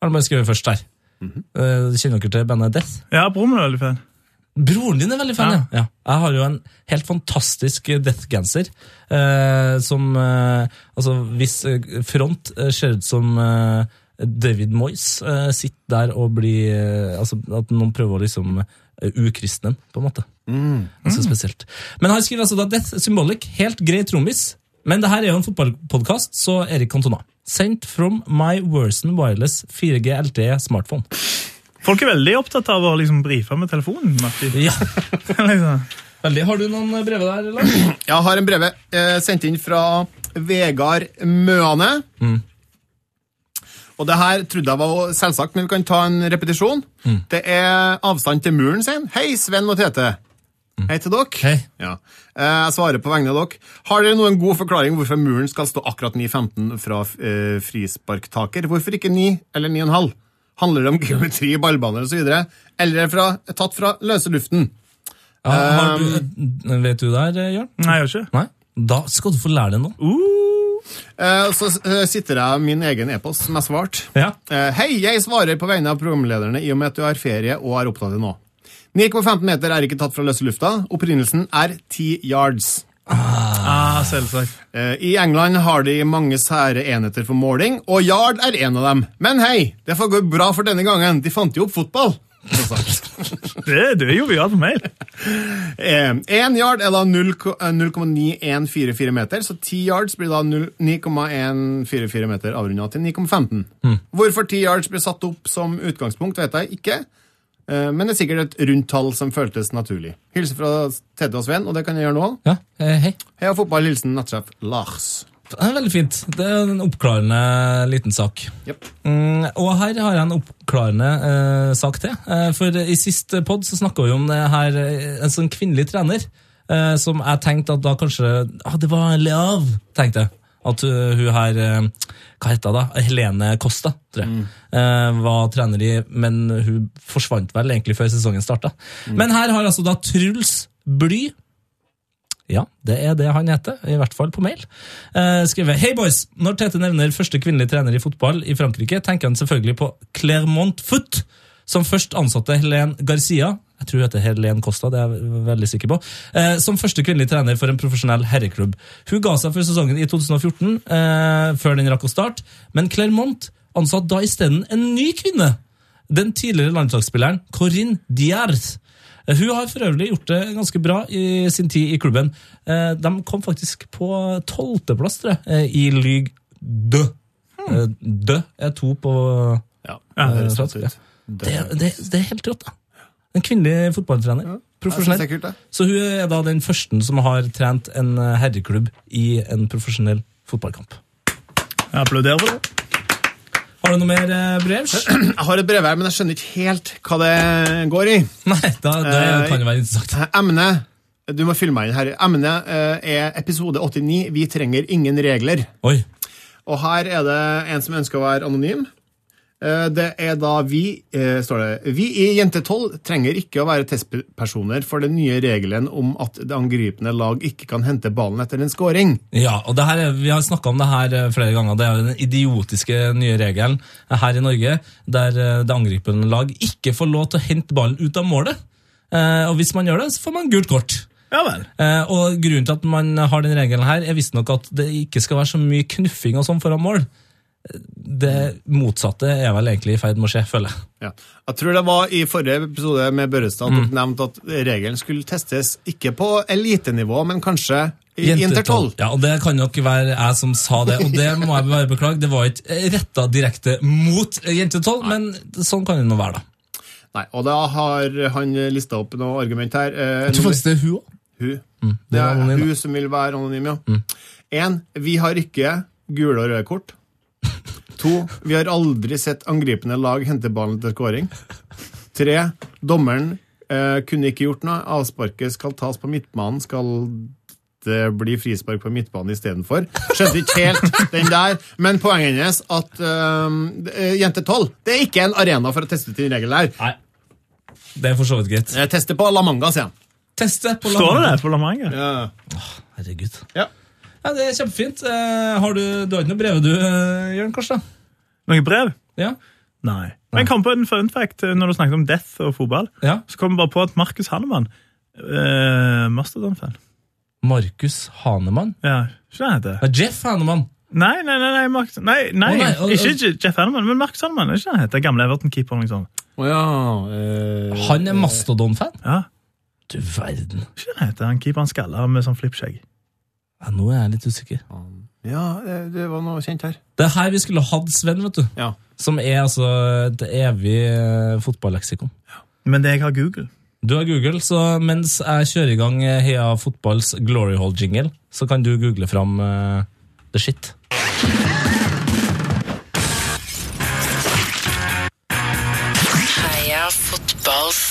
Speaker 3: Har han bare skrevet først der. Eh, kjenner dere til bandet Death?
Speaker 5: Ja, broren min er veldig fan.
Speaker 3: Broren din er veldig fan, ja. ja. Jeg har jo en helt fantastisk death-genser. Eh, som eh, Altså, hvis eh, front eh, ser ut som eh, David Moyes eh, sitter der og blir eh, Altså, at noen prøver å liksom eh, ukristne ham, på en måte. Ganske spesielt. Men han skriver altså da Death Symbolic, helt grei trommis. Men det her er jo en fotballpodkast, så Erik Cantona. Sent from my Worsen Wireless 4G LTE smartphone.
Speaker 5: Folk er veldig opptatt av å liksom brife med telefonen. Martin.
Speaker 3: *laughs* Ja,
Speaker 5: *laughs* liksom.
Speaker 3: veldig. Har du noen brev der, eller?
Speaker 4: Jeg har en breve eh, sendt inn fra Vegard Møane. Og det her trodde jeg var selvsagt, men vi kan ta en repetisjon. Det er avstand til muren, sier han. Hei, Sven og Tete. Hei til dere.
Speaker 3: Hei.
Speaker 4: Ja. Eh, Jeg svarer på vegne av dere. Har dere noen god forklaring hvorfor muren skal stå akkurat 9,15 fra eh, frisparktaker? Hvorfor ikke 9 eller 9,5? Handler det om geometri, ballbaner osv.? Eller er det fra, tatt fra løse luften?
Speaker 3: Ja, har du, vet du der, eh, Jørn?
Speaker 5: Nei, jeg
Speaker 3: Um,
Speaker 5: gjør ikke. Uh.
Speaker 3: Nei? Da skal du få lære det nå.
Speaker 4: Eh, Så eh, sitter jeg med min egen e-post som jeg svarte.
Speaker 3: Ja.
Speaker 4: Eh, Hei, jeg svarer på vegne av programlederne i og med at du har ferie og er opptatt i nå. 9,15 meter er ikke tatt fra løse lufta. Opprinnelsen er 10 yards.
Speaker 5: Ah, selvsagt.
Speaker 4: Eh, I England har de mange sære enheter for måling, og yard er en av dem. Men hei, det får gå bra for denne gangen. De fant jo opp fotball.
Speaker 5: Det, du er jovial på mail.
Speaker 4: Én Eh, yard er da 0 ko- eh, 0,9144 meter, så 10 yards blir da 0 9,144 meter avrunda til 9,15. Hvorfor 10 yards blir satt opp som utgangspunkt, vet jeg ikke, eh, men det er sikkert et rundt tall som føltes naturlig. Hilsen fra Tete og Sven, og det kan jeg gjøre nå.
Speaker 3: Ja, eh, hei.
Speaker 4: Heia fotball, hilsen nattsjef Lars.
Speaker 3: Det er veldig fint. Det er en oppklarende liten sak.
Speaker 4: Jep.
Speaker 3: Mm, og her har jeg en oppklarende eh, sak til. Eh, for i siste podd så snakka vi om det her, eh, en sånn kvinnelig trener eh, som jeg tenkte at da kanskje ah, Det var Leav, tenkte jeg. At uh, hun her eh, Hva heter hun da? Helene Costa, tror jeg. eh, var trener i, men hun forsvant vel egentlig før sesongen starta. Men her har altså da Truls Bly ja, det er det han heter, i hvert fall på mail. Eh, skriver Hei, boys! Når Tete nevner første kvinnelige trener i fotball i Frankrike, tenker han selvfølgelig på Clermont Foot, som først ansatte Helen Garcia jeg tror hun heter Helen Costa, det er jeg veldig sikker på. Eh, som første kvinnelige trener for en profesjonell herreklubb. Hun ga seg for sesongen i 2014, eh, før den rakk å starte, men Clermont ansatte da isteden en ny kvinne. Den tidligere landslagsspilleren Corinne Diers. Eh, Hun har for øvrig gjort det ganske bra i sin tid i klubben. Eh, De kom faktisk på tolvteplass tror jeg, eh, i Lyg Dø. Eh, Dø er to på
Speaker 4: Hmm. Ja,
Speaker 5: Ja,
Speaker 4: det
Speaker 3: eh,
Speaker 4: høres
Speaker 3: fransk.
Speaker 4: sant
Speaker 3: ja.
Speaker 4: ut.
Speaker 3: Det, det, det er helt rått, da. En kvinnelig fotballtrener.
Speaker 4: Jeg synes det er
Speaker 3: Profesjonell.
Speaker 4: kult, det.
Speaker 3: Så hun er da den første som har trent en eh, herreklubb i en profesjonell fotballkamp.
Speaker 5: Jeg applauderer for det.
Speaker 3: Har du noe mer eh, brev?
Speaker 4: *clears throat* Jeg har et brev her, men jeg skjønner ikke helt hva det går i.
Speaker 3: Nei, da, det
Speaker 4: Eh,
Speaker 3: kan jo være interessant.
Speaker 4: Emnet Du må fylle meg inn her. Emnet eh, er episode 89 Vi trenger ingen regler.
Speaker 3: Oi.
Speaker 4: Og her er det en som ønsker å være anonym. Eh, Det er da vi, eh, står det, vi i Jente12 trenger ikke å være testpersoner for den nye regelen om at det angripende lag ikke kan hente ballen etter en scoring.
Speaker 3: Ja, og det her, er- Vi har snakka om det her eh, flere ganger. Det er jo den idiotiske nye regelen eh, her i Norge, der eh, det angripende lag ikke får lov til å hente ballen ut av målet. Eh, og hvis man gjør det, så får man gult kort.
Speaker 5: Ja vel.
Speaker 3: Eh, og grunnen til at man har den regelen her, er visstnok at det ikke skal være så mye knuffing og sånn foran mål. Eh, Det motsatte er vel egentlig i ferd med å skje, føler jeg.
Speaker 4: Ja. Jeg tror det var i forrige episode med Børrestad at dere nevnte at regelen skulle testes ikke på elitenivå, men kanskje i Jenter12.
Speaker 3: Ja, og det kan nok være jeg som sa det, og det må jeg bare beklage. Det var ikke retta direkte mot Jentetolv, men sånn kan det nå være, da.
Speaker 4: Nei, og da har han lista opp noe argument her. Eh,
Speaker 3: det er hun òg.
Speaker 4: Hun.
Speaker 3: det
Speaker 4: Mm, Det
Speaker 3: var
Speaker 4: er Mm.
Speaker 3: anonym,
Speaker 4: hun som vil være anonym, ja. En, vi har ikke gule og røde kort. To, vi har aldri sett angripende lag hente ballen til skåring. Tre, dommeren eh, kunne ikke gjort noe. Avsparket skal tas på midtbanen. Skal det bli frispark på midtbanen istedenfor? Skjønte ikke helt den der. Men poenget hennes at eh, jente 12, det er ikke en arena for å teste ut den regelen her.
Speaker 3: Nei. Det er for så vidt greit.
Speaker 4: Eh, Teste på La Manga, sier han.
Speaker 3: Teste på
Speaker 5: Står det
Speaker 3: landet.
Speaker 5: det på La Manga?
Speaker 3: Herregud.
Speaker 4: Ja.
Speaker 3: Ja, det er kjempefint. Eh, har du, du har ikke noe brev du, eh, Jørn Karstad?
Speaker 5: Noe brev?
Speaker 3: Ja.
Speaker 5: Nei. Men jeg kom på en fun fact eh, når du snakket om death og fotball.
Speaker 3: ja.
Speaker 5: Så kom jeg bare på at Markus Hannemann uh, Mastodon-fan.
Speaker 3: Markus Hanemann.
Speaker 5: Ja, ikke det han heter?
Speaker 3: Nei, Jeff Hanemann.
Speaker 5: Nei, nei, nei, nei, Marcus, nei, nei,
Speaker 3: Å, nei, å, å.
Speaker 5: ikke Je- Jeff Hanneman, men Marcus Hanneman. er ikke det han heter? Gamle Everton-keeper. Liksom.
Speaker 4: Å ja. eh,
Speaker 3: Han er Mastodon-fan.
Speaker 5: Ja,
Speaker 3: Du verden.
Speaker 5: ikke det han heter? Han keeper han skalla med sånn flippskjegg.
Speaker 3: Ja, nå er jeg litt usikker.
Speaker 4: Ja, det, det var noe kjent her.
Speaker 3: Det er her vi skulle hatt Sven, vet du.
Speaker 4: Ja.
Speaker 3: Som er altså et evig eh, fotballeksikon.
Speaker 5: Men det jeg har Google.
Speaker 3: Du har Google, så mens jeg kjører i gang eh, Heia Fotballs Glory Hall-jingle, så kan du google fram eh, the shit.
Speaker 6: Heia fotballs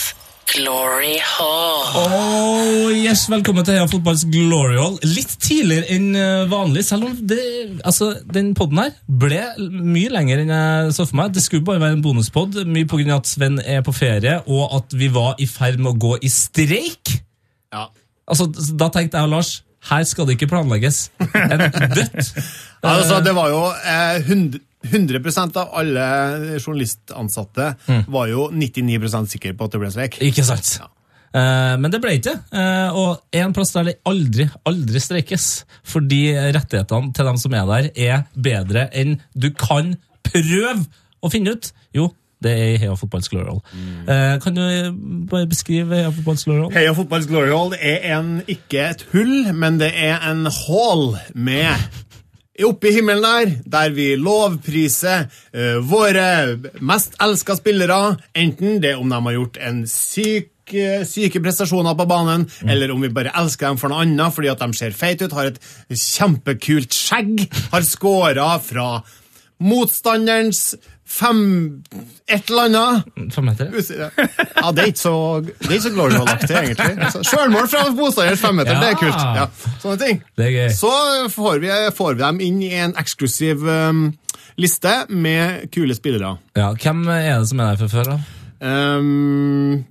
Speaker 6: glory hall.
Speaker 3: Oh, yes, Velkommen til Heia Fotballs Glory Hall. Litt tidligere enn eh, vanlig, selv om det, altså, den podden her ble l- mye lenger enn jeg så for meg. Det skulle bare være en bonuspod, mye på grunn av at Sven er på ferie, og at vi var i ferd med å gå i streik.
Speaker 4: Ja.
Speaker 3: Altså, da tenkte jeg og Lars her skal det ikke planlegges. En dødt.
Speaker 4: Altså, det var jo eh, 100 100 av alle journalistansatte var jo 99 sikre på at det ble streik.
Speaker 3: Ikke sant? Eh, men det ble ikke. Uh, og en plass der det aldri, aldri streikes, fordi rettighetene til dem som er der, er bedre enn du kan prøve å finne ut. Jo, det er i Heia Fotballs Glory Hall. Eh, kan du bare beskrive Heia Fotballs Glory Hall?
Speaker 4: Heia fotballs glory hall er en, ikke et hull, men det er en hall med Oppe i himmelen der, der vi lovpriser eh, våre mest elska spillere, enten det om de har gjort en syk eh, Syke prestasjoner på banen, eller om vi bare elsker dem for noe annet fordi at de ser feite ut, har et kjempekult skjegg, har scora fra motstanderens fem et eller annet.
Speaker 3: Fem meter?
Speaker 4: Ja, det er ikke så, det er ikke så glory hole-aktig, egentlig. Så Selvmål fra motstanders femmeter, det er kult. Ja, sånne ting.
Speaker 3: Det er gøy.
Speaker 4: Så får vi, får vi dem inn i en eksklusiv um, liste med kule spillere.
Speaker 3: Ja, hvem er det som er der fra før, da?
Speaker 4: Um,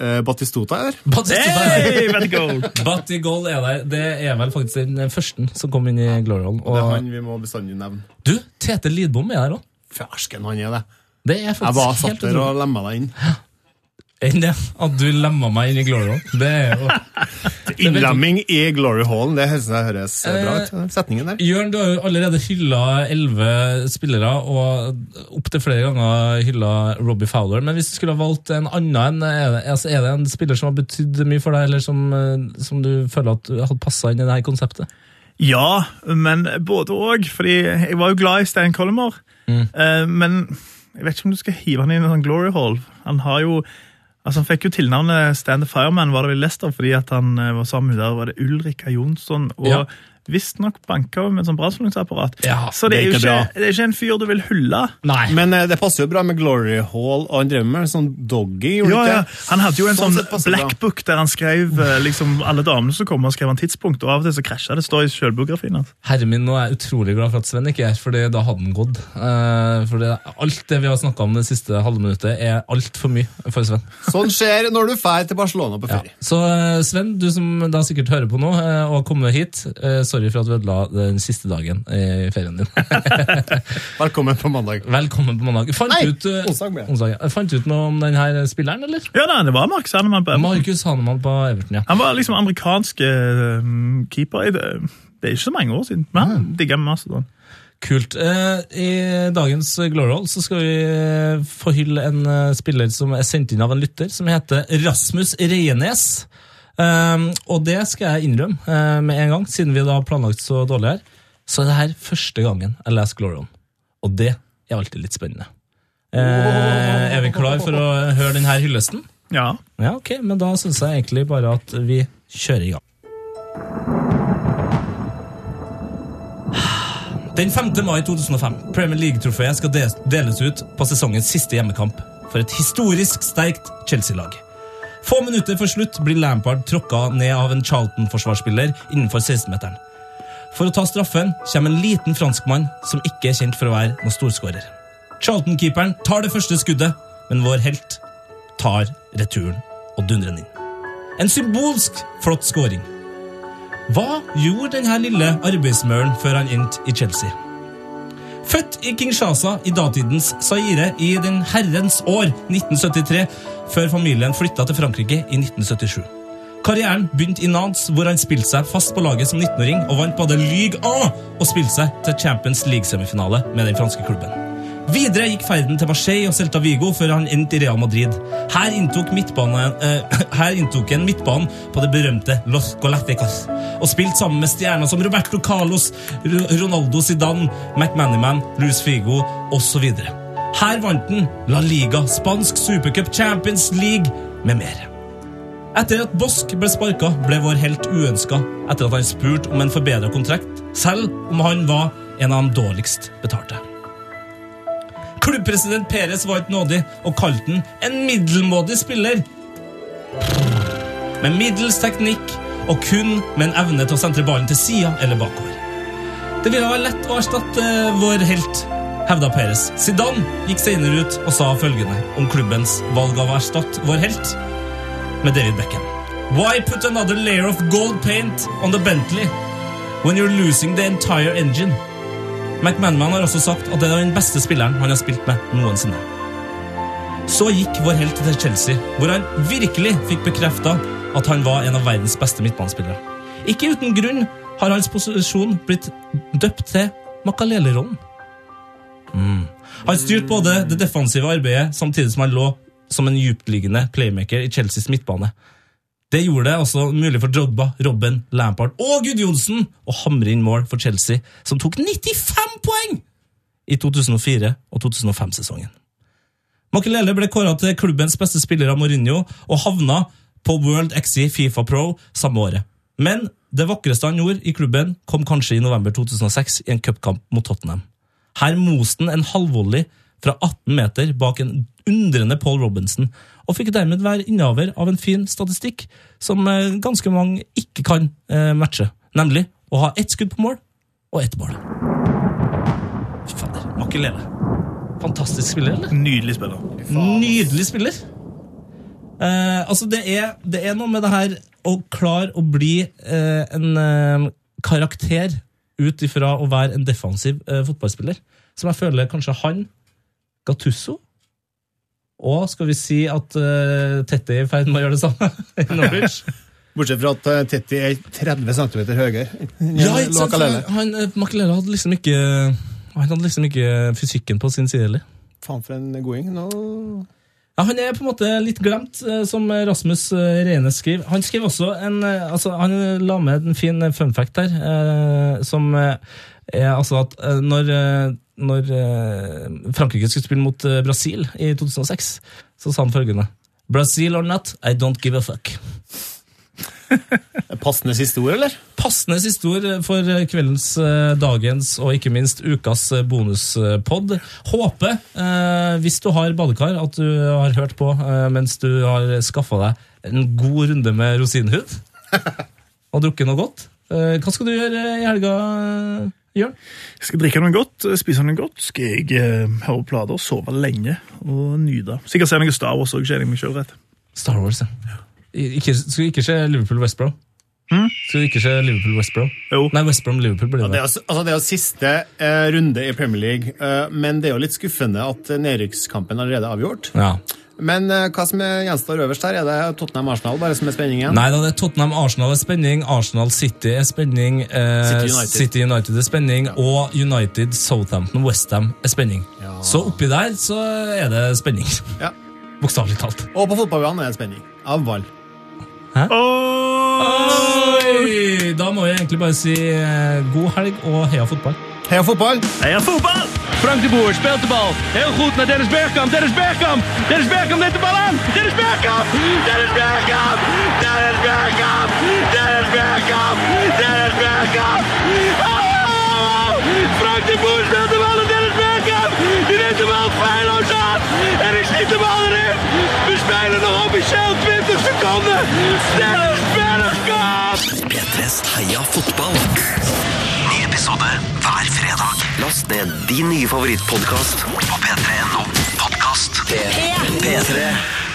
Speaker 4: eh, Batistota er der.
Speaker 3: Batista
Speaker 5: Hey, Betty Gold!
Speaker 3: Batty Gold er der. Det er vel faktisk den første som kom inn i Glory Hall.
Speaker 4: Det er
Speaker 3: Og
Speaker 4: han vi må bestandig nevne.
Speaker 3: du, Tete Lidbom er der òg.
Speaker 4: Fersken han er det.
Speaker 3: Det er
Speaker 4: Jeg var
Speaker 3: faktisk
Speaker 4: satt
Speaker 3: helt
Speaker 4: der
Speaker 3: utrolig.
Speaker 4: og lemma deg inn.
Speaker 3: Enn det at du lemma meg inn i Glory Hall. Det er jo
Speaker 4: Innlemming i glory hallen, det høres, det høres eh, bra ut. Setningen der.
Speaker 3: Jørn, du har jo allerede hylla elleve spillere, og opptil flere ganger hylla Robbie Fowler. Men hvis du skulle ha valgt en annen, er det, altså er det en spiller som har betydd mye for deg, eller som, eh, som du føler at du hadde passa inn i det her konseptet?
Speaker 5: Ja, men både òg. Fordi jeg var jo glad i Stan Collimer.
Speaker 4: Mm.
Speaker 5: Eh, men jeg vet ikke om du skal hive han inn i en sånn glory hall. Han har jo Altså Han fikk jo tilnavnet Stan the Fireman var det vel i Leicester, fordi at han eh, var sammen med der var det Ulrika Jonsson. og
Speaker 3: Ja.
Speaker 5: Visstnok banka hun med et sånt brannslukningsapparat.
Speaker 3: Ja,
Speaker 5: så det
Speaker 4: det
Speaker 5: er,
Speaker 4: er
Speaker 5: jo
Speaker 4: ikke
Speaker 5: ikke,
Speaker 4: bra.
Speaker 5: det er ikke en fyr du vil hylle.
Speaker 3: Nei.
Speaker 4: Men eh, det passer jo bra med glory hall, og han drev med sånn doggy, gjorde
Speaker 5: Ja,
Speaker 4: han ikke
Speaker 5: ja.
Speaker 4: det?
Speaker 5: Han hadde jo en
Speaker 4: Sånn
Speaker 5: sånn
Speaker 4: sett passer det bra.
Speaker 5: blackbook der han skrev eh, liksom alle damene som kom, og skrev han tidspunkt, og av og til så krasja det. Det står i sjølbiografien hans.
Speaker 3: Herre min, nå er jeg utrolig glad for at Sven ikke er her, fordi da hadde han gått. Eh, for det, alt det vi har snakka om det siste halve minuttet, er altfor mye for Sven.
Speaker 4: Sånn skjer når du drar til Barcelona på ferie.
Speaker 3: Så eh, Sven, du som da sikkert hører på nå eh, og har kommet hit, eh, sorry for at du ødela den siste dagen i ferien
Speaker 4: *laughs*
Speaker 3: din.
Speaker 4: Velkommen på mandag.
Speaker 3: Velkommen på mandag. Fant
Speaker 4: Nei,
Speaker 3: ut, eh,
Speaker 4: onsdag ble det.
Speaker 3: onsdag, ja. Fant ut noe om denne spilleren, eller?
Speaker 5: Ja, nei, det var Mark Sandemann på Everton.
Speaker 3: Markus Hanemann på Everton, ja.
Speaker 5: Han var liksom amerikansk eh, keeper. i Det Det er ikke så mange år siden, men han digga Mastodon.
Speaker 3: Kult. Eh, I dagens Glory Hall så skal vi eh, få hylle en eh, spiller som er sendt inn av en lytter, som heter Rasmus Reienes. Um, og det skal jeg innrømme eh, med en gang, siden vi da har planlagt så dårlig her. Så er det her første gangen jeg leser Glory Hall. Og det er alltid litt spennende. Eh, er vi klar for å høre denne hyllesten?
Speaker 5: Ja.
Speaker 3: Ja, ok, men da syns jeg egentlig bare at vi kjører i gang. Den 5. mai 2005. Premier League-trofeet skal des- deles ut på sesongens siste hjemmekamp for et historisk sterkt Chelsea-lag. Få minutter før slutt blir Lampard tråkka ned av en Charlton-forsvarsspiller innenfor 16-meteren. For å ta straffen kommer en liten franskmann som ikke er kjent for å være noen storskårer. Charlton-keeperen tar det første skuddet, men vår helt tar returen og dundrer den inn. En symbolsk flott skåring. Hva gjorde denne lille arbeidsmøren før han endte i Chelsea? Født i Kinshasa i datidens Zaire i den herrens år 1973, før familien flytta til Frankrike i 1977. Karrieren begynte i Nantes, hvor han spilte seg fast på laget som 19-åring og vant både Ligue 1 og spilte seg til Champions League-semifinale med den franske klubben. Videre gikk ferden til Marseille og Celta Vigo før han endte i Real Madrid. Her inntok, midtbane, eh, *clears throat* her inntok han midtbanen på det berømte Los Galacticos og spilte sammen med stjerner som Roberto Carlos, Ro- Ronaldo Zidane, McManaman, Luis Figo osv. Her vant han La Liga, spansk supercup, Champions League med mer. Etter at Bosk ble sparka, ble vår helt uønska etter at han spurte om en forbedra kontrakt, selv om han var en av de dårligst betalte. Klubbpresident Peres var ikke nådig og kalte han en middelmådig spiller. Med middels teknikk og kun med en evne til å sentre ballen til sida eller bakover. Det ville være lett å erstatte eh, vår helt, hevda Peres. Zidane gikk senere ut og sa følgende om klubbens valg av å erstatte vår helt med David Beckham. Why put another layer of gold paint on the Bentley when you're losing the entire engine? McManaman har også sagt at det er den beste spilleren han har spilt med noensinne. Så gikk vår helt til Chelsea, hvor han virkelig fikk bekrefta at han var en av verdens beste midtbanespillere. Ikke uten grunn har hans posisjon blitt døpt til Makalele-rollen. Mm. Han styrte både det defensive arbeidet samtidig som han lå som en djuptliggende playmaker i Chelseas midtbane. Det gjorde det også mulig for Drogba, Robben, Lampard og Gudjonsen å hamre inn mål for Chelsea, som tok 95 poeng i 2004- og 2005-sesongen. Makelele ble kåra til klubbens beste spiller av Mourinho og havna på World XI Fifa Pro samme året. Men det vakreste han gjorde i klubben, kom kanskje i november 2006 i en cupkamp mot Tottenham. Her moste han en halvvolley fra 18 meter bak en undrende Paul Robinson, og fikk dermed være innehaver av en fin statistikk som eh, ganske mange ikke kan eh, matche, nemlig å ha ett skudd på mål og ett mål. Fy fader, makelele. Fantastisk spiller, eller?
Speaker 5: Nydelig spiller.
Speaker 3: Nydelig spiller. Eh, altså, det er, det er noe med det her å klare å bli eh, en eh, karakter ut ifra å være en defensiv eh, fotballspiller, som jeg føler kanskje han, Gattusso og skal vi si at eh, Tette er i ferd med å gjøre det samme *laughs* i Norwich?
Speaker 4: Bortsett fra at eh, Tetti er 30 cm høyere. enn
Speaker 3: ja, ikke sant?
Speaker 4: Lokalele.
Speaker 3: Han, han, eh, Makelele hadde liksom ikke Han hadde liksom ikke fysikken på sin side heller.
Speaker 4: Faen for en goding. Nå
Speaker 3: Ja, Han er på en måte litt glemt, eh, som Rasmus eh, Reine skriver. Han skrev også en, eh, altså, han la med en fin fun fact der, eh, som eh, er altså at eh, når, eh, når eh, Frankrike skulle spille mot eh, Brasil i 2006, så sa han følgende Brazil or not, I don't give a fuck.
Speaker 4: Passende siste ord, eller?
Speaker 3: Passende siste ord for kveldens, eh, dagens og ikke minst ukas eh, bonuspod. Håper, eh, hvis du har badekar, at du har hørt på eh, mens du har skaffa deg en god runde med rosinhud og drukket noe godt. Eh, hva skal du gjøre i helga, eh, Jørn?
Speaker 5: Skal jeg drikke noe godt, eh, spise noe godt, skal jeg eh, høre plater, sove lenge og nyte. Sikkert se noe Star Wars òg, kjenner jeg meg sjøl rett.
Speaker 3: Star Wars, ja. I- Ikke, skal du ikke se Liverpool-West Brom? Skal du ikke se Liverpool-West Brom?
Speaker 5: Jo.
Speaker 3: Nei, West Brom-Liverpool blir
Speaker 4: Det
Speaker 3: det.
Speaker 4: er, jo- altså, det er jo siste eh, runde i Premier League, eh, men det er jo litt skuffende at eh, nedrykkskampen allerede er avgjort.
Speaker 3: Ja.
Speaker 4: Men eh, hva som er gjenstår øverst her, er det Tottenham-Arsenal bare som er spenningen?
Speaker 3: Nei da, det er Tottenham Arsenal er spenning, Arsenal City er spenning, eh,
Speaker 4: City United.
Speaker 3: City United er spenning, og United Southampton Westham er spenning.
Speaker 4: Ja.
Speaker 3: Så oppi der så er det spenning.
Speaker 4: Ja.
Speaker 3: Bokstavelig talt.
Speaker 4: Og på fotballbanen er det spenning. Av ball.
Speaker 3: Oi! Da må jeg egentlig bare si eh, god helg og heia fotball.
Speaker 4: Heia fotball!
Speaker 5: Heia fotball!
Speaker 1: Frank de Boer speelt de bal. Heel goed naar Dennis Bergkamp. Dennis Bergkamp. Dennis Bergkamp neemt de bal aan. Dennis Bergkamp. Dennis Bergkamp. Dennis Bergkamp. Dennis Bergkamp. Dennis Bergkamp. Oh! Frank de Boer speelt de bal aan Dennis Bergkamp. Die neemt de bal feilloos aan. En ik schiet de bal erin. We spelen nog officieel 20 seconden. Dennis Bergkamp.
Speaker 2: P3s Heia fotball. Ny episode hver fredag. Last ned din nye favorittpodkast på p3.no. Podkast P3. P3.